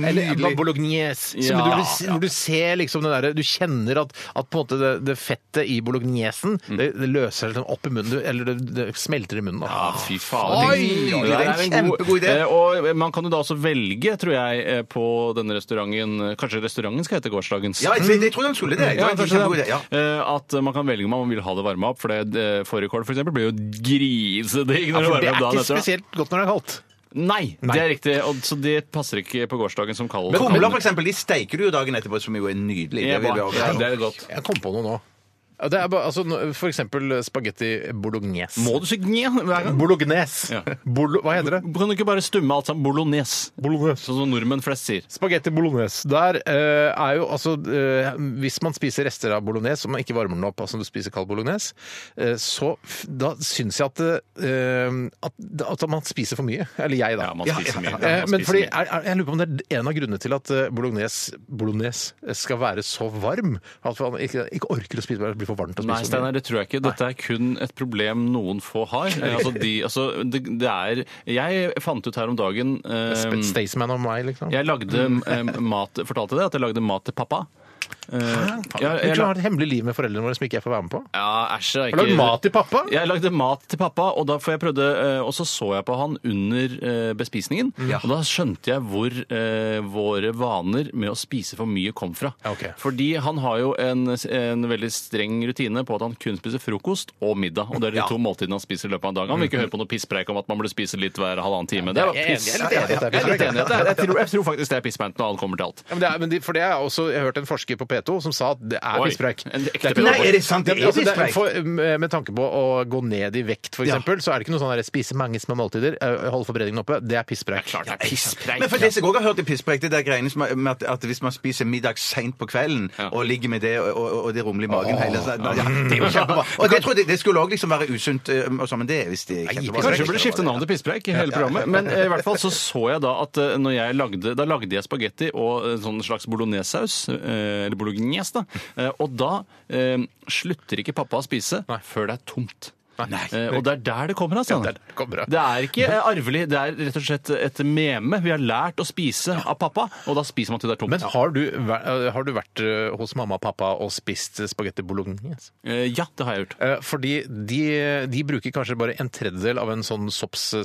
Speaker 3: Eller bolognese. Så
Speaker 5: Ja.
Speaker 3: du, vil- når du ser liksom den derre Du kjenner at, at på en måte det, det fettet i bolognesen
Speaker 5: Mm.
Speaker 3: det, det løser seg liksom opp i munnen. du- Eller det, det smelter i munnen. Da.
Speaker 5: Ja, fy faen.
Speaker 4: Oi!
Speaker 5: Det
Speaker 4: Det er en kjempegod idé.
Speaker 5: Eh, Og man kan jo da også velge, tror jeg, eh, på denne restauranten eh, Kanskje restauranten skal hete Gårsdagens?
Speaker 4: Ja, jeg, jeg tror han skulle det. Jeg
Speaker 5: Ja,
Speaker 4: tror det
Speaker 5: kanskje
Speaker 4: er en kjempegod
Speaker 5: det.
Speaker 4: idé, ja.
Speaker 5: Eh, At man kan velge om man vil ha det varma opp. For det eh, fårikål for eksempel blir jo grisedigg
Speaker 3: Ja,
Speaker 5: når du
Speaker 3: for det
Speaker 5: varmer
Speaker 3: er
Speaker 5: opp dagen
Speaker 3: ikke
Speaker 5: etter.
Speaker 3: spesielt godt når det er kaldt.
Speaker 5: Nei, det er riktig. Og, så det passer ikke på gårsdagen som kald.
Speaker 4: Kumler, for eksempel, de steiker du jo dagen etterpå, som jo er nydelig.
Speaker 5: Ja,
Speaker 4: Det vil vi også
Speaker 5: ja,
Speaker 4: ha.
Speaker 5: det er godt.
Speaker 3: Jeg kom på noe nå. Ja, Det er bare, altså, nå- for eksempel spagetti bolognese.
Speaker 5: Må du si gne hver gang?
Speaker 3: Bolognese.
Speaker 5: Ja.
Speaker 3: Bolo, hva heter det?
Speaker 5: Kan du ikke bare stumme alt sammen? Bolognese.
Speaker 3: Bolognese.
Speaker 5: Sånn som nordmenn flest sier.
Speaker 3: Spagetti bolognese. Der eh, er jo altså eh, Hvis man spiser rester av bolognese, og man ikke varmer den opp, altså du spiser kald bolognese, eh, så f- da syns jeg at, eh, at, at man spiser for mye. Eller jeg, da.
Speaker 5: Ja, man spiser mye.
Speaker 3: Eh,
Speaker 5: Man
Speaker 3: Men
Speaker 5: spiser
Speaker 3: fordi,
Speaker 5: mye.
Speaker 3: er, er, jeg lurer på om det er en av grunnene til at eh, bolognese, bolognese skal være så varm. At man ikke, ikke orker å spise, det blir for varmt å spise.
Speaker 5: Nei,
Speaker 3: for mye.
Speaker 5: Steinar, det tror jeg ikke. Dette er kun et problem noen få har. Eh, Altså, de, altså, det, det er Jeg fant ut her om dagen eh,
Speaker 3: Sp- Staysman og meg, liksom.
Speaker 5: Jeg lagde eh, mat Fortalte deg at jeg lagde mat til pappa? Eh,
Speaker 3: Ja,
Speaker 5: jeg-
Speaker 3: vi tror
Speaker 5: jeg la-
Speaker 3: jeg har et hemmelig liv med foreldrene våre som ikke jeg får være med på.
Speaker 5: Ja, æsj. jeg
Speaker 3: Har du lagd mat til pappa?
Speaker 5: Jeg lagde mat til pappa, og, da, for jeg prøvde, eh, og så så jeg på han under eh, bespisningen.
Speaker 3: Mm.
Speaker 5: Og da skjønte jeg hvor eh, våre vaner med å spise for mye kom fra.
Speaker 3: Ja, ok.
Speaker 5: Fordi han har jo en, en veldig streng rutine på at han kun spiser frokost og middag. Og det er de to måltidene han spiser i løpet av en dag. Han vil ikke høre på noe pisspreik om at man burde spise litt hver halvannen time. Det er
Speaker 3: jeg
Speaker 5: jo
Speaker 3: er
Speaker 5: piss.
Speaker 3: enig, jeg er litt enig i at det er
Speaker 5: Jeg er
Speaker 3: pisspreik.
Speaker 5: litt enig i at det er- jeg tror, jeg tror faktisk det er pisspreik når alt kommer til alt.
Speaker 3: Ja, men det er, men de, for det er også, Jeg har hørt en forsker på P2 som sa at det er
Speaker 5: Oi,
Speaker 3: pisspreik.
Speaker 5: en
Speaker 3: Det
Speaker 5: ekte
Speaker 3: er ikke-
Speaker 5: Nei,
Speaker 4: er det sant? Det er
Speaker 3: altså,
Speaker 4: pisspreik.
Speaker 3: for, med med tanke på å gå ned i vekt, f.eks.,
Speaker 4: Ja.
Speaker 3: eksempel, så er det ikke noe sånn her, spise mange små måltider, eh, holde forbrenningen oppe. Det er pisspreik.
Speaker 5: Klart det er pisspreik.
Speaker 4: Men for det som jeg også har hørt i pisspreik, det er greiene som er- med at, at hvis man spiser middag seint på kvelden,
Speaker 5: Ja.
Speaker 4: og ligger med det og, og, og det rumler i magen hele tiden ja, Det er jo kjempebra. Og det, trodde jeg, det skulle òg liksom være usunt, eh, og sånn, men det er visst kjempebra.
Speaker 5: Kanskje jeg burde skifte navn til pisspreik i hele programmet. Men eh, i hvert fall så så jeg da at eh, når jeg lagde, da lagde jeg spagetti og en sånn slags bolognesaus, eh, eller bolognese, da. Eh, Og da eh, slutter ikke pappa å spise før det er tomt. Eh, Og det er der det kommer av.
Speaker 3: Ja, det
Speaker 5: Steinar.
Speaker 3: er der det kommer av.
Speaker 5: det er ikke eh, arvelig, det er rett og slett et meme. Vi har lært å spise av pappa, og da spiser man til det er tomt.
Speaker 3: Men har du, væ- eh, har du vært eh, hos mamma og pappa og spist eh, spagetti bolognese?
Speaker 5: Eh, ja, det har jeg gjort.
Speaker 3: Eh, Fordi de, de bruker kanskje bare en tredjedel av en sånn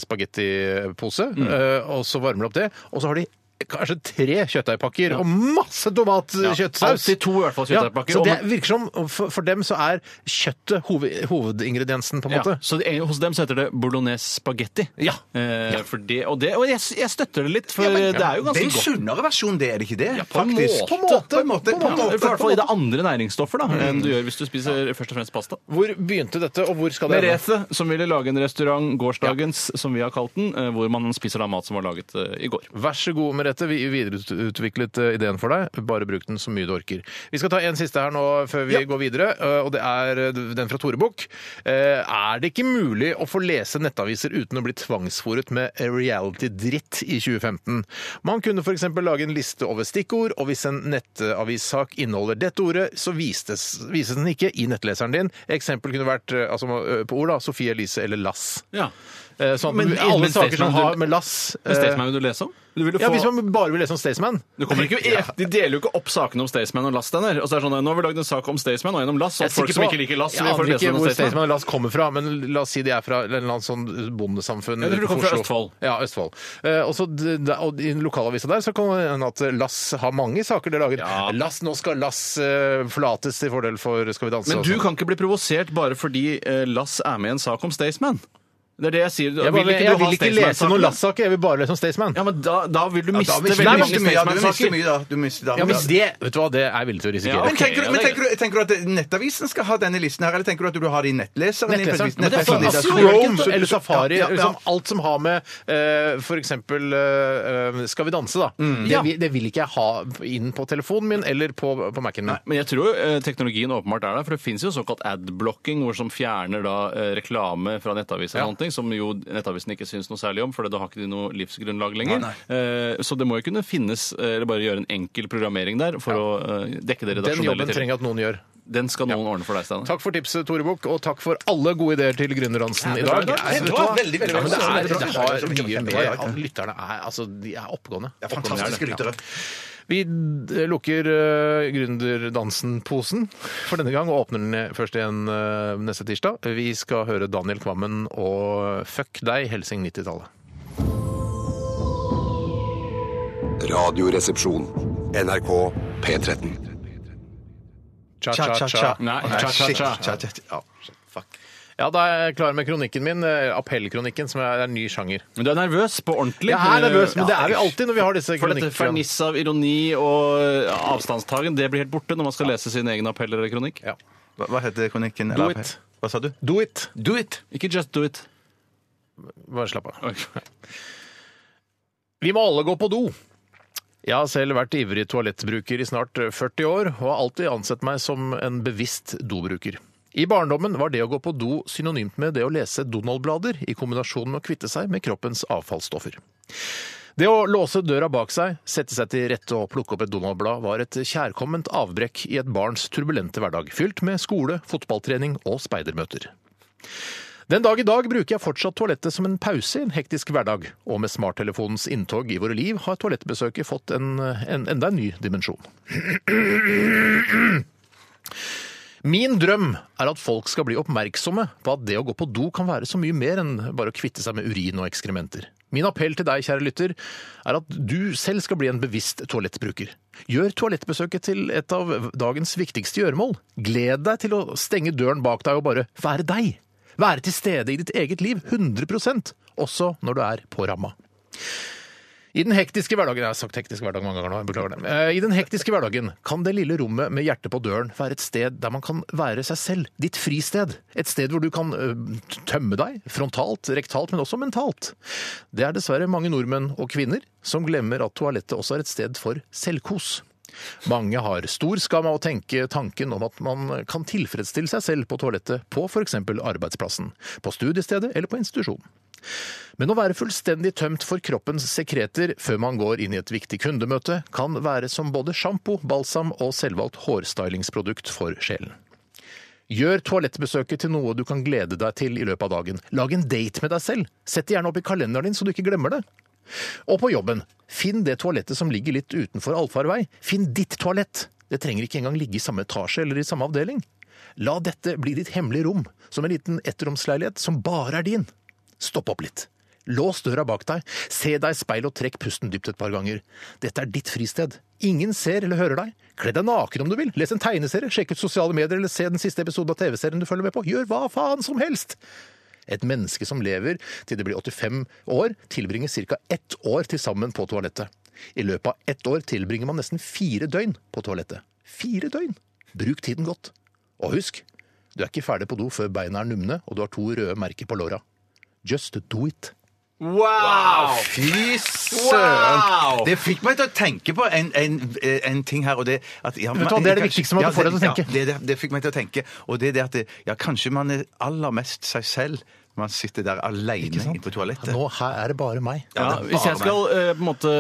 Speaker 3: soppsspagettipose,
Speaker 5: Mm.
Speaker 3: eh, og så varmer de opp det. Og så har de kanskje tre kjøttdeigpakker og masse tomatkjøttsaus.
Speaker 5: Alltid to i hvert fall kjøttdeigpakker.
Speaker 3: Ja, så
Speaker 5: Og-
Speaker 3: det virker som, for, for dem så er kjøttet hoved, hovedingrediensen, på en
Speaker 5: Ja,
Speaker 3: måte.
Speaker 5: så det, er- hos dem så heter det bolognese spagetti.
Speaker 3: Ja.
Speaker 5: Eh, For det, og det, og jeg, jeg støtter det litt, for det er jo
Speaker 4: Det er
Speaker 5: ganske
Speaker 4: en
Speaker 5: godt.
Speaker 4: sunnere versjon, det, er det ikke det?
Speaker 5: på en
Speaker 4: Faktisk.
Speaker 5: måte.
Speaker 4: På en måte. På en
Speaker 5: Ja,
Speaker 4: måte.
Speaker 5: I hvert fall i det andre næringsstoffer da, enn du gjør hvis du spiser først og fremst pasta.
Speaker 3: Hvor begynte dette, og hvor skal det ende?
Speaker 5: Merete, som ville lage en restaurant, gårsdagens, som vi har kalt den, eh, hvor man spiser da mat som var laget eh, i går.
Speaker 3: Vær så god, Merete. Vi videreutviklet eh, ideen for deg. Bare bruk den så mye du orker. Vi skal ta en siste her nå før vi går videre, eh, og det er eh, den fra Tore Bukk. Eh, Er det ikke mulig å få lese nettaviser uten å bli tvangsfòret med reality-dritt i 2015? Man kunne f.eks. lage en liste over stikkord, og hvis en nettavissak inneholder dette ordet, så vistes, vises den ikke i nettleseren din. Eksempel kunne vært eh, altså, eh, på ord da, Sofie Elise eller Lass.
Speaker 5: Ja.
Speaker 3: Eh, Sånn,
Speaker 5: Men-
Speaker 3: alle
Speaker 5: men
Speaker 3: saker
Speaker 5: Staysman,
Speaker 3: som har
Speaker 5: du-
Speaker 3: med Lass eh,
Speaker 5: Staysman vil du lese om? Du vil jo
Speaker 3: ja,
Speaker 5: få-
Speaker 3: Hvis man bare vil lese om Staysman.
Speaker 5: Du kommer ikke, e- de deler jo ikke opp sakene om Staysman og Lass. Denne. Og så er det sånn, nå har vi lagd en sak om Staysman og en om Lass. Og
Speaker 3: Jeg er
Speaker 5: folk
Speaker 3: sikker
Speaker 5: som
Speaker 3: på-
Speaker 5: ikke liker Lass,
Speaker 3: jeg
Speaker 5: vil få
Speaker 3: aner ikke
Speaker 5: lese den om
Speaker 3: hvor
Speaker 5: Staysman.
Speaker 3: Staysman og Lass kommer fra, men la oss si de er fra en eller annen sånn bondesamfunn.
Speaker 5: Jeg tror de
Speaker 3: utenfor
Speaker 5: kommer fra
Speaker 3: Oslo.
Speaker 5: Østfold.
Speaker 3: Ja, Østfold. Eh, og så d- d- og I lokalavisa der så kan det hende at Lass har mange saker de har laget.
Speaker 5: Ja.
Speaker 3: Lass, nå skal Lass eh, forlates til fordel for Skal vi danse.
Speaker 5: Men
Speaker 3: og
Speaker 5: du
Speaker 3: sånn.
Speaker 5: kan ikke bli provosert bare fordi eh, Lass er med i en sak om Staysman. Det er det jeg sier.
Speaker 3: Jeg,
Speaker 5: Vil
Speaker 3: bare,
Speaker 5: ikke du
Speaker 3: jeg
Speaker 5: ha
Speaker 3: vil ikke lese
Speaker 5: Staysman-saken?
Speaker 3: noen Lass-saker, jeg vil bare lese om Staysman.
Speaker 5: Ja, men da, da vil du miste
Speaker 4: Da mister
Speaker 5: veldig mange
Speaker 4: du mister mye, ja, du mister
Speaker 5: Staysman-saker.
Speaker 4: mye, da. Du mister, da.
Speaker 3: Ja, men det, vet du hva, det er jeg villig til å risikere.
Speaker 5: Ja,
Speaker 4: Men
Speaker 5: ok,
Speaker 4: tenker, du,
Speaker 5: ja, det
Speaker 4: men
Speaker 5: er
Speaker 4: tenker, du, tenker du at Nettavisen skal ha denne listen her, eller tenker du at du har det i nettleseren? din?
Speaker 3: Nettleseren.
Speaker 4: Nettleseren,
Speaker 5: det er sånn-
Speaker 4: din, der-
Speaker 3: Altså,
Speaker 5: så enkelt,
Speaker 3: sånn- Chrome eller Safari,
Speaker 4: Ja, ja, ja.
Speaker 3: Liksom alt som har med eh, for eksempel eh, eh, Skal vi danse, da.
Speaker 5: Mm.
Speaker 3: Det, vil- det vil ikke jeg ha inn på telefonen min eller på, på Mac-en min.
Speaker 5: Men jeg tror eh, teknologien åpenbart er der, for det finnes jo såkalt adblocking, hvor som fjerner da eh, reklame fra nettaviser
Speaker 3: Ja.
Speaker 5: og sånne ting, som jo nettavisen ikke syns noe særlig om, for da har ikke de noe livsgrunnlag lenger. Eh, så det må jo kunne finnes, eh, eller bare gjøre en enkel programmering der for å eh, dekke det
Speaker 3: Den
Speaker 5: redaksjonelle
Speaker 3: jobben
Speaker 5: til.
Speaker 3: trenger jeg at noen gjør.
Speaker 5: Den skal noen ordne for deg, Steinar.
Speaker 3: Takk for tipset, Tore Bukk, og takk for alle gode ideer til Gründerdansen i dag.
Speaker 4: bra. Det var veldig, veldig
Speaker 3: Ja, men det, er,
Speaker 4: bra.
Speaker 3: det har mye med
Speaker 4: Kjempebra, ja.
Speaker 3: at Lytterne er, altså, de er oppegående.
Speaker 4: Ja, Fantastiske lyttere.
Speaker 3: Vi d- lukker uh, Gründerdansen-posen for denne gang og åpner den først igjen eh, neste tirsdag. Vi skal høre Daniel Kvammen og Fuck deg, Helsing 90-tallet.
Speaker 1: Radioresepsjon. NRK P13.
Speaker 4: Cha-cha-cha.
Speaker 5: Nei, cha-cha-cha.
Speaker 4: Ja, fuck.
Speaker 3: Ja, da er jeg klar med kronikken min, eh, appellkronikken, som er en ny sjanger.
Speaker 5: Men du er nervøs på ordentlig.
Speaker 3: Jeg er nervøs, men
Speaker 5: Eh,
Speaker 3: det er vi alltid når vi har disse
Speaker 5: For dette
Speaker 3: kronikkene.
Speaker 5: fernisset av ironi og eh, avstandstagen, det blir helt borte når man skal lese sin egen appell eller kronikk.
Speaker 3: Ja.
Speaker 4: Hva, hva heter kronikken?
Speaker 3: Do it.
Speaker 4: Hva sa du?
Speaker 3: Do it!
Speaker 4: Do it!
Speaker 5: Ikke just do it.
Speaker 3: Bare slapp av. Vi må alle gå på do. Jeg har selv vært ivrig toalettbruker i snart 40 år, og har alltid ansett meg som en bevisst dobruker. I barndommen var det å gå på do synonymt med det å lese Donald-blader, i kombinasjon med å kvitte seg med kroppens avfallsstoffer. Det å låse døra bak seg, sette seg til rette og plukke opp et Donald-blad var et kjærkomment avbrekk i et barns turbulente hverdag, fylt med skole, fotballtrening og speidermøter. Den dag i dag bruker jeg fortsatt toalettet som en pause i en hektisk hverdag, og med smarttelefonens inntog i våre liv har toalettbesøket fått en, en enda en ny dimensjon. Min drøm er at folk skal bli oppmerksomme på at det å gå på do kan være så mye mer enn bare å kvitte seg med urin og ekskrementer. Min appell til deg, kjære lytter, er at du selv skal bli en bevisst toalettbruker. Gjør toalettbesøket til et av dagens viktigste gjøremål. Gled deg til å stenge døren bak deg og bare være deg. Være til stede i ditt eget liv 100 også når du er på ramma. I den hektiske hverdagen jeg har sagt hektisk hverdag mange ganger nå, jeg beklager det. Eh, I den hektiske hverdagen kan det lille rommet med hjertet på døren være et sted der man kan være seg selv. Ditt fristed. Et sted hvor du kan eh, tømme deg, frontalt, rektalt, men også mentalt. Det er dessverre mange nordmenn og kvinner som glemmer at toalettet også er et sted for selvkos. Mange har stor skam av å tenke tanken om at man kan tilfredsstille seg selv på toalettet på f.eks. arbeidsplassen, på studiestedet eller på institusjon. Men å være fullstendig tømt for kroppens sekreter før man går inn i et viktig kundemøte, kan være som både sjampo, balsam og selvvalgt hårstylingsprodukt for sjelen. Gjør toalettbesøket til noe du kan glede deg til i løpet av dagen. Lag en date med deg selv. Sett det gjerne opp i kalenderen din, så du ikke glemmer det. Og på jobben, finn det toalettet som ligger litt utenfor allfarvei. Finn ditt toalett. Det trenger ikke engang ligge i samme etasje eller i samme avdeling. La dette bli ditt hemmelige rom, som en liten ettromsleilighet som bare er din. Stopp opp litt. Lås døra bak deg, se deg i speil og trekk pusten dypt et par ganger. Dette er ditt fristed. Ingen ser eller hører deg. Kle deg naken om du vil, les en tegneserie, sjekk ut sosiale medier eller se den siste episoden av TV-serien du følger med på. Gjør hva faen som helst! Et menneske som lever til det blir 85 år, tilbringer ca. ett år til sammen på toalettet. I løpet av ett år tilbringer man nesten fire døgn på toalettet. Fire døgn! Bruk tiden godt. Og husk, du er ikke ferdig på do før beina er numne og du har to røde merker på låra. Just do it.
Speaker 4: Wow! Fy søren! Det fikk meg til å tenke på en, en, en ting her. Og det, at, ja,
Speaker 3: du hva, det er det viktigste man kan få deg til å tenke.
Speaker 4: Ja, det, det, det fikk meg til å tenke. Og det er det at det, ja, kanskje man er aller mest seg selv når man sitter der alene inne på toalettet.
Speaker 3: Nå her er det bare meg.
Speaker 5: Ja,
Speaker 4: det er
Speaker 5: hvis
Speaker 4: bare
Speaker 5: jeg skal eh, på en måte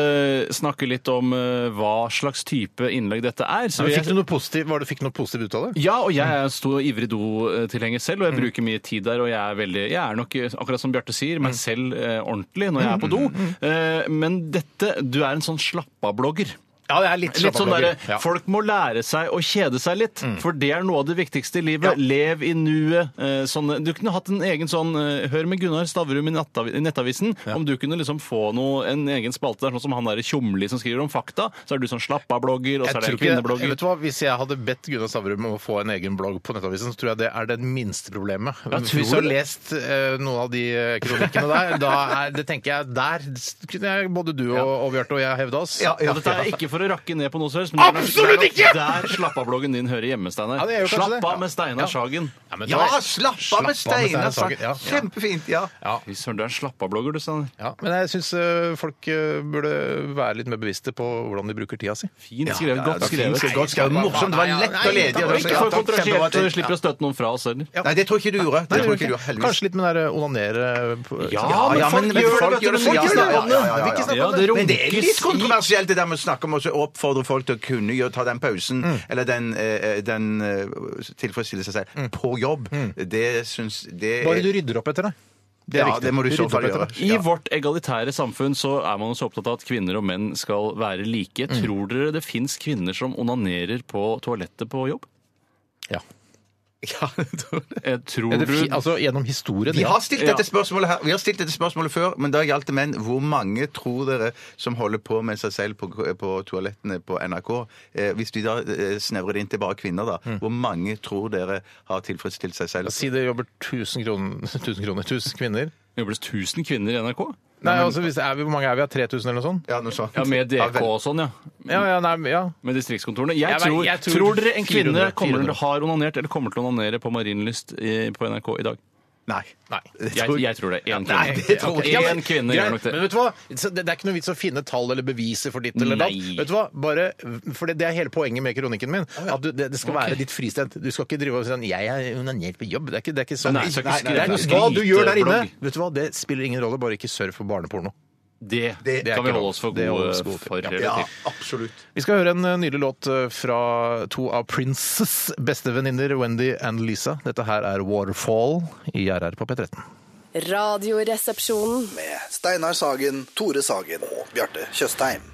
Speaker 5: snakke litt om eh, hva slags type innlegg dette er så vil jeg-
Speaker 3: Fikk du noe positivt, var det, fikk du noe positivt ut av det?
Speaker 5: Ja, og jeg er en stor ivrig do-tilhenger
Speaker 3: Mm.
Speaker 5: selv, og jeg bruker mye tid der. Og jeg er, veldig, jeg er nok, eh, akkurat som Bjarte sier,
Speaker 3: Mm.
Speaker 5: meg selv eh, ordentlig når jeg er på do. Eh, men dette Du er en sånn slappa-blogger.
Speaker 3: Ja, det er litt,
Speaker 5: Litt sånn derre
Speaker 3: slappavlogger. ja. Mm.
Speaker 5: Folk må lære seg å kjede seg litt, for det er noe av det viktigste i livet. Lev i nuet. eh, Sånn, du kunne hatt en egen sånn eh, Hør med Gunnar Stavrum i Nattavi- i Nettavisen. Om du kunne liksom få noe, en egen spalte der, sånn som han derre Tjomli som skriver om fakta, så er du sånn slappa-blogger, og
Speaker 3: Jeg
Speaker 5: så
Speaker 3: tror
Speaker 5: er det
Speaker 3: ikke, jeg
Speaker 5: kvinneblogger.
Speaker 3: vet hva, Hvis jeg hadde bedt Gunnar Stavrum om å få en egen blogg på Nettavisen, så tror jeg det er det minste problemet.
Speaker 5: tror
Speaker 3: Hvis du har
Speaker 5: det.
Speaker 3: lest eh, noen av de eh, kronikkene der, da er, det tenker jeg der kunne jeg, både du og, og Bjarte og jeg hevde oss.
Speaker 4: Ja, ja.
Speaker 5: Og dette er ikke for å rakke ned på noe som helst. men det er-
Speaker 3: Absolutt
Speaker 5: det er
Speaker 3: ikke!
Speaker 5: nok Der slappa-bloggen din hører hjemme, Steinar.
Speaker 3: Ja, det gjør jo kanskje
Speaker 5: Slapp
Speaker 3: det.
Speaker 5: av
Speaker 3: Ja.
Speaker 5: med Steinar
Speaker 3: Ja.
Speaker 5: Sagen.
Speaker 3: Ja, men
Speaker 4: Ja,
Speaker 3: da-
Speaker 4: slapp av med Steinar Sagen.
Speaker 3: Ja, ja.
Speaker 4: Kjempefint. ja.
Speaker 5: Fy søren, du er en slappa-blogger, du, Steinar.
Speaker 3: Ja, men jeg syns folk eh, burde være litt mer bevisste på hvordan de bruker tida si.
Speaker 5: Fint skrevet. godt skrevet.
Speaker 4: Fint, godt skrevet. Morsomt. Det var lett og ledig.
Speaker 5: Og ikke for kontroversielt, så vi
Speaker 4: Ja.
Speaker 5: slipper å støte noen fra oss selv.
Speaker 4: Nei, det tror jeg ikke du gjorde. Det tror jeg ikke du gjorde, heldigvis.
Speaker 3: Kanskje litt med det der onanere eh, på-
Speaker 5: Ja, men folk gjør det, vet du, men
Speaker 4: ja,
Speaker 5: folk gjør
Speaker 4: ja, ja,
Speaker 5: det.
Speaker 4: ja, ja, ja.
Speaker 5: Ja, det
Speaker 4: Men det er
Speaker 5: runkes
Speaker 4: litt
Speaker 5: i
Speaker 4: kontroversielt det der med å snakke om å oppfordre folk til å kunne gjøre, ta den pausen, eller den, eh, den eh, tilfredsstille seg selv, på jobb. Det syns det
Speaker 3: Bare du rydder opp etter deg. Det er
Speaker 4: Ja,
Speaker 3: riktig.
Speaker 4: det må du i
Speaker 3: Du
Speaker 4: så
Speaker 3: rydder
Speaker 4: fall
Speaker 3: opp etter
Speaker 4: gjøre.
Speaker 3: deg.
Speaker 5: I vårt egalitære samfunn så er man jo så opptatt av at kvinner og menn skal være like. Tror dere det fins kvinner som onanerer på toalettet på jobb?
Speaker 3: Ja.
Speaker 4: Ja, jeg tror det.
Speaker 5: Eh, Tror
Speaker 3: Er det fi-
Speaker 5: du
Speaker 3: altså, gjennom historien.
Speaker 4: Vi
Speaker 3: ja.
Speaker 4: har stilt
Speaker 5: Ja.
Speaker 4: dette spørsmålet her Vi har stilt dette spørsmålet før, men da gjaldt det menn. Hvor mange tror dere som holder på med seg selv på, på toalettene på NRK eh, Hvis vi da eh, snevrer det inn til bare kvinner, da. Hvor mange tror dere har tilfredsstilt seg selv?
Speaker 3: Si det jobber 1000 kroner, 1000 kroner, 1000 kvinner.
Speaker 5: jobber det 1000 kvinner i NRK?
Speaker 3: Nei, altså, hvis det er, Hvor mange er vi? Er 3000 eller noe sånt?
Speaker 4: Ja, noe sånt.
Speaker 5: Ja, Med
Speaker 4: Ja,
Speaker 5: DK
Speaker 4: vel-
Speaker 5: og sånn, ja.
Speaker 3: Ja, ja, nei, ja.
Speaker 5: Med distriktskontorene. Jeg,
Speaker 3: Jeg vet-
Speaker 5: tror,
Speaker 3: jeg
Speaker 5: tror,
Speaker 3: tror
Speaker 5: dere en kvinne
Speaker 3: 400,
Speaker 5: kommer til
Speaker 3: 400.
Speaker 5: å ha onanert eller kommer til å onanere på Marienlyst i- på NRK i dag?
Speaker 4: Nei.
Speaker 3: Nei.
Speaker 5: Jeg, jeg tror det. Én kvinne.
Speaker 3: Nei, det tror jeg
Speaker 5: Ok,
Speaker 3: ikke.
Speaker 5: en kvinne
Speaker 3: Greit,
Speaker 5: gjør nok det.
Speaker 3: Men vet du hva? Så Det det er ikke noe vits å finne tall eller beviser for ditt eller datt.
Speaker 5: Nei.
Speaker 3: Vet du hva? Bare, for det, det er hele poenget med kronikken min. At du, det, det skal være ditt fristed. Du skal ikke drive og si sånn, 'jeg er onanert på jobb'. Det er ikke, det er ikke sånn.
Speaker 5: Nei, så ikke
Speaker 3: det er
Speaker 5: skrive-
Speaker 3: ikke hva du gjør der inne.
Speaker 5: skryteblogg.
Speaker 3: Vet du hva? Det spiller ingen rolle, bare ikke surf og barneporno.
Speaker 5: Det,
Speaker 4: Det er
Speaker 5: kan vi
Speaker 3: ikke
Speaker 5: holde
Speaker 3: lov.
Speaker 5: oss for
Speaker 3: Det holder vi
Speaker 5: gode
Speaker 3: oss gode til.
Speaker 5: for.
Speaker 3: Ja.
Speaker 5: relativt.
Speaker 4: Ja, absolutt.
Speaker 3: Vi skal høre en eh, nydelig låt eh, fra to av Princes bestevenninner, Wendy and Lisa. Dette her er 'Waterfall' i RR på P13.
Speaker 6: Radioresepsjonen.
Speaker 7: Med Steinar Sagen, Tore Sagen og Bjarte Tjøstheim.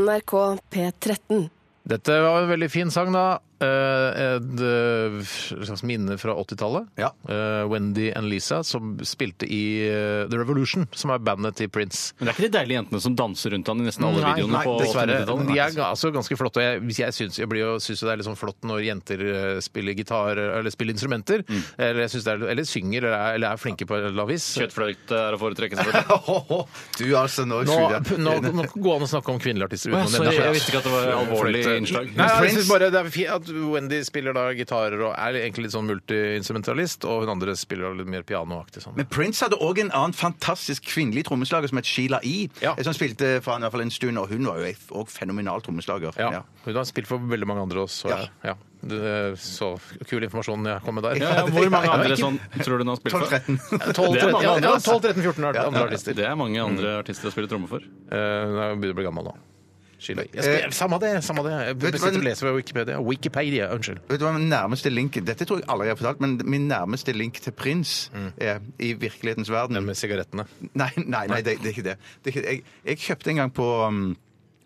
Speaker 6: NRK P13.
Speaker 3: Dette var en veldig fin sang, da. Eh, Et eh, slags minne fra 80-tallet.
Speaker 4: Ja.
Speaker 3: Eh, Wendy and Lisa, som spilte i eh, The Revolution, som er bandet til Prince.
Speaker 5: Men det er ikke de deilige jentene som danser rundt han i nesten alle
Speaker 3: Nei,
Speaker 5: videoene?
Speaker 3: nei,
Speaker 5: på
Speaker 3: dessverre.
Speaker 5: 80-tallet?
Speaker 3: De er ga- altså ganske flotte. og Jeg, hvis jeg syns jeg blir jo- syns jo det er litt sånn flott når jenter eh, spiller gitar eller spiller instrumenter.
Speaker 5: Mm.
Speaker 3: Eller, jeg syns det er, eller synger eller er, eller er flinke på et eller annet vis.
Speaker 5: Kjøttfløyte er å foretrekke. selvfølgelig.
Speaker 4: Du altså, nå
Speaker 3: Nå,
Speaker 4: skylder
Speaker 3: p-
Speaker 4: jeg-
Speaker 3: nå, nå går det an å snakke om kvinnelige artister uten
Speaker 5: Å,
Speaker 3: å nevne
Speaker 5: ja, sorry,
Speaker 3: Prince.
Speaker 5: jeg visste ikke at det var et alvorlig
Speaker 3: Fløyte.
Speaker 5: innslag.
Speaker 3: Nei, jeg
Speaker 4: Prince-
Speaker 3: synes bare Det er fint at Wendy spiller da gitarer og er egentlig litt sånn multiinstrumentalist, og hun andre spiller litt mer pianoaktig. Sånn.
Speaker 4: Men Prince hadde òg en annen fantastisk kvinnelig trommeslager som het Sheila E.
Speaker 3: Ja.
Speaker 4: Som spilte for han i hvert fall en stund, og hun var jo òg fenomenal trommeslager.
Speaker 3: Ja.
Speaker 4: Ja.
Speaker 3: Hun har spilt for veldig mange andre også.
Speaker 4: Ja.
Speaker 3: Ja. Ja. Det- Så kul informasjon jeg kom med der.
Speaker 5: Ja, ja, hvor mange
Speaker 3: Ja,
Speaker 5: andre
Speaker 3: ikke-
Speaker 5: sånn tror du hun har spilt for?
Speaker 4: 12-13.
Speaker 3: 12,
Speaker 5: Det er
Speaker 3: 13,
Speaker 5: mange
Speaker 3: ja,
Speaker 5: andre,
Speaker 3: ja, Mm.
Speaker 5: altså.
Speaker 3: 12, 13, 14 ar- andre artister.
Speaker 5: Det er mange andre artister jeg spiller tromme for.
Speaker 3: Eh, Hun er- begynner å bli gammel nå. Sheila E. Jeg skal- Samme det, samme det. Jeg
Speaker 4: Vet du hva-
Speaker 3: bestilte å lese på Wikipedia. Wikipedia, unnskyld.
Speaker 4: Vet du hva min nærmeste link Dette tror jeg aldri jeg har fortalt, men min nærmeste link til Prince er i virkelighetens verden.
Speaker 3: Den med sigarettene.
Speaker 4: Nei, nei, nei det, det er ikke det. det er ikke, jeg, jeg kjøpte en gang på um,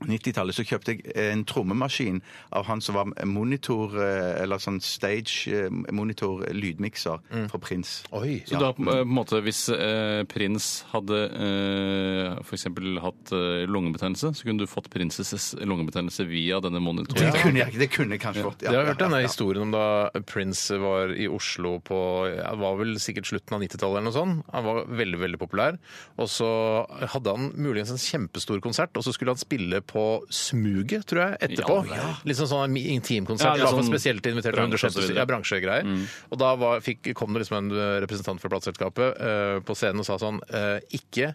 Speaker 4: 90-tallet så kjøpte jeg en trommemaskin av han som var monitor, eh, eller sånn stage eh, monitor lydmikser fra Prins.
Speaker 3: Oi.
Speaker 5: Så da, eh, på en måte, hvis eh, prins hadde eh, f.eks. hatt eh, lungebetennelse, så kunne du fått prinsesses lungebetennelse via denne
Speaker 4: Det
Speaker 5: monitoren.
Speaker 4: kunne jeg ikke, det kunne jeg kanskje fått. ja,
Speaker 3: Jeg har hørt
Speaker 4: ja,
Speaker 3: denne
Speaker 4: ja, ja.
Speaker 3: historien om da Prince var i Oslo på ja, Det var vel sikkert slutten av 90-tallet eller noe sånt. Han var veldig, veldig populær. Og så hadde han muligens en kjempestor konsert, og så skulle han spille på Smuget, tror jeg, etterpå.
Speaker 5: Ja, ja.
Speaker 3: Litt sånn sånn
Speaker 5: Ja,
Speaker 3: intimkonsert.
Speaker 5: litt
Speaker 3: I hvert fall
Speaker 5: sånn
Speaker 3: spesielt invitert
Speaker 5: bransje
Speaker 3: bransje,
Speaker 5: og så videre.
Speaker 3: ja, bransjegreier. Og da var, fikk, kom det liksom en representant fra plateselskapet eh, på scenen og sa sånn eh, Ikke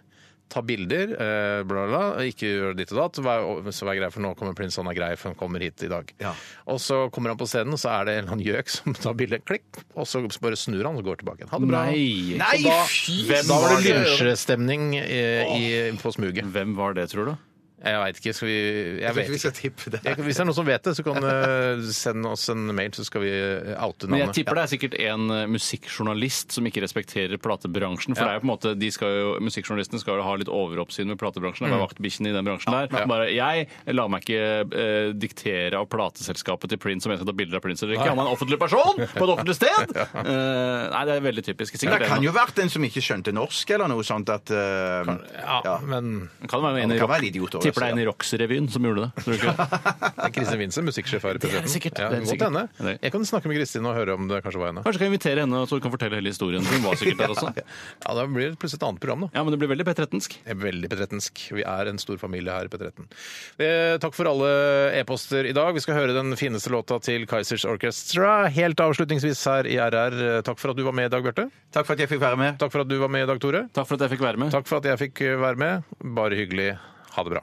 Speaker 3: ta bilder, eh, bla, bla, bla, ikke gjør ditt og datt. Vær, så vær grei, for nå kommer prins, han er grei, for han kommer hit i dag.
Speaker 4: Ja.
Speaker 3: Og så kommer han på scenen, og så er det en eller annen gjøk som tar bilde, klikk, og så bare snur han og går tilbake igjen. Ha det bra.
Speaker 5: Nei!
Speaker 4: Nei,
Speaker 5: Så da,
Speaker 4: fy
Speaker 5: hvem,
Speaker 3: Da var det
Speaker 5: var det?
Speaker 3: lynsjestemning eh, i- på smuget.
Speaker 5: hvem var det, tror du?
Speaker 3: Jeg veit ikke, skal vi Jeg
Speaker 4: Jeg vet
Speaker 3: vet
Speaker 4: ikke vi
Speaker 3: ikke.
Speaker 4: skal tippe det.
Speaker 3: Jeg, hvis det er noen som vet det, så kan eh, send oss en mail, så skal vi eh, oute
Speaker 5: Men jeg
Speaker 3: navnet.
Speaker 5: tipper det er sikkert en eh, musikkjournalist som ikke respekterer platebransjen. For det er jo på en måte, de skal jo, Musikkjournalistene skal jo ha litt overoppsyn med platebransjen.
Speaker 4: Mm.
Speaker 5: Jeg var vaktbikkjen i den bransjen der. Bare, Jeg lar meg ikke eh, diktere av plateselskapet til Prince om jeg skal ta bilder av Prince eller ikke. Han er en offentlig person på et offentlig sted! Eh, nei, det er veldig typisk.
Speaker 4: Men
Speaker 5: Sikkert
Speaker 4: det
Speaker 5: en-
Speaker 4: kan jo ha vært en som ikke skjønte norsk, eller noe sånt. At, eh,
Speaker 3: Ja,
Speaker 4: ja.
Speaker 3: men
Speaker 5: kan det være en
Speaker 4: Ja,
Speaker 5: i
Speaker 4: det kan
Speaker 5: rock-
Speaker 4: være idiot også,
Speaker 5: Tipper det er en
Speaker 4: ja.
Speaker 5: i Rox-revyen som gjorde det. Tror du ikke?
Speaker 3: det er Kristin Windsor, musikksjef her i
Speaker 5: er
Speaker 3: P13.
Speaker 5: sikkert,
Speaker 3: Ja,
Speaker 5: det er
Speaker 3: godt
Speaker 5: sikkert.
Speaker 3: hende.
Speaker 5: Det er det.
Speaker 3: Jeg kan snakke med Kristin og høre om det kanskje var henne.
Speaker 5: Kanskje kan jeg invitere henne, så hun kan fortelle hele historien. Hun var sikkert der også.
Speaker 3: Ja, Da blir det plutselig et annet program, da.
Speaker 5: Ja, men det blir veldig P13-sk.
Speaker 3: Jeg er Veldig petrettensk. Vi er en stor familie her i P13. Eh, takk for alle e-poster i dag. Vi skal høre den fineste låta til Kaizers Orchestra helt avslutningsvis her i RR. Eh, Takk for at du var med i dag, Bjarte.
Speaker 4: Takk for at jeg fikk være med.
Speaker 3: Takk for at du var med i dag, Tore.
Speaker 5: Takk for at jeg fikk være med.
Speaker 3: Takk for at jeg fikk eh, være med. Bare hyggelig. Ha det bra.